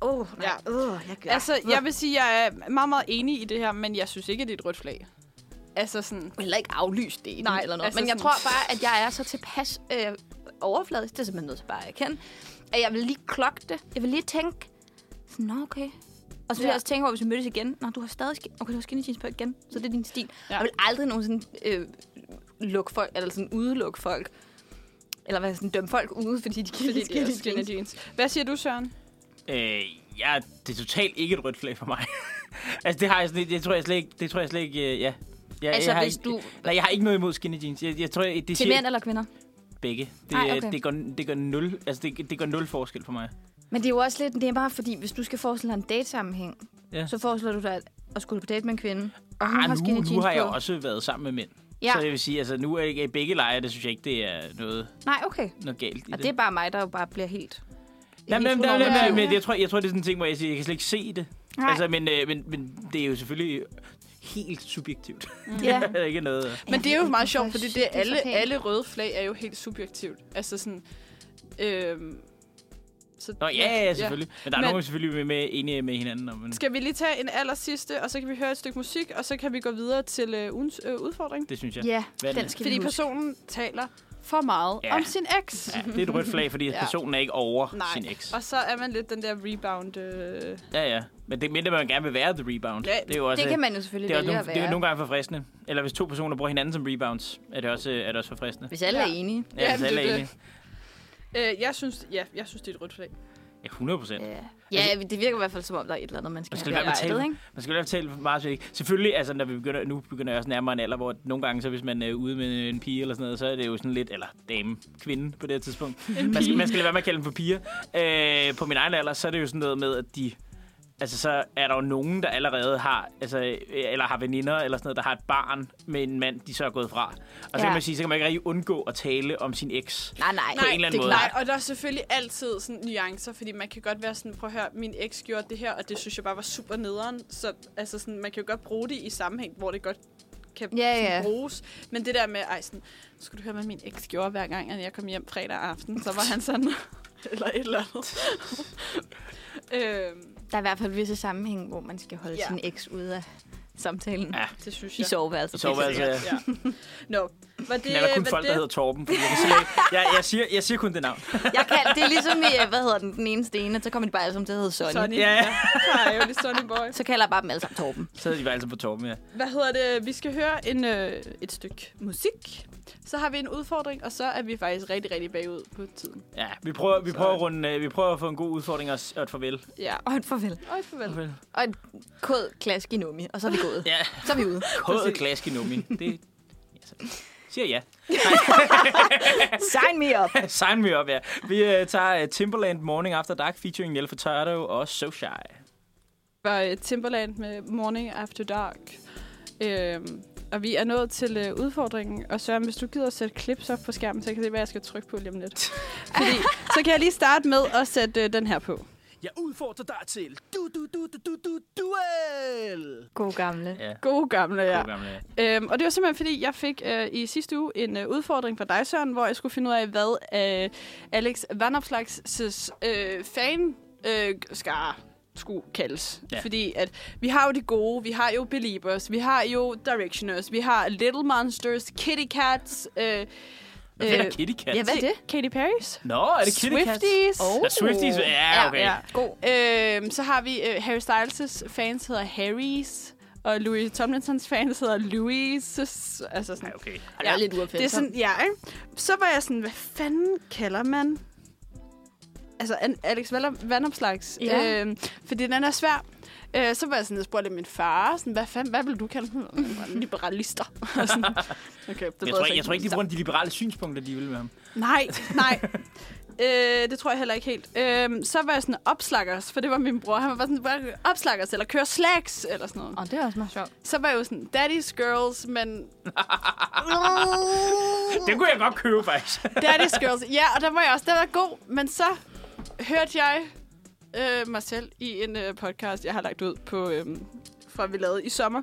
Speaker 4: Åh, oh, nej. Ja. Uh, jeg gør.
Speaker 3: Altså, jeg vil sige, jeg er meget, meget enig i det her, men jeg synes ikke, at det er et rødt flag. Altså sådan...
Speaker 4: heller ikke aflyst det
Speaker 3: Nej,
Speaker 4: nej, eller noget.
Speaker 3: altså
Speaker 4: Altså Men jeg
Speaker 3: sådan-
Speaker 4: tror bare, at jeg er så tilpas øh, overfladisk, det er simpelthen nødt til bare at erkende, at jeg vil lige klokke det. Jeg vil lige tænke, sådan, nå okay. Og så
Speaker 3: Ja.
Speaker 4: vil ja. jeg også tænke over, hvis vi mødtes igen, nå, du har stadig skin, okay, du har skinny jeans på igen, så det er din stil.
Speaker 3: Ja.
Speaker 4: Ja. Jeg vil aldrig nogensinde øh, lukke folk, eller sådan udelukke folk, eller hvad, sådan, dømme folk ude, fordi de kan
Speaker 3: Fordi det
Speaker 4: lide
Speaker 3: er
Speaker 4: skinny jeans.
Speaker 3: skinny jeans. Hvad siger du, Søren?
Speaker 2: Øh, ja, det er totalt ikke et rødt flag for mig. altså, det har jeg slet, jeg tror jeg slet ikke, det tror jeg slet ikke, øh, ja. Jeg,
Speaker 4: Altså,
Speaker 2: jeg har
Speaker 4: hvis
Speaker 2: ikke,
Speaker 4: du-
Speaker 2: Nej, jeg har ikke noget imod skinny jeans. Jeg, jeg tror, jeg, det
Speaker 4: Til
Speaker 2: siger
Speaker 4: mænd eller kvinder?
Speaker 2: begge. Det,
Speaker 4: Ej,
Speaker 2: Ej,
Speaker 4: okay.
Speaker 2: okay. det, gør, det gør nul, altså, det, det gør nul forskel for mig.
Speaker 4: Men det er jo også lidt nemmere, fordi hvis du skal forestille dig en date-sammenhæng,
Speaker 2: Ja.
Speaker 4: ja. så foreslår du dig at- at skulle på date med en kvinde, og hun har
Speaker 2: Ah,
Speaker 4: skinny
Speaker 2: nu,
Speaker 4: jeans
Speaker 2: nu har jeg
Speaker 4: på.
Speaker 2: også været sammen med mænd.
Speaker 4: Ja.
Speaker 2: Ja. Så jeg vil sige, altså, nu er jeg ikke i begge lejre, det synes jeg ikke, det er noget,
Speaker 4: Nej, okay.
Speaker 2: noget galt i
Speaker 4: Og det er bare mig, der jo bare bliver helt...
Speaker 2: Jamen,
Speaker 4: helt
Speaker 2: jamen, jamen,
Speaker 4: unormal.
Speaker 2: jamen, jamen, jeg, tror, jeg tror, det er sådan en ting, hvor jeg siger, jeg kan slet ikke se det.
Speaker 4: Nej.
Speaker 2: Altså, men, øh, men, men det er jo selvfølgelig helt subjektivt.
Speaker 4: Ja.
Speaker 2: der er ikke noget... øh.
Speaker 3: Men det er jo meget sjovt, fordi det er
Speaker 4: er så
Speaker 3: alle,
Speaker 4: pænt.
Speaker 3: alle røde flag er jo helt subjektivt. Altså sådan... Øhm, så,
Speaker 2: Nå, ja, ja selvfølgelig. Ja. Men der er men...
Speaker 3: Men-
Speaker 2: nogen, der selvfølgelig med, med enige med hinanden. Om, men...
Speaker 3: Skal vi lige tage en aller sidste, og så kan vi høre et stykke musik, og så kan vi gå videre til øh, ugens øh, udfordring.
Speaker 2: Det synes jeg.
Speaker 4: Ja,
Speaker 2: Hvad er
Speaker 4: den
Speaker 2: det?
Speaker 4: skal vi
Speaker 3: Fordi
Speaker 4: huske.
Speaker 3: personen taler for meget
Speaker 2: Ja.
Speaker 3: om sin eks.
Speaker 2: Ja, det er et rødt flag, fordi
Speaker 3: Ja.
Speaker 2: ja. personen er ikke over
Speaker 3: Nej.
Speaker 2: sin eks.
Speaker 3: Og så er man lidt den der rebound... Øh,
Speaker 2: Ja, ja. Men det mindre, man gerne vil være the rebound.
Speaker 3: Ja,
Speaker 2: det er jo også,
Speaker 4: Det kan man jo selvfølgelig
Speaker 2: det er, også
Speaker 4: vælge
Speaker 2: nogle,
Speaker 4: at være.
Speaker 2: det er jo nogle gange forfriskende. Eller hvis to personer bruger hinanden som rebounds, er det også, øh, er det også forfriskende.
Speaker 4: Hvis alle ja. er
Speaker 3: Ja.
Speaker 4: enige.
Speaker 2: Ja, altså, ja
Speaker 3: Jamen,
Speaker 2: det er
Speaker 3: det er
Speaker 2: det.
Speaker 3: det. øh, jeg, synes, ja, jeg synes, det er et rødt flag.
Speaker 2: Ja, 100 procent.
Speaker 4: Ja. ja, det virker i hvert fald, som om der er et eller andet, man skal,
Speaker 2: Man skal lade være
Speaker 4: have
Speaker 2: med at
Speaker 4: bearbejdet,
Speaker 2: tale.
Speaker 4: ikke?
Speaker 2: Man skal jo tale meget svært. Selvfølgelig, altså, når vi begynder, nu begynder jeg også nærmere en alder, hvor nogle gange, så hvis man øh, er ude med en pige eller sådan noget, så er det jo sådan lidt, eller dame, kvinde på det her tidspunkt. Man skal, man skal lade være med at kalde dem for piger. Øh, på min egen alder, så er det jo sådan noget med, at de... Altså, så er der jo nogen, der allerede har, altså, øh, eller har veninder, eller sådan noget, der har et barn med en mand, de så er gået fra. Og så
Speaker 4: Ja.
Speaker 2: kan man sige, så kan man ikke rigtig undgå at tale om sin eks.
Speaker 4: Nej, nej.
Speaker 2: en eller anden
Speaker 4: det er
Speaker 2: måde.
Speaker 4: klart.
Speaker 3: Nej, og der er selvfølgelig altid sådan nuancer, fordi man kan godt være sådan, prøv at høre, min eks gjorde det her, og det synes jeg bare var super nederen. Så altså sådan, man kan jo godt bruge det i sammenhæng, hvor det godt kan
Speaker 4: Ja,
Speaker 3: sådan,
Speaker 4: ja.
Speaker 3: bruges. Men det der med, ej, sådan, skulle du høre, hvad min eks gjorde hver gang, at jeg kom hjem fredag aften, så var han sådan, eller et eller andet. øhm,
Speaker 4: Der er i hvert fald visse sammenhæng, hvor man skal holde
Speaker 3: Ja.
Speaker 4: ja. sin eks ude af samtalen. Ja.
Speaker 2: Ja.
Speaker 3: det synes
Speaker 4: I
Speaker 3: jeg.
Speaker 4: soveværelset.
Speaker 2: I soveværelset, ja.
Speaker 3: Ja. Nå, var det...
Speaker 2: Men altså- er der kun
Speaker 3: var
Speaker 2: folk,
Speaker 3: det,
Speaker 2: der hedder Torben? Fordi jeg, kan sige, jeg, jeg, siger, jeg siger kun det navn.
Speaker 4: Jeg kan, det er ligesom i, øh, hvad hedder den, den ene stene, så kommer de bare alle sammen til at hedde Sonny.
Speaker 3: Sonny.
Speaker 2: Ja.
Speaker 3: Ja, ja. ja. Sonny boy.
Speaker 4: Så kalder jeg bare dem alle sammen Torben.
Speaker 2: Så er de bare altid på Torben, ja.
Speaker 3: Hvad hedder det? Vi skal høre en, øh, et stykke musik. Så har vi en udfordring, og så er vi faktisk rigtig, rigtig bagud på tiden.
Speaker 2: Ja, vi prøver, vi
Speaker 3: Så-
Speaker 2: prøver, at runde, øh, vi prøver at få en god udfordring og, s- og et farvel.
Speaker 3: Ja.
Speaker 4: Og et farvel.
Speaker 3: Og et farvel.
Speaker 4: Og et kod klask i nummi, og så er vi gået.
Speaker 2: Ja,
Speaker 4: Så er vi ude.
Speaker 2: kodet klask i nummi. Altså, Det ja, så siger ja.
Speaker 4: Sign me up.
Speaker 2: Sign me up, ja. Vi øh, tager øh, Timberland Morning After Dark featuring Niel Furtado og So Shy.
Speaker 3: var øh, Timberland med Morning After Dark. Øhm, og vi er nået til øh, udfordringen. Og Søren, hvis du gider at sætte clips op på skærmen, så jeg kan jeg se, hvad jeg skal trykke på lige om lidt. Fordi, så kan jeg lige starte med at sætte øh, den her på.
Speaker 8: Jeg udfordrer dig til du du du du du du duel.
Speaker 4: God gamle.
Speaker 2: Ja.
Speaker 3: God gamle, ja.
Speaker 2: God gamle, ja.
Speaker 3: Øhm, og det var simpelthen, fordi jeg fik øh, i sidste uge en øh, udfordring fra dig, Søren, hvor jeg skulle finde ud af, hvad øh, Alex Vanopslags øh, fan øh, skar skulle kaldes. Ja.
Speaker 2: Ja.
Speaker 3: Fordi at vi har jo de gode, vi har jo Believers, vi har jo Directioners, vi har Little Monsters, Kitty Cats, øh,
Speaker 2: Hvad fanden er Kitty Cat?
Speaker 1: ja, hvad er det?
Speaker 3: Katy Perry's.
Speaker 2: Nå, er det Kitty Cat?
Speaker 3: Swifties.
Speaker 2: Oh. Swifties? Ja, okay.
Speaker 3: Ja,
Speaker 2: Ja,
Speaker 3: ja.
Speaker 1: God.
Speaker 3: Øhm, så har vi øh, Harry Styles' fans hedder Harry's, og Louis Tomlinsons fans hedder Louis's. Altså sådan.
Speaker 2: okay.
Speaker 1: Det er lidt uopfændt.
Speaker 3: Det er sådan, ja, ikke? Så var jeg sådan, hvad fanden kalder man? Altså, an- Alex Vallom- Vandopslags.
Speaker 1: Ja.
Speaker 3: Øhm, fordi den er svær. Øh, så var jeg sådan, jeg spurgte min far, sådan, hvad fanden, hvad vil du kalde dem? Og han var, Liberalister. Og sådan, okay, det
Speaker 2: Jeg tror, ikke, jeg tror ikke, de bruger de liberale synspunkter, de vil med ham.
Speaker 3: Nej, nej. Øh, det tror jeg heller ikke helt. Øh, så var jeg sådan opslakkers, for det var min bror. Han var bare sådan, bare opslakkers, eller køre slags, eller sådan noget.
Speaker 1: Åh, det er også meget sjovt.
Speaker 3: Så var jeg jo sådan, daddy's girls, men
Speaker 2: Det kunne jeg godt købe, faktisk.
Speaker 3: Daddy's Girls. Ja, og der var jeg også. Den var god, men så hørte jeg øh, mig selv i en øh, podcast, jeg har lagt ud på, øh, fra vi lavede i sommer.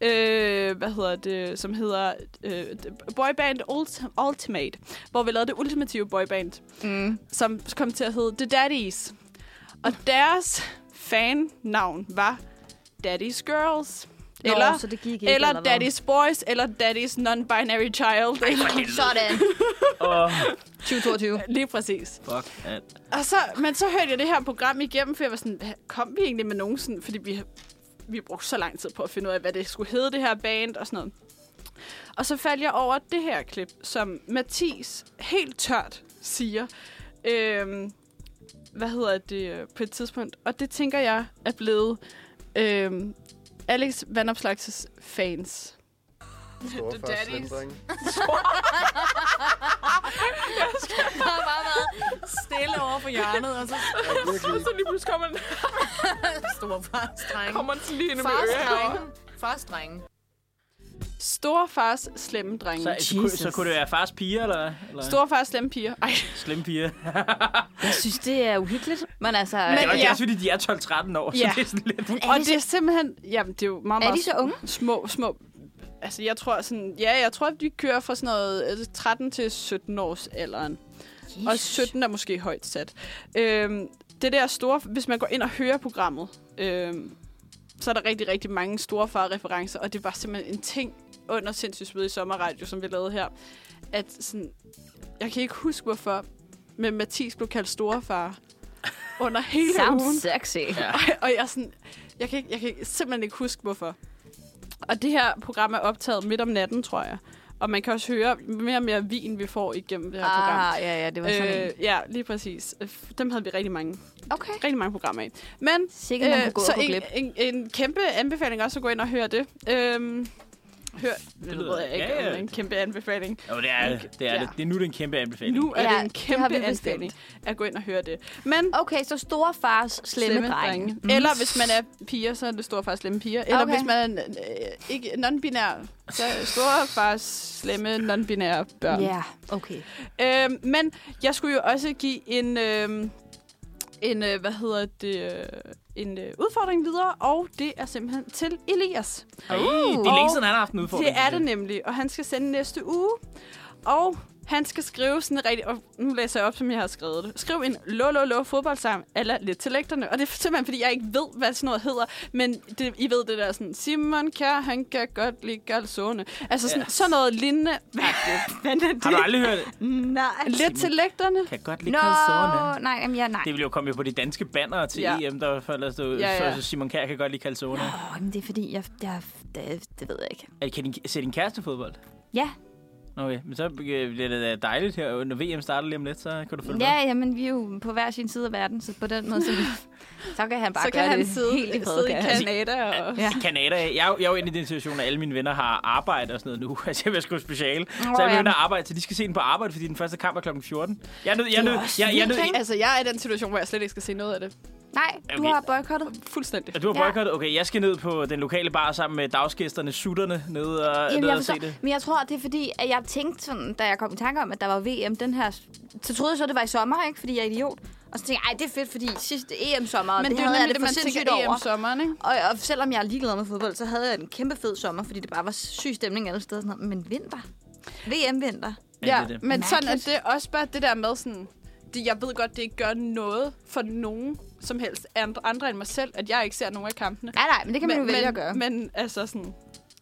Speaker 3: Øh, hvad hedder det? Som hedder øh, Boyband Ult- Ultimate. Hvor vi lavede det ultimative boyband.
Speaker 1: Mm.
Speaker 3: Som kom til at hedde The Daddies. Og deres fan-navn var Daddy's Girls. Eller,
Speaker 1: Nå, så det gik ikke,
Speaker 3: eller
Speaker 1: eller hvad?
Speaker 3: Daddy's Boys, eller Daddy's Non-Binary Child. Eller,
Speaker 1: Sådan.
Speaker 2: Åh,
Speaker 1: 2022.
Speaker 3: lige præcis.
Speaker 2: fuck. at-
Speaker 3: Og så, men så hørte jeg det her program igennem, for jeg var sådan, hvad, kom vi egentlig med nogen sådan, fordi vi, vi brugte så lang tid på at finde ud af, hvad det skulle hedde, det her band og sådan noget. Og så faldt jeg over det her klip, som Mathis helt tørt siger, øhm, hvad hedder det øh, på et tidspunkt, og det tænker jeg er blevet øhm, Alex Vandopslags fans.
Speaker 6: Store
Speaker 3: The
Speaker 6: først,
Speaker 3: Daddies.
Speaker 6: slem drenge.
Speaker 1: Der har bare været stille over på hjørnet, og så
Speaker 9: Så lige pludselig kommer den,
Speaker 1: store fars drenge.
Speaker 9: kommer den sådan lige ind med
Speaker 1: Fars
Speaker 9: øret.
Speaker 1: drenge. Fars drenge.
Speaker 3: Storfars slemme drenge.
Speaker 2: Så, så, kunne, så kunne det være fars piger, eller, eller
Speaker 3: Storfars slemme piger. Ej,
Speaker 2: slemme piger?
Speaker 1: Jeg synes, det er uhyggeligt. Men altså, men,
Speaker 2: Det er jo
Speaker 3: ja.
Speaker 2: ikke også, fordi de er 12-13 år,
Speaker 3: Ja.
Speaker 2: så det er sådan lidt...
Speaker 1: men er,
Speaker 3: og
Speaker 1: de
Speaker 3: det er simpelthen... Jamen, det er jo meget,
Speaker 1: så, er
Speaker 3: meget
Speaker 1: de så unge?
Speaker 3: små, små... Altså, jeg tror sådan... Ja, jeg tror, at de kører fra sådan noget øh, 13 til 17 års alderen. Jesus. Og 17 er måske højt sat. Øhm, det der store... Hvis man går ind og hører programmet, øhm, så er der rigtig, rigtig mange store farreferencer, og det var simpelthen en ting under sindssygt spæd i sommerradio, som vi lavede her, at sådan, jeg kan ikke huske, hvorfor, men Mathis blev kaldt storefar under hele ugen.
Speaker 1: Sounds sexy. Ja.
Speaker 3: Og- og jeg, er sådan, jeg, kan ikke, jeg kan ikke- simpelthen ikke huske, hvorfor. Og det her program er optaget midt om natten, tror jeg. Og man kan også høre mere og mere vin, vi får igennem det her program.
Speaker 1: Ah, ja, ja, det var sådan øh, en.
Speaker 3: Øh, ja, lige præcis. Dem havde vi rigtig mange,
Speaker 1: Okay.
Speaker 3: rigtig mange programmer af. Men øh,
Speaker 1: Sikkert, man kunne gå
Speaker 3: så
Speaker 1: og gå glip.
Speaker 3: en, en, en kæmpe anbefaling også at gå ind og høre det. Øhm, hør, det
Speaker 2: lyder-
Speaker 3: ved jeg ikke,
Speaker 2: ja, ja.
Speaker 3: om det er en kæmpe anbefaling.
Speaker 2: Jo, det er det. Det er, det.
Speaker 3: Ja.
Speaker 2: det er nu, det er en kæmpe anbefaling.
Speaker 3: Nu er
Speaker 1: Ja,
Speaker 3: det en
Speaker 1: det har
Speaker 3: kæmpe
Speaker 1: vi bestemt.
Speaker 3: anbefaling at gå ind og høre det. Men
Speaker 1: Øh, Okay, så store fars slemme, slemme drenge.
Speaker 3: Mm. Eller hvis man er piger, så er det store far slemme piger. Eller
Speaker 1: Okay.
Speaker 3: okay. hvis man er øh, ikke non-binær, så er det store far slemme non-binære børn.
Speaker 1: Ja, okay.
Speaker 3: Yeah. Øhm, men jeg skulle jo også give en, øhm, en øh, hvad hedder det, øh, en øh, udfordring videre, og det er simpelthen til Elias.
Speaker 2: Ej, det er længe siden, han har haft en
Speaker 3: Det
Speaker 2: udfordring.
Speaker 3: er det nemlig, og han skal sende næste uge. Og han skal skrive sådan rigtig... Og nu læser jeg op, som jeg har skrevet det. Skriv en lo lo lo fodboldsang eller lidt til lægterne. Og det er simpelthen, fordi jeg ikke ved, hvad sådan noget hedder. Men det, I ved det der sådan... Simon Kjær, han kan godt lide galzone. Altså sådan,
Speaker 2: Ja.
Speaker 3: yes. sådan noget lignende. Hvad, hvad er det?
Speaker 2: Har du aldrig hørt det?
Speaker 1: Nej.
Speaker 3: Lidt til lægterne.
Speaker 2: Kan godt lide
Speaker 1: Nå,
Speaker 2: calzone.
Speaker 1: nej, jamen, ja, nej.
Speaker 2: Det ville jo komme jo på de danske bannere til
Speaker 3: Ja.
Speaker 2: ja. EM, der falder stå,
Speaker 3: Ja,
Speaker 2: ja,
Speaker 3: ja.
Speaker 2: ja. så Simon Kjær kan godt lide calzone.
Speaker 1: Åh, men det er fordi, jeg, jeg det, det ved jeg ikke.
Speaker 2: Er, kan din, ser din kæreste fodbold?
Speaker 1: Ja,
Speaker 2: Nå, Okay, men så øh, bliver det da dejligt her. Når VM starter lige om lidt, så kan du følge med.
Speaker 1: ja, jamen, vi er jo på hver sin side af verden, så på den måde, så, så kan han bare
Speaker 3: Så
Speaker 1: gøre
Speaker 3: kan han
Speaker 1: det
Speaker 3: sidde,
Speaker 1: helt i
Speaker 3: sidde i
Speaker 4: Altså,
Speaker 1: podcast.
Speaker 3: Kanada og...
Speaker 1: Ja.
Speaker 2: Kanada, jeg, er jo- jeg er jo inde i den situation, at alle mine venner har arbejde og sådan noget nu. Altså, jeg vil sgu speciale. Så jeg
Speaker 1: ja.
Speaker 2: er nødt til at arbejde, så de skal se den på arbejde, fordi den første kamp er kl. 14. Jeg er nødt jeg er nødt- jeg, jeg, er nødt-
Speaker 3: Altså, jeg er i den situation, hvor jeg slet ikke skal se noget af det.
Speaker 1: Nej, du
Speaker 2: Okay.
Speaker 1: har boykottet.
Speaker 3: Fuldstændig.
Speaker 2: Og du har
Speaker 1: Ja.
Speaker 2: boykottet? Okay, jeg skal ned på den lokale bar sammen med dagsgæsterne, sutterne, nede og,
Speaker 1: Jamen,
Speaker 2: ned
Speaker 1: jeg
Speaker 2: og se
Speaker 1: forstår,
Speaker 2: det.
Speaker 1: men jeg tror, det er fordi, at jeg tænkte sådan, da jeg kom i tanke om, at der var VM den her... Så troede jeg så, det var i sommer, ikke? Fordi jeg er idiot. Og så tænkte jeg, ej, det er fedt, fordi sidste EM-sommer,
Speaker 3: Men
Speaker 1: det,
Speaker 3: det,
Speaker 1: det
Speaker 3: er jo
Speaker 1: havde jeg det E
Speaker 3: nemlig det,
Speaker 1: for
Speaker 3: man
Speaker 1: sindssygt
Speaker 3: tænker
Speaker 1: over.
Speaker 3: om sommeren, ikke?
Speaker 1: Og, og selvom jeg er ligeglad med fodbold, så havde jeg en kæmpe fed sommer, fordi det bare var syg stemning alle steder. og Sådan noget. Men vinter? VM-vinter?
Speaker 2: det
Speaker 3: Ja,
Speaker 2: er det.
Speaker 3: men sådan at
Speaker 1: Mærkeligt.
Speaker 3: det også bare det der med sådan... Det, jeg ved godt, det ikke gør noget for nogen som helst and- andre end mig selv, at jeg ikke ser nogen af kampene.
Speaker 1: Nej, nej, men det kan man
Speaker 3: men,
Speaker 1: jo vælge
Speaker 3: men,
Speaker 1: at gøre.
Speaker 3: Men altså sådan...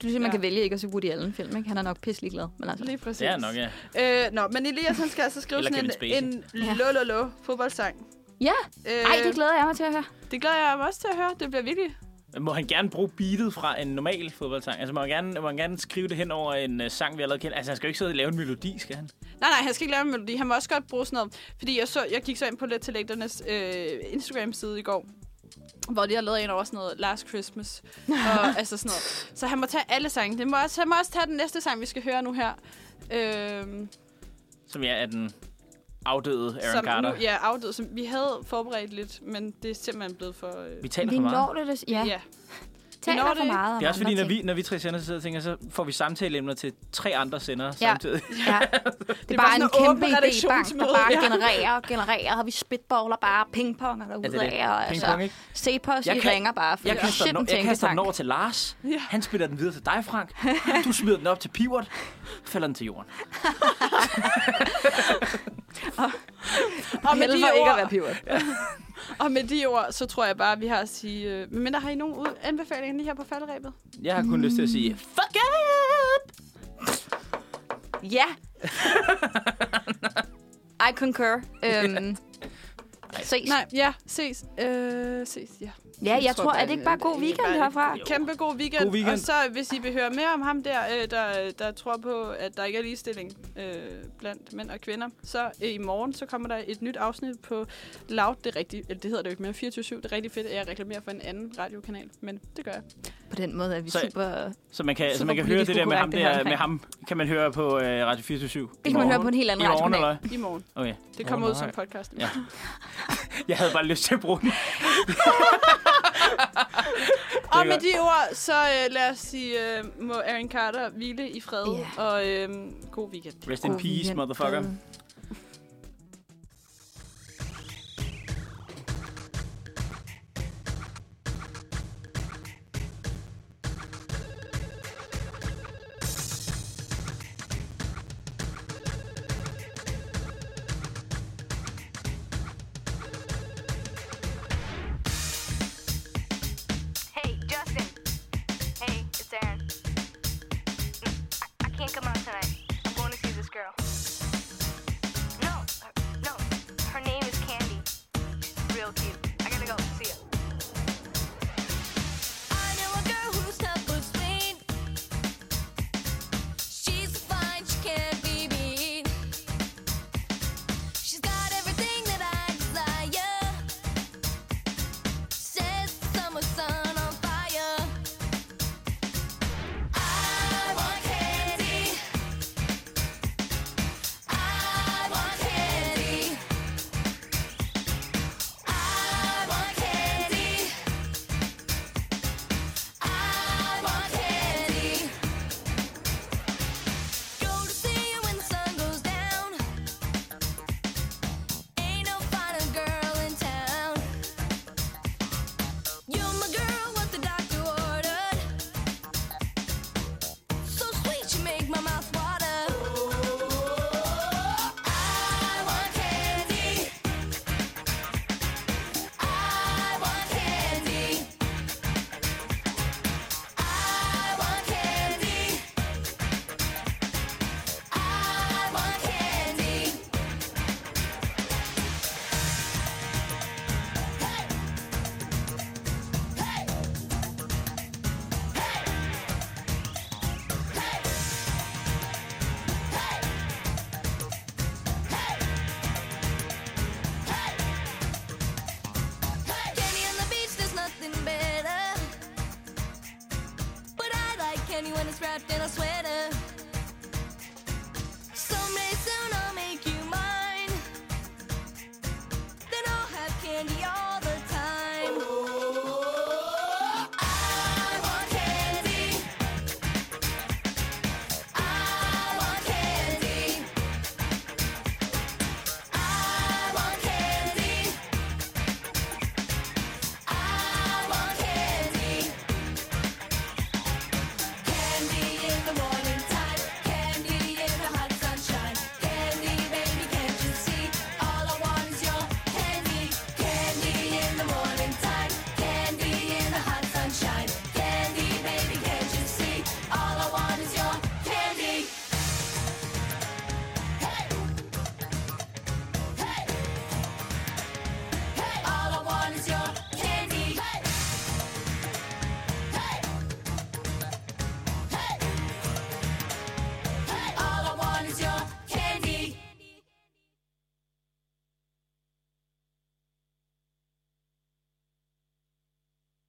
Speaker 1: Du siger, man
Speaker 3: Ja.
Speaker 1: kan vælge ikke at se Woody Allen film, ikke? Han er nok pisselig glad. Men altså,
Speaker 3: Lige præcis.
Speaker 2: Det er nok, ja.
Speaker 3: Øh, nå, men Elias, han skal altså skrive
Speaker 2: Eller
Speaker 3: sådan
Speaker 2: Kevin
Speaker 3: en, en lololo fodboldsang.
Speaker 1: ja,
Speaker 3: Øh,
Speaker 1: ej, det glæder jeg mig til at høre.
Speaker 3: det glæder jeg mig også til at høre. Det bliver virkelig...
Speaker 2: Må han gerne bruge beatet fra en normal fodboldsang? Altså, må han gerne, må han gerne skrive det hen over en uh, sang, vi allerede kender? Altså, han skal jo ikke sidde og lave en melodi, skal han?
Speaker 3: Nej, nej, han skal ikke lave en melodi. Han må også godt bruge sådan noget. Fordi jeg, så, jeg gik så ind på lidt til lægternes øh, Instagram-side i går, hvor de har lavet en over sådan noget Last Christmas. og, altså sådan noget. Så han må tage alle sange. Det må også, han må også tage den næste sang, vi skal høre nu her. Øh,
Speaker 2: Som jeg er den afdøde Aaron
Speaker 3: som
Speaker 2: Carter.
Speaker 3: nu ja, afdød, som vi havde forberedt lidt, men det er simpelthen blevet for... Øh,
Speaker 2: Vi taler
Speaker 1: Vi
Speaker 2: for meget.
Speaker 1: når det, des- ja.
Speaker 3: ja.
Speaker 1: Taler
Speaker 3: når
Speaker 1: for
Speaker 3: det ikke.
Speaker 1: meget om
Speaker 2: Det er også fordi,
Speaker 1: andre
Speaker 2: når
Speaker 1: ting.
Speaker 2: vi, når vi tre sender sidder og tænker, så får vi samtaleemner til tre andre sender
Speaker 1: Ja.
Speaker 2: samtidig.
Speaker 1: Ja. Det er
Speaker 3: bare
Speaker 1: bare en
Speaker 3: sådan en åben
Speaker 1: kæmpe idébank, der
Speaker 3: redaktionsmøde,
Speaker 1: bare
Speaker 3: ja.
Speaker 1: genererer og genererer. Har vi spitballer bare, pingponger
Speaker 2: det
Speaker 1: derude
Speaker 2: det?
Speaker 1: af. og Altså,
Speaker 2: Pingpong, ikke?
Speaker 1: se på os,
Speaker 2: Jeg
Speaker 1: I
Speaker 2: kan-
Speaker 1: ringer bare. For
Speaker 2: Jeg
Speaker 1: det er
Speaker 2: kaster,
Speaker 1: shit
Speaker 2: den,
Speaker 1: en
Speaker 2: o- jeg kaster den
Speaker 1: tænketank.
Speaker 2: over til Lars. Ja. Han spiller den videre til dig, Frank. Du smider den op til Pivot. Falder den til jorden.
Speaker 3: Og med
Speaker 1: Helvede
Speaker 3: de
Speaker 1: for ikke
Speaker 3: ord,
Speaker 1: at være pivot.
Speaker 3: Og med de ord, så tror jeg bare, at vi har at sige... Øh, men der har I nogen ud- anbefalinger lige her på faldrebet?
Speaker 2: Jeg har kun lyst til at sige,
Speaker 3: Fuck it!
Speaker 1: Ja. I concur. Øhm, ses.
Speaker 3: Nej, ja, ses. Øh, ses, ja.
Speaker 1: Ja, jeg
Speaker 3: tror
Speaker 1: tror,
Speaker 3: bare,
Speaker 1: er det ikke bare god weekend herfra?
Speaker 2: Jo.
Speaker 3: Kæmpe god weekend.
Speaker 2: God weekend.
Speaker 3: Og så, hvis I vil høre mere om ham der, øh, der, der tror på, at der ikke er ligestilling øh, blandt mænd og kvinder, så øh, i morgen, så kommer der et nyt afsnit på Loud. Det, er rigtig, eller det hedder det jo ikke mere, 24-7. Det er rigtig fedt, at jeg reklamerer for en anden radiokanal, men det gør jeg.
Speaker 1: På den måde er vi
Speaker 2: Så-
Speaker 1: super...
Speaker 2: så man kan, så
Speaker 1: Super
Speaker 2: man kan høre
Speaker 1: politisk
Speaker 2: det der med ham,
Speaker 1: ukorrekt, det her
Speaker 2: der, med
Speaker 1: omkring.
Speaker 2: ham kan man høre på øh, Radio 24 Det
Speaker 1: kan man høre på en helt anden
Speaker 2: I morgen,
Speaker 1: radiokanal.
Speaker 2: eller?
Speaker 3: I morgen.
Speaker 2: hvad? Okay.
Speaker 3: Det kommer ud
Speaker 2: Morgen,
Speaker 3: som
Speaker 2: nej.
Speaker 3: podcast.
Speaker 2: Ja. Jeg havde bare lyst til at bruge den. Det
Speaker 3: Og
Speaker 2: er
Speaker 3: med de ord, så øh, lad os sige, øh, må Aaron Carter hvile i fred,
Speaker 1: Ja.
Speaker 3: og øh, god weekend.
Speaker 2: Rest in
Speaker 1: god
Speaker 2: peace,
Speaker 1: weekend.
Speaker 2: motherfucker.
Speaker 4: Hey, Justin. Hey, it's Aaron. Mm, I, I can't come out tonight. I'm going to see this girl. No, her, no. Her name is Candy. She's real cute. I gotta go. See ya.
Speaker 6: I know a girl who's tough but sweet. She's fine, she can't be beat. She's got everything that I desire. Sets the summer sun on fire. I want candy. I want candy. I want candy. I want candy. Go to see you when the sun goes down. Ain't no finer girl in town. You're my girl, what the doctor ordered. So sweet you make my mouth water. I want candy. I want candy. I want candy. I want candy. Hey, hey, hey, hey, hey, hey. Candy on the beach, there's nothing better. But I like candy when it's wrapped in a sweater.